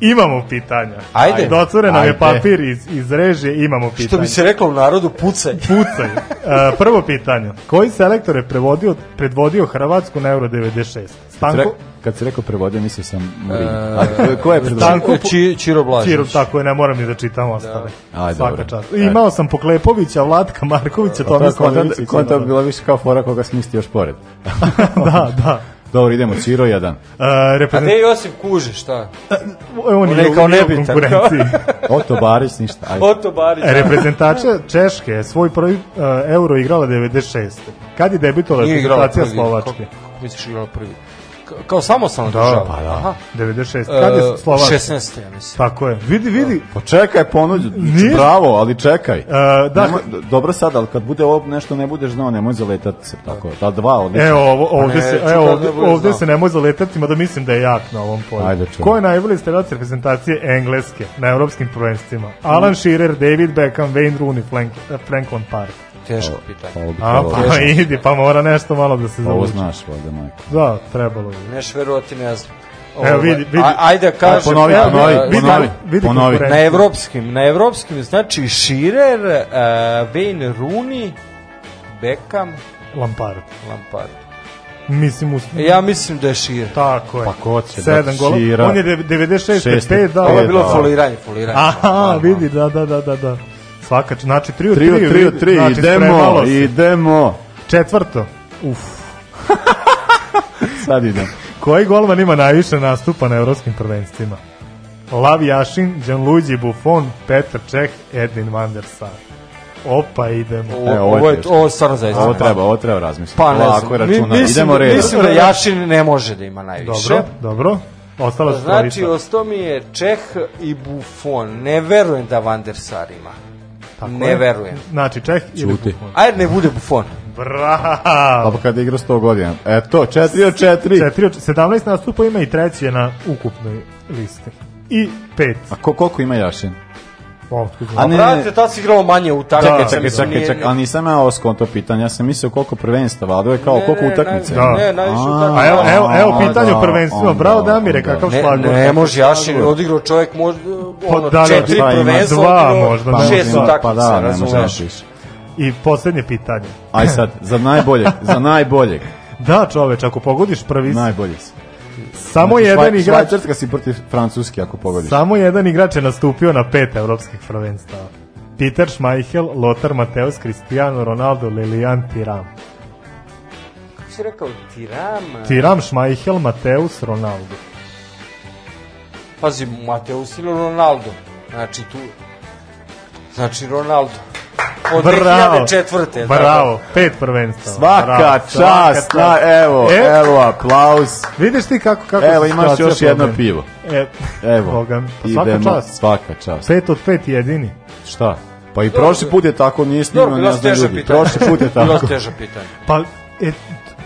Speaker 5: imamo pitanja.
Speaker 7: Ajde.
Speaker 5: Doture nam je
Speaker 7: Ajde.
Speaker 5: papir iz, iz režije, imamo pitanja.
Speaker 7: Što bi se reklo u narodu, pucaj.
Speaker 5: Pucaj. E, prvo pitanje. Koji selektor je prevodio, predvodio Hrvatsku na Euro 96?
Speaker 3: Kad si
Speaker 5: Stanko,
Speaker 3: rekao- Kad si rekao prevodio, mislio sam Mourinho.
Speaker 7: E,
Speaker 3: A ko- ko je Pa
Speaker 5: Stanko
Speaker 3: predvodio?
Speaker 5: Po-
Speaker 7: Čiro Blažić.
Speaker 5: Čiro, tako je, ne moram ni da čitam ostale.
Speaker 3: Ajde,
Speaker 5: Svaka
Speaker 3: dobro.
Speaker 5: čast. I Imao sam Poklepovića, Vlatka Markovića,
Speaker 3: Pa to je
Speaker 5: Tomislava
Speaker 3: konta,
Speaker 5: Iličića.
Speaker 3: konta bi bila više kao fora koga smisti još pored.
Speaker 5: Da, da.
Speaker 3: Dobro, idemo, Ciro jedan.
Speaker 5: E,
Speaker 7: A
Speaker 5: reprezent-
Speaker 7: gde je Josip Kuže, šta?
Speaker 5: E, on
Speaker 7: On
Speaker 5: je
Speaker 7: je kao
Speaker 5: u- u
Speaker 7: nebitan.
Speaker 5: konkurenciji.
Speaker 3: Oto Barić, ništa. Ajde.
Speaker 7: Oto Barić.
Speaker 5: E, Reprezentača Češke je svoj prvi uh, euro igrala 96. Kad je debitovala
Speaker 7: Nije igrala
Speaker 5: reprezentacija
Speaker 7: prvi.
Speaker 5: Slovačke?
Speaker 7: Kako, kako misliš igrala prvi? Ka, kao samostalna
Speaker 5: Da,
Speaker 7: država.
Speaker 5: pa da.
Speaker 7: Aha.
Speaker 5: 96. Kad je
Speaker 7: E,
Speaker 5: Slovačka?
Speaker 7: 16. ja mislim.
Speaker 5: Tako je. Vidi, vidi.
Speaker 3: Pa čekaj, ponuđu.
Speaker 5: Nije. E,
Speaker 3: Bravo, ali čekaj.
Speaker 5: Eh, da.
Speaker 3: Nemoj- d- dobro sad, ali kad bude ovo nešto ne budeš znao, nemoj zaletati se tako. Ta dva, odlično.
Speaker 5: E, ovo,
Speaker 3: Pa
Speaker 5: ovde,
Speaker 3: ne,
Speaker 5: se,
Speaker 3: čudo
Speaker 5: e,
Speaker 3: da
Speaker 5: ovde,
Speaker 3: budeš
Speaker 5: ovde
Speaker 3: znao.
Speaker 5: se ne može zaletati, mada mislim da je jak na ovom polju.
Speaker 3: Ajde, čujem.
Speaker 5: Ko je najbolji strelac reprezentacije Engleske na evropskim prvenstvima? Alan Shearer, David Beckham, Wayne Rooney, Frank, Franklin Park.
Speaker 7: Teško pitanje.
Speaker 3: Ovo bi
Speaker 5: A,
Speaker 3: trebalo-
Speaker 5: pa idi, pa mora nešto malo da se
Speaker 3: Ovo
Speaker 5: zavuče.
Speaker 3: znaš, valjda, majko.
Speaker 5: Da, trebalo bi.
Speaker 7: Neš verovati, ne znam. Ovo,
Speaker 5: Evo, vidi, vidi.
Speaker 7: a- Ajde,
Speaker 3: Ajde,
Speaker 7: kažem.
Speaker 3: ponovi,
Speaker 7: evo,
Speaker 3: ponovi,
Speaker 7: e,
Speaker 5: vidi,
Speaker 3: ponovi,
Speaker 5: vidi
Speaker 3: ponovi.
Speaker 5: konkurenciju.
Speaker 7: Na evropskim, na evropskim, znači Širer, uh, Wayne Rooney, Beckham,
Speaker 5: Lampard.
Speaker 7: Lampard. E,
Speaker 5: Mislim, u...
Speaker 7: Ja mislim da je Širer.
Speaker 5: tako je.
Speaker 3: Pa ko će
Speaker 5: Sedam
Speaker 3: da
Speaker 5: gola.
Speaker 3: Shearer?
Speaker 5: On je dev- 96,
Speaker 3: Šeste,
Speaker 5: 5, da.
Speaker 3: pet,
Speaker 7: Ovo je bilo
Speaker 3: da.
Speaker 7: foliranje, foliranje.
Speaker 5: Aha, vidi, da, da, da, da, da. Svaka, č- znači, trio,
Speaker 3: Tri od
Speaker 5: trio,
Speaker 3: tri
Speaker 5: vidi,
Speaker 3: od tri,
Speaker 5: znači,
Speaker 3: idemo,
Speaker 5: spremalo se.
Speaker 3: idemo.
Speaker 5: Četvrto. Uf.
Speaker 3: Sad idem.
Speaker 5: Koji golman ima najviše nastupa na evropskim prvenstvima? Lav Jašin, Gianluigi Buffon, Petar Čeh, Edin van der Sar. Opa, idemo.
Speaker 7: Ovo,
Speaker 3: E, ovo je
Speaker 7: ovo, je,
Speaker 3: teško.
Speaker 7: ovo je stvarno zaista.
Speaker 3: Ovo treba, ovo treba razmisliti.
Speaker 7: Pa ne
Speaker 3: Lako je
Speaker 7: znam, Mi-
Speaker 3: računa.
Speaker 7: mislim,
Speaker 3: Idemo redom.
Speaker 7: mislim da Jašin ne može da ima najviše.
Speaker 5: Dobro, dobro. Ostala su
Speaker 7: Znači,
Speaker 5: trojica.
Speaker 7: ostao mi je Čeh i Buffon. Ne verujem da Van der Sar ima.
Speaker 5: Tako
Speaker 7: ne
Speaker 5: je.
Speaker 7: verujem.
Speaker 5: Znači, Čeh ili
Speaker 3: Ćuti.
Speaker 5: Buffon.
Speaker 7: Ajde, ne bude Buffon.
Speaker 3: Pa
Speaker 5: Bravo!
Speaker 3: pa kada igra 100 godina. E to, 4 od 4.
Speaker 5: Četiri od- 17 nastupa ima i treći je na ukupnoj listi. I pet.
Speaker 3: A ko, koliko ima Jašin?
Speaker 5: Otkud
Speaker 3: A
Speaker 7: A
Speaker 3: ne,
Speaker 7: ne,
Speaker 3: ne.
Speaker 7: Brate, tad si igrao manje u tako.
Speaker 3: Čekaj, čekaj, čekaj, čekaj, ali nisam ja oskom to pitanje, ja sam mislio koliko prvenstava, a ovo je kao
Speaker 7: Ne,
Speaker 3: koliko
Speaker 7: ne,
Speaker 3: utakmice.
Speaker 7: ne, ne, najviše utakmica.
Speaker 5: A evo, evo, evo
Speaker 3: Onda,
Speaker 5: pitanje o prvenstvima.
Speaker 3: onda,
Speaker 5: Bravo, Damire,
Speaker 3: onda.
Speaker 5: kakav
Speaker 7: Ne,
Speaker 5: šlag.
Speaker 7: ne može, Jašin je odigrao čovjek možda, ono,
Speaker 5: da, da,
Speaker 7: četiri
Speaker 3: šta Pa ima,
Speaker 7: prvenstva,
Speaker 5: dva
Speaker 7: odigrao
Speaker 5: možda,
Speaker 3: Pa,
Speaker 7: šest
Speaker 3: možda ima-
Speaker 7: utakmica,
Speaker 3: pa da, ne može
Speaker 7: razumeš?
Speaker 3: još više.
Speaker 5: I poslednje pitanje.
Speaker 3: Aj sad, za najboljeg, za najboljeg,
Speaker 5: Da, čoveč, ako pogodiš prvi, si-
Speaker 3: najbolji si.
Speaker 5: samo
Speaker 3: Znači,
Speaker 5: jedan
Speaker 3: Švaj-
Speaker 5: igrač
Speaker 3: Švajcarska si protiv Francuske, ako pogodiš.
Speaker 5: Samo jedan igrač je nastupio na pet evropskih prvenstava. Peter Schmeichel, Lothar Mateus, Cristiano Ronaldo, Lilian Tiram.
Speaker 7: Kako si rekao, Tirama?
Speaker 5: Tiram, Schmeichel, Mateus, Ronaldo.
Speaker 7: Pazi, Mateus ili Ronaldo. Znači tu... Znači Ronaldo. Od
Speaker 5: Bravo.
Speaker 7: 2004. je tako?
Speaker 5: Bravo, pet prvenstava.
Speaker 3: Svaka
Speaker 5: Bravo, svaka
Speaker 3: čast, na, evo,
Speaker 5: E,
Speaker 3: evo, aplauz.
Speaker 5: Vidiš ti kako, kako
Speaker 3: Evo,
Speaker 5: se
Speaker 3: imaš
Speaker 5: situacija
Speaker 3: još jedno
Speaker 5: promeni.
Speaker 3: pivo.
Speaker 5: E,
Speaker 3: Evo,
Speaker 5: Bogan, pa svaka
Speaker 3: idemo,
Speaker 5: čast.
Speaker 3: svaka čast.
Speaker 5: Pet od pet jedini.
Speaker 3: Šta? Pa i prošli put je tako, nije snimao,
Speaker 5: Dobro,
Speaker 3: ne
Speaker 5: bila
Speaker 3: znam
Speaker 5: su teža
Speaker 3: ljudi.
Speaker 5: pitanja.
Speaker 3: Prošli put je tako.
Speaker 5: Bila su teža
Speaker 7: pitanja.
Speaker 5: Pa, e,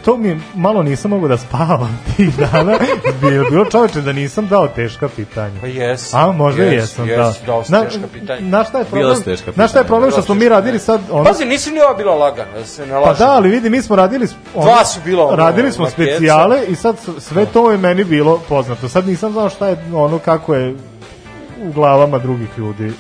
Speaker 5: to mi je, malo nisam mogu da spavam tih dana. Bilo, bilo čoveče da nisam dao teška pitanja.
Speaker 7: Pa jes.
Speaker 5: A, možda
Speaker 7: Jes,
Speaker 5: jes, jesam,
Speaker 7: jes,
Speaker 5: da.
Speaker 7: dao si
Speaker 5: Na-
Speaker 7: teška pitanja.
Speaker 5: Na šta je
Speaker 7: Bila
Speaker 5: problem?
Speaker 7: su teška
Speaker 5: Na šta je
Speaker 7: pitanja,
Speaker 5: problem što
Speaker 7: bila su
Speaker 5: smo mi
Speaker 7: teška
Speaker 5: radili sad ono...
Speaker 7: Pazi, nisi ni ova bila lagana, da se ne
Speaker 5: Pa
Speaker 7: lažemo.
Speaker 5: da, ali vidi, mi smo radili... s-
Speaker 7: Dva su bila ono,
Speaker 5: Radili smo
Speaker 7: makeca.
Speaker 5: specijale i sad s- sve to je meni bilo poznato. Sad nisam znao šta je ono kako je u glavama drugih ljudi.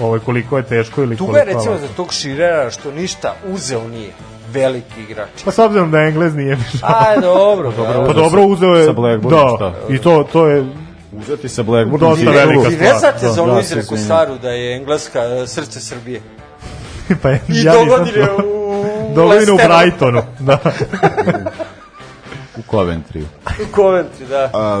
Speaker 5: Ovo koliko je teško ili koliko
Speaker 7: Tuga
Speaker 5: je
Speaker 7: je recimo
Speaker 5: lako.
Speaker 7: za tog širera što ništa uzeo nije. Veliki igrač.
Speaker 5: Pa s obzirom da je Englez nije mi žao.
Speaker 7: A, dobro,
Speaker 5: pa
Speaker 7: Pa dobro, uzeo
Speaker 5: dobro
Speaker 7: sa-
Speaker 5: uzeo je.
Speaker 7: sa Blackburnom,
Speaker 5: da,
Speaker 7: šta?
Speaker 5: i to, to je...
Speaker 3: Uzeti sa Blackburnom.
Speaker 5: Dosta velika stvar.
Speaker 7: I ne znate
Speaker 5: da.
Speaker 7: za onu
Speaker 5: Da,
Speaker 7: izreku
Speaker 5: sigurno.
Speaker 7: staru da je Engleska e, srce Srbije.
Speaker 5: pa ja
Speaker 7: I
Speaker 5: nisam
Speaker 7: dogodine
Speaker 5: čuo.
Speaker 7: u-
Speaker 5: Dogodine u
Speaker 7: Leicesteru.
Speaker 5: Brightonu. Da.
Speaker 3: U Coventryu.
Speaker 7: U Coventry, da.
Speaker 3: A,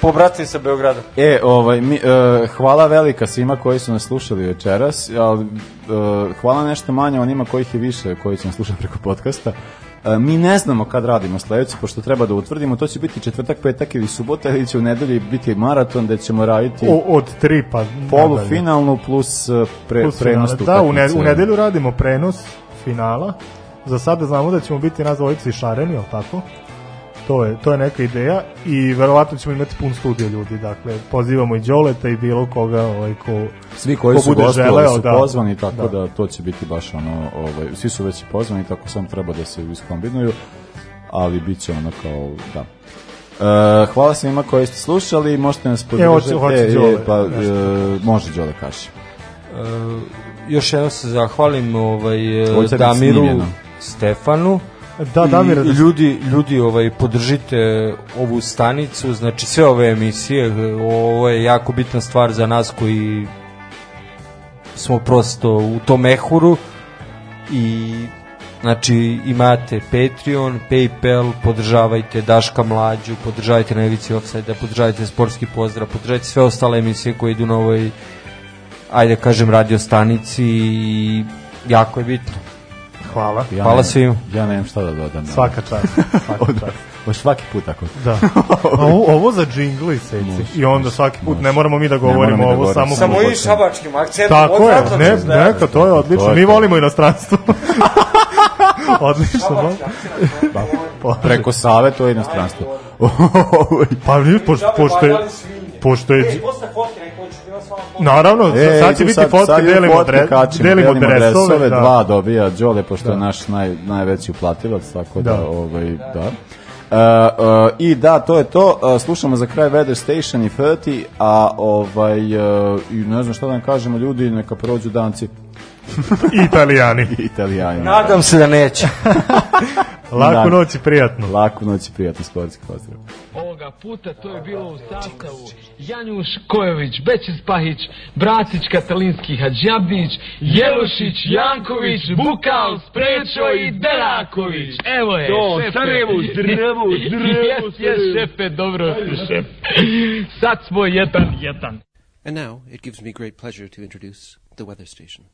Speaker 7: Po bratim sa Beogradom.
Speaker 3: E, ovaj, mi, e, hvala velika svima koji su nas slušali večeras, ali e, hvala nešto manje onima kojih je više, koji će nas slušati preko podcasta. E, mi ne znamo kad radimo sledeće, pošto treba da utvrdimo, to će biti četvrtak, petak ili subota, ili će u nedelji biti maraton da ćemo raditi
Speaker 5: O, od tri pa... nadalje.
Speaker 3: polufinalnu plus e, pre,
Speaker 5: Plus
Speaker 3: prenos
Speaker 5: finala. Da, u, ne,
Speaker 3: utakmice.
Speaker 5: u nedelju radimo prenos finala. Za sada znamo da ćemo biti nas dvojica i šareni, jel tako? To je, to je neka ideja i verovatno ćemo imati pun studio ljudi. Dakle, pozivamo i Đoleta i bilo koga ovaj, ko,
Speaker 3: Svi koji
Speaker 5: ko
Speaker 3: su
Speaker 5: bude
Speaker 3: gostovali
Speaker 5: želeo,
Speaker 3: su
Speaker 5: da.
Speaker 3: pozvani, tako da. to će biti baš ono, ovaj, svi su već i pozvani, tako sam treba da se iskombinuju, ali bit će ono kao, da. E, hvala svima koji ste slušali, možete nas podržati.
Speaker 5: E, hoće- hoće Đole
Speaker 3: pa, e,
Speaker 5: nešto.
Speaker 3: može Đole kaši.
Speaker 7: E, još jednom se zahvalim ovaj, e,
Speaker 3: Ovo je sad
Speaker 7: Damiru
Speaker 3: snimljeno.
Speaker 7: Stefanu.
Speaker 5: Da,
Speaker 7: I
Speaker 5: Damire, da-
Speaker 7: ljudi, ljudi ovaj, podržite ovu stanicu, znači sve ove emisije, ovo je jako bitna stvar za nas koji smo prosto u tom ehuru i znači imate Patreon, Paypal, podržavajte Daška Mlađu, podržavajte Nevici Offside, podržavajte Sportski pozdrav, podržavajte sve ostale emisije koje idu na ovoj ajde kažem radio stanici i jako je bitno.
Speaker 5: Hvala.
Speaker 7: Ja Hvala
Speaker 3: nemam-
Speaker 7: svima.
Speaker 3: Ja nemam šta da dodam.
Speaker 5: Svaka čast, svaka
Speaker 3: Od-
Speaker 5: čast.
Speaker 3: baš svaki put tako.
Speaker 5: Da. A ovo, ovo za džingli seci. I onda svaki put ne moramo mi da govorimo
Speaker 3: moramo mi da
Speaker 5: ovo
Speaker 3: govorimo.
Speaker 5: samo
Speaker 3: Samo
Speaker 5: po-
Speaker 7: i šabačkim akcentom,
Speaker 5: Tako je,
Speaker 7: odvratno
Speaker 5: ne,
Speaker 7: se zna.
Speaker 5: neka, to je odlično.
Speaker 3: To je
Speaker 5: mi
Speaker 3: to.
Speaker 5: volimo inostranstvo. odlično. Bo.
Speaker 3: Da. Preko Save to je inostranstvo.
Speaker 5: Pa vi, pošto, pošto je... Pošto je...
Speaker 2: né? Então,
Speaker 5: Naravno,
Speaker 3: E,
Speaker 5: sad će
Speaker 3: idu
Speaker 5: biti fotke,
Speaker 3: sad idu
Speaker 5: delimo,
Speaker 3: fotke,
Speaker 5: dre,
Speaker 3: kačimo,
Speaker 5: delimo, dresove. da.
Speaker 3: Dva dobija Đole, pošto je
Speaker 5: Da.
Speaker 3: naš naj, najveći uplatilac, tako da,
Speaker 5: Da.
Speaker 3: ovaj, da. E, e, I da, to je to. E, slušamo za kraj Weather Station i 30, a ovaj, e, i ne znam šta da vam kažemo, ljudi, neka prođu danci.
Speaker 5: Italijani.
Speaker 3: Italijani.
Speaker 7: Nadam se da neće.
Speaker 5: Laku noć i prijatno.
Speaker 3: Laku noć i prijatno, sportski pozdrav.
Speaker 17: Ovoga puta to je bilo u sastavu Janjuš Kojović, Bećis Pahić, Bracić Katalinski Hadžabdić, Jelušić, Janković, Bukal, Sprečo i Deraković. Evo je,
Speaker 9: Do, Sarajevo, Sarajevo, Sarajevo,
Speaker 17: Jes, jes,
Speaker 9: Sarajevo.
Speaker 17: šefe, dobro, šef. Sad smo jedan, jedan.
Speaker 18: And now it gives me great pleasure to introduce the weather station.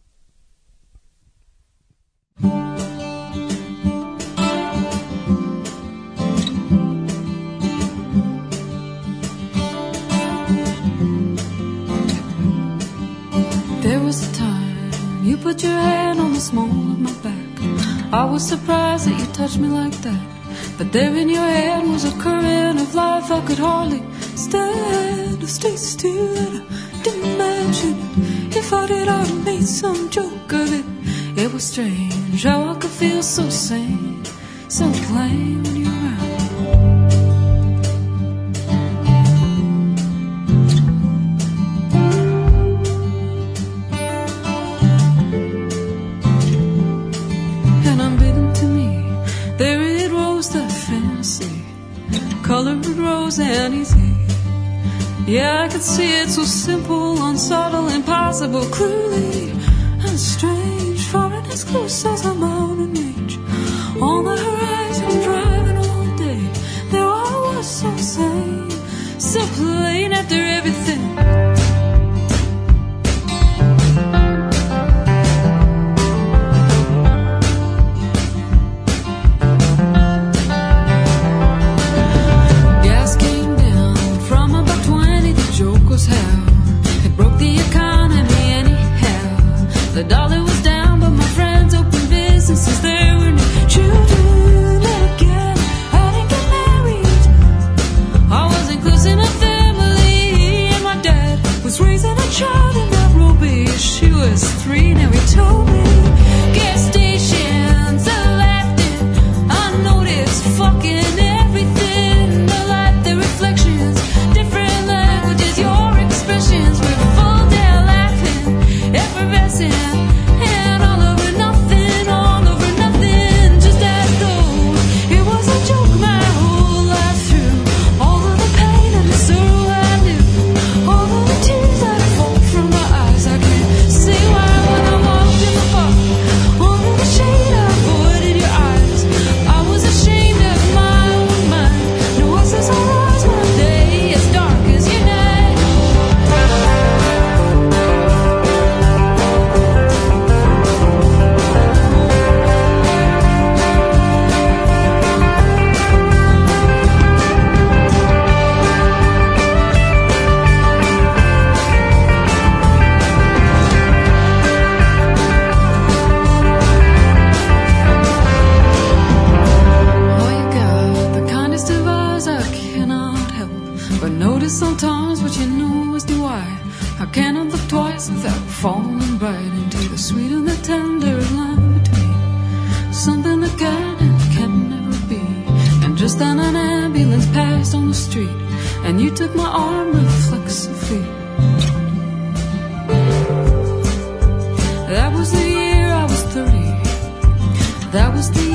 Speaker 16: There was a time you put your hand on the small of my back. I was surprised that you touched me like that. But there in your hand was a current of life I could hardly stand. I stayed still and I didn't imagine it. If I did, I'd have made some joke of it. It was strange how I could feel so sane, so plain when you're around. and unbidden to me. There it rose the fantasy, colored rose and easy. Yeah, I could see it so simple, unsubtle, impossible, cruelly and strange, far and as close as a mountain range. On the horizon, driving all day, there I was so sane, so plain after everything. out in Nairobi. She was three, and we told me. Gas stations are left in unnoticed, fucking everything. The light, the reflections, different languages, your expressions. We fall down laughing, effervescent. And all over nothing, all over nothing, just as though it was a joke my whole life through. All of the pain and the sorrow I knew, all of the tears that fall from my eyes, I can see why when I walked in the park, under the shade I avoided your eyes. I was ashamed of my own mind. No one says I rise when the day is dark as your night. Oh, you got the kindest of eyes I cannot help but notice sometimes what you know is the why. I cannot look twice without falling right into the sweet and the tender line between something that can and can never be. And just then an ambulance passed on the street, and you took my arm reflexively. That was the year I was 30. That was the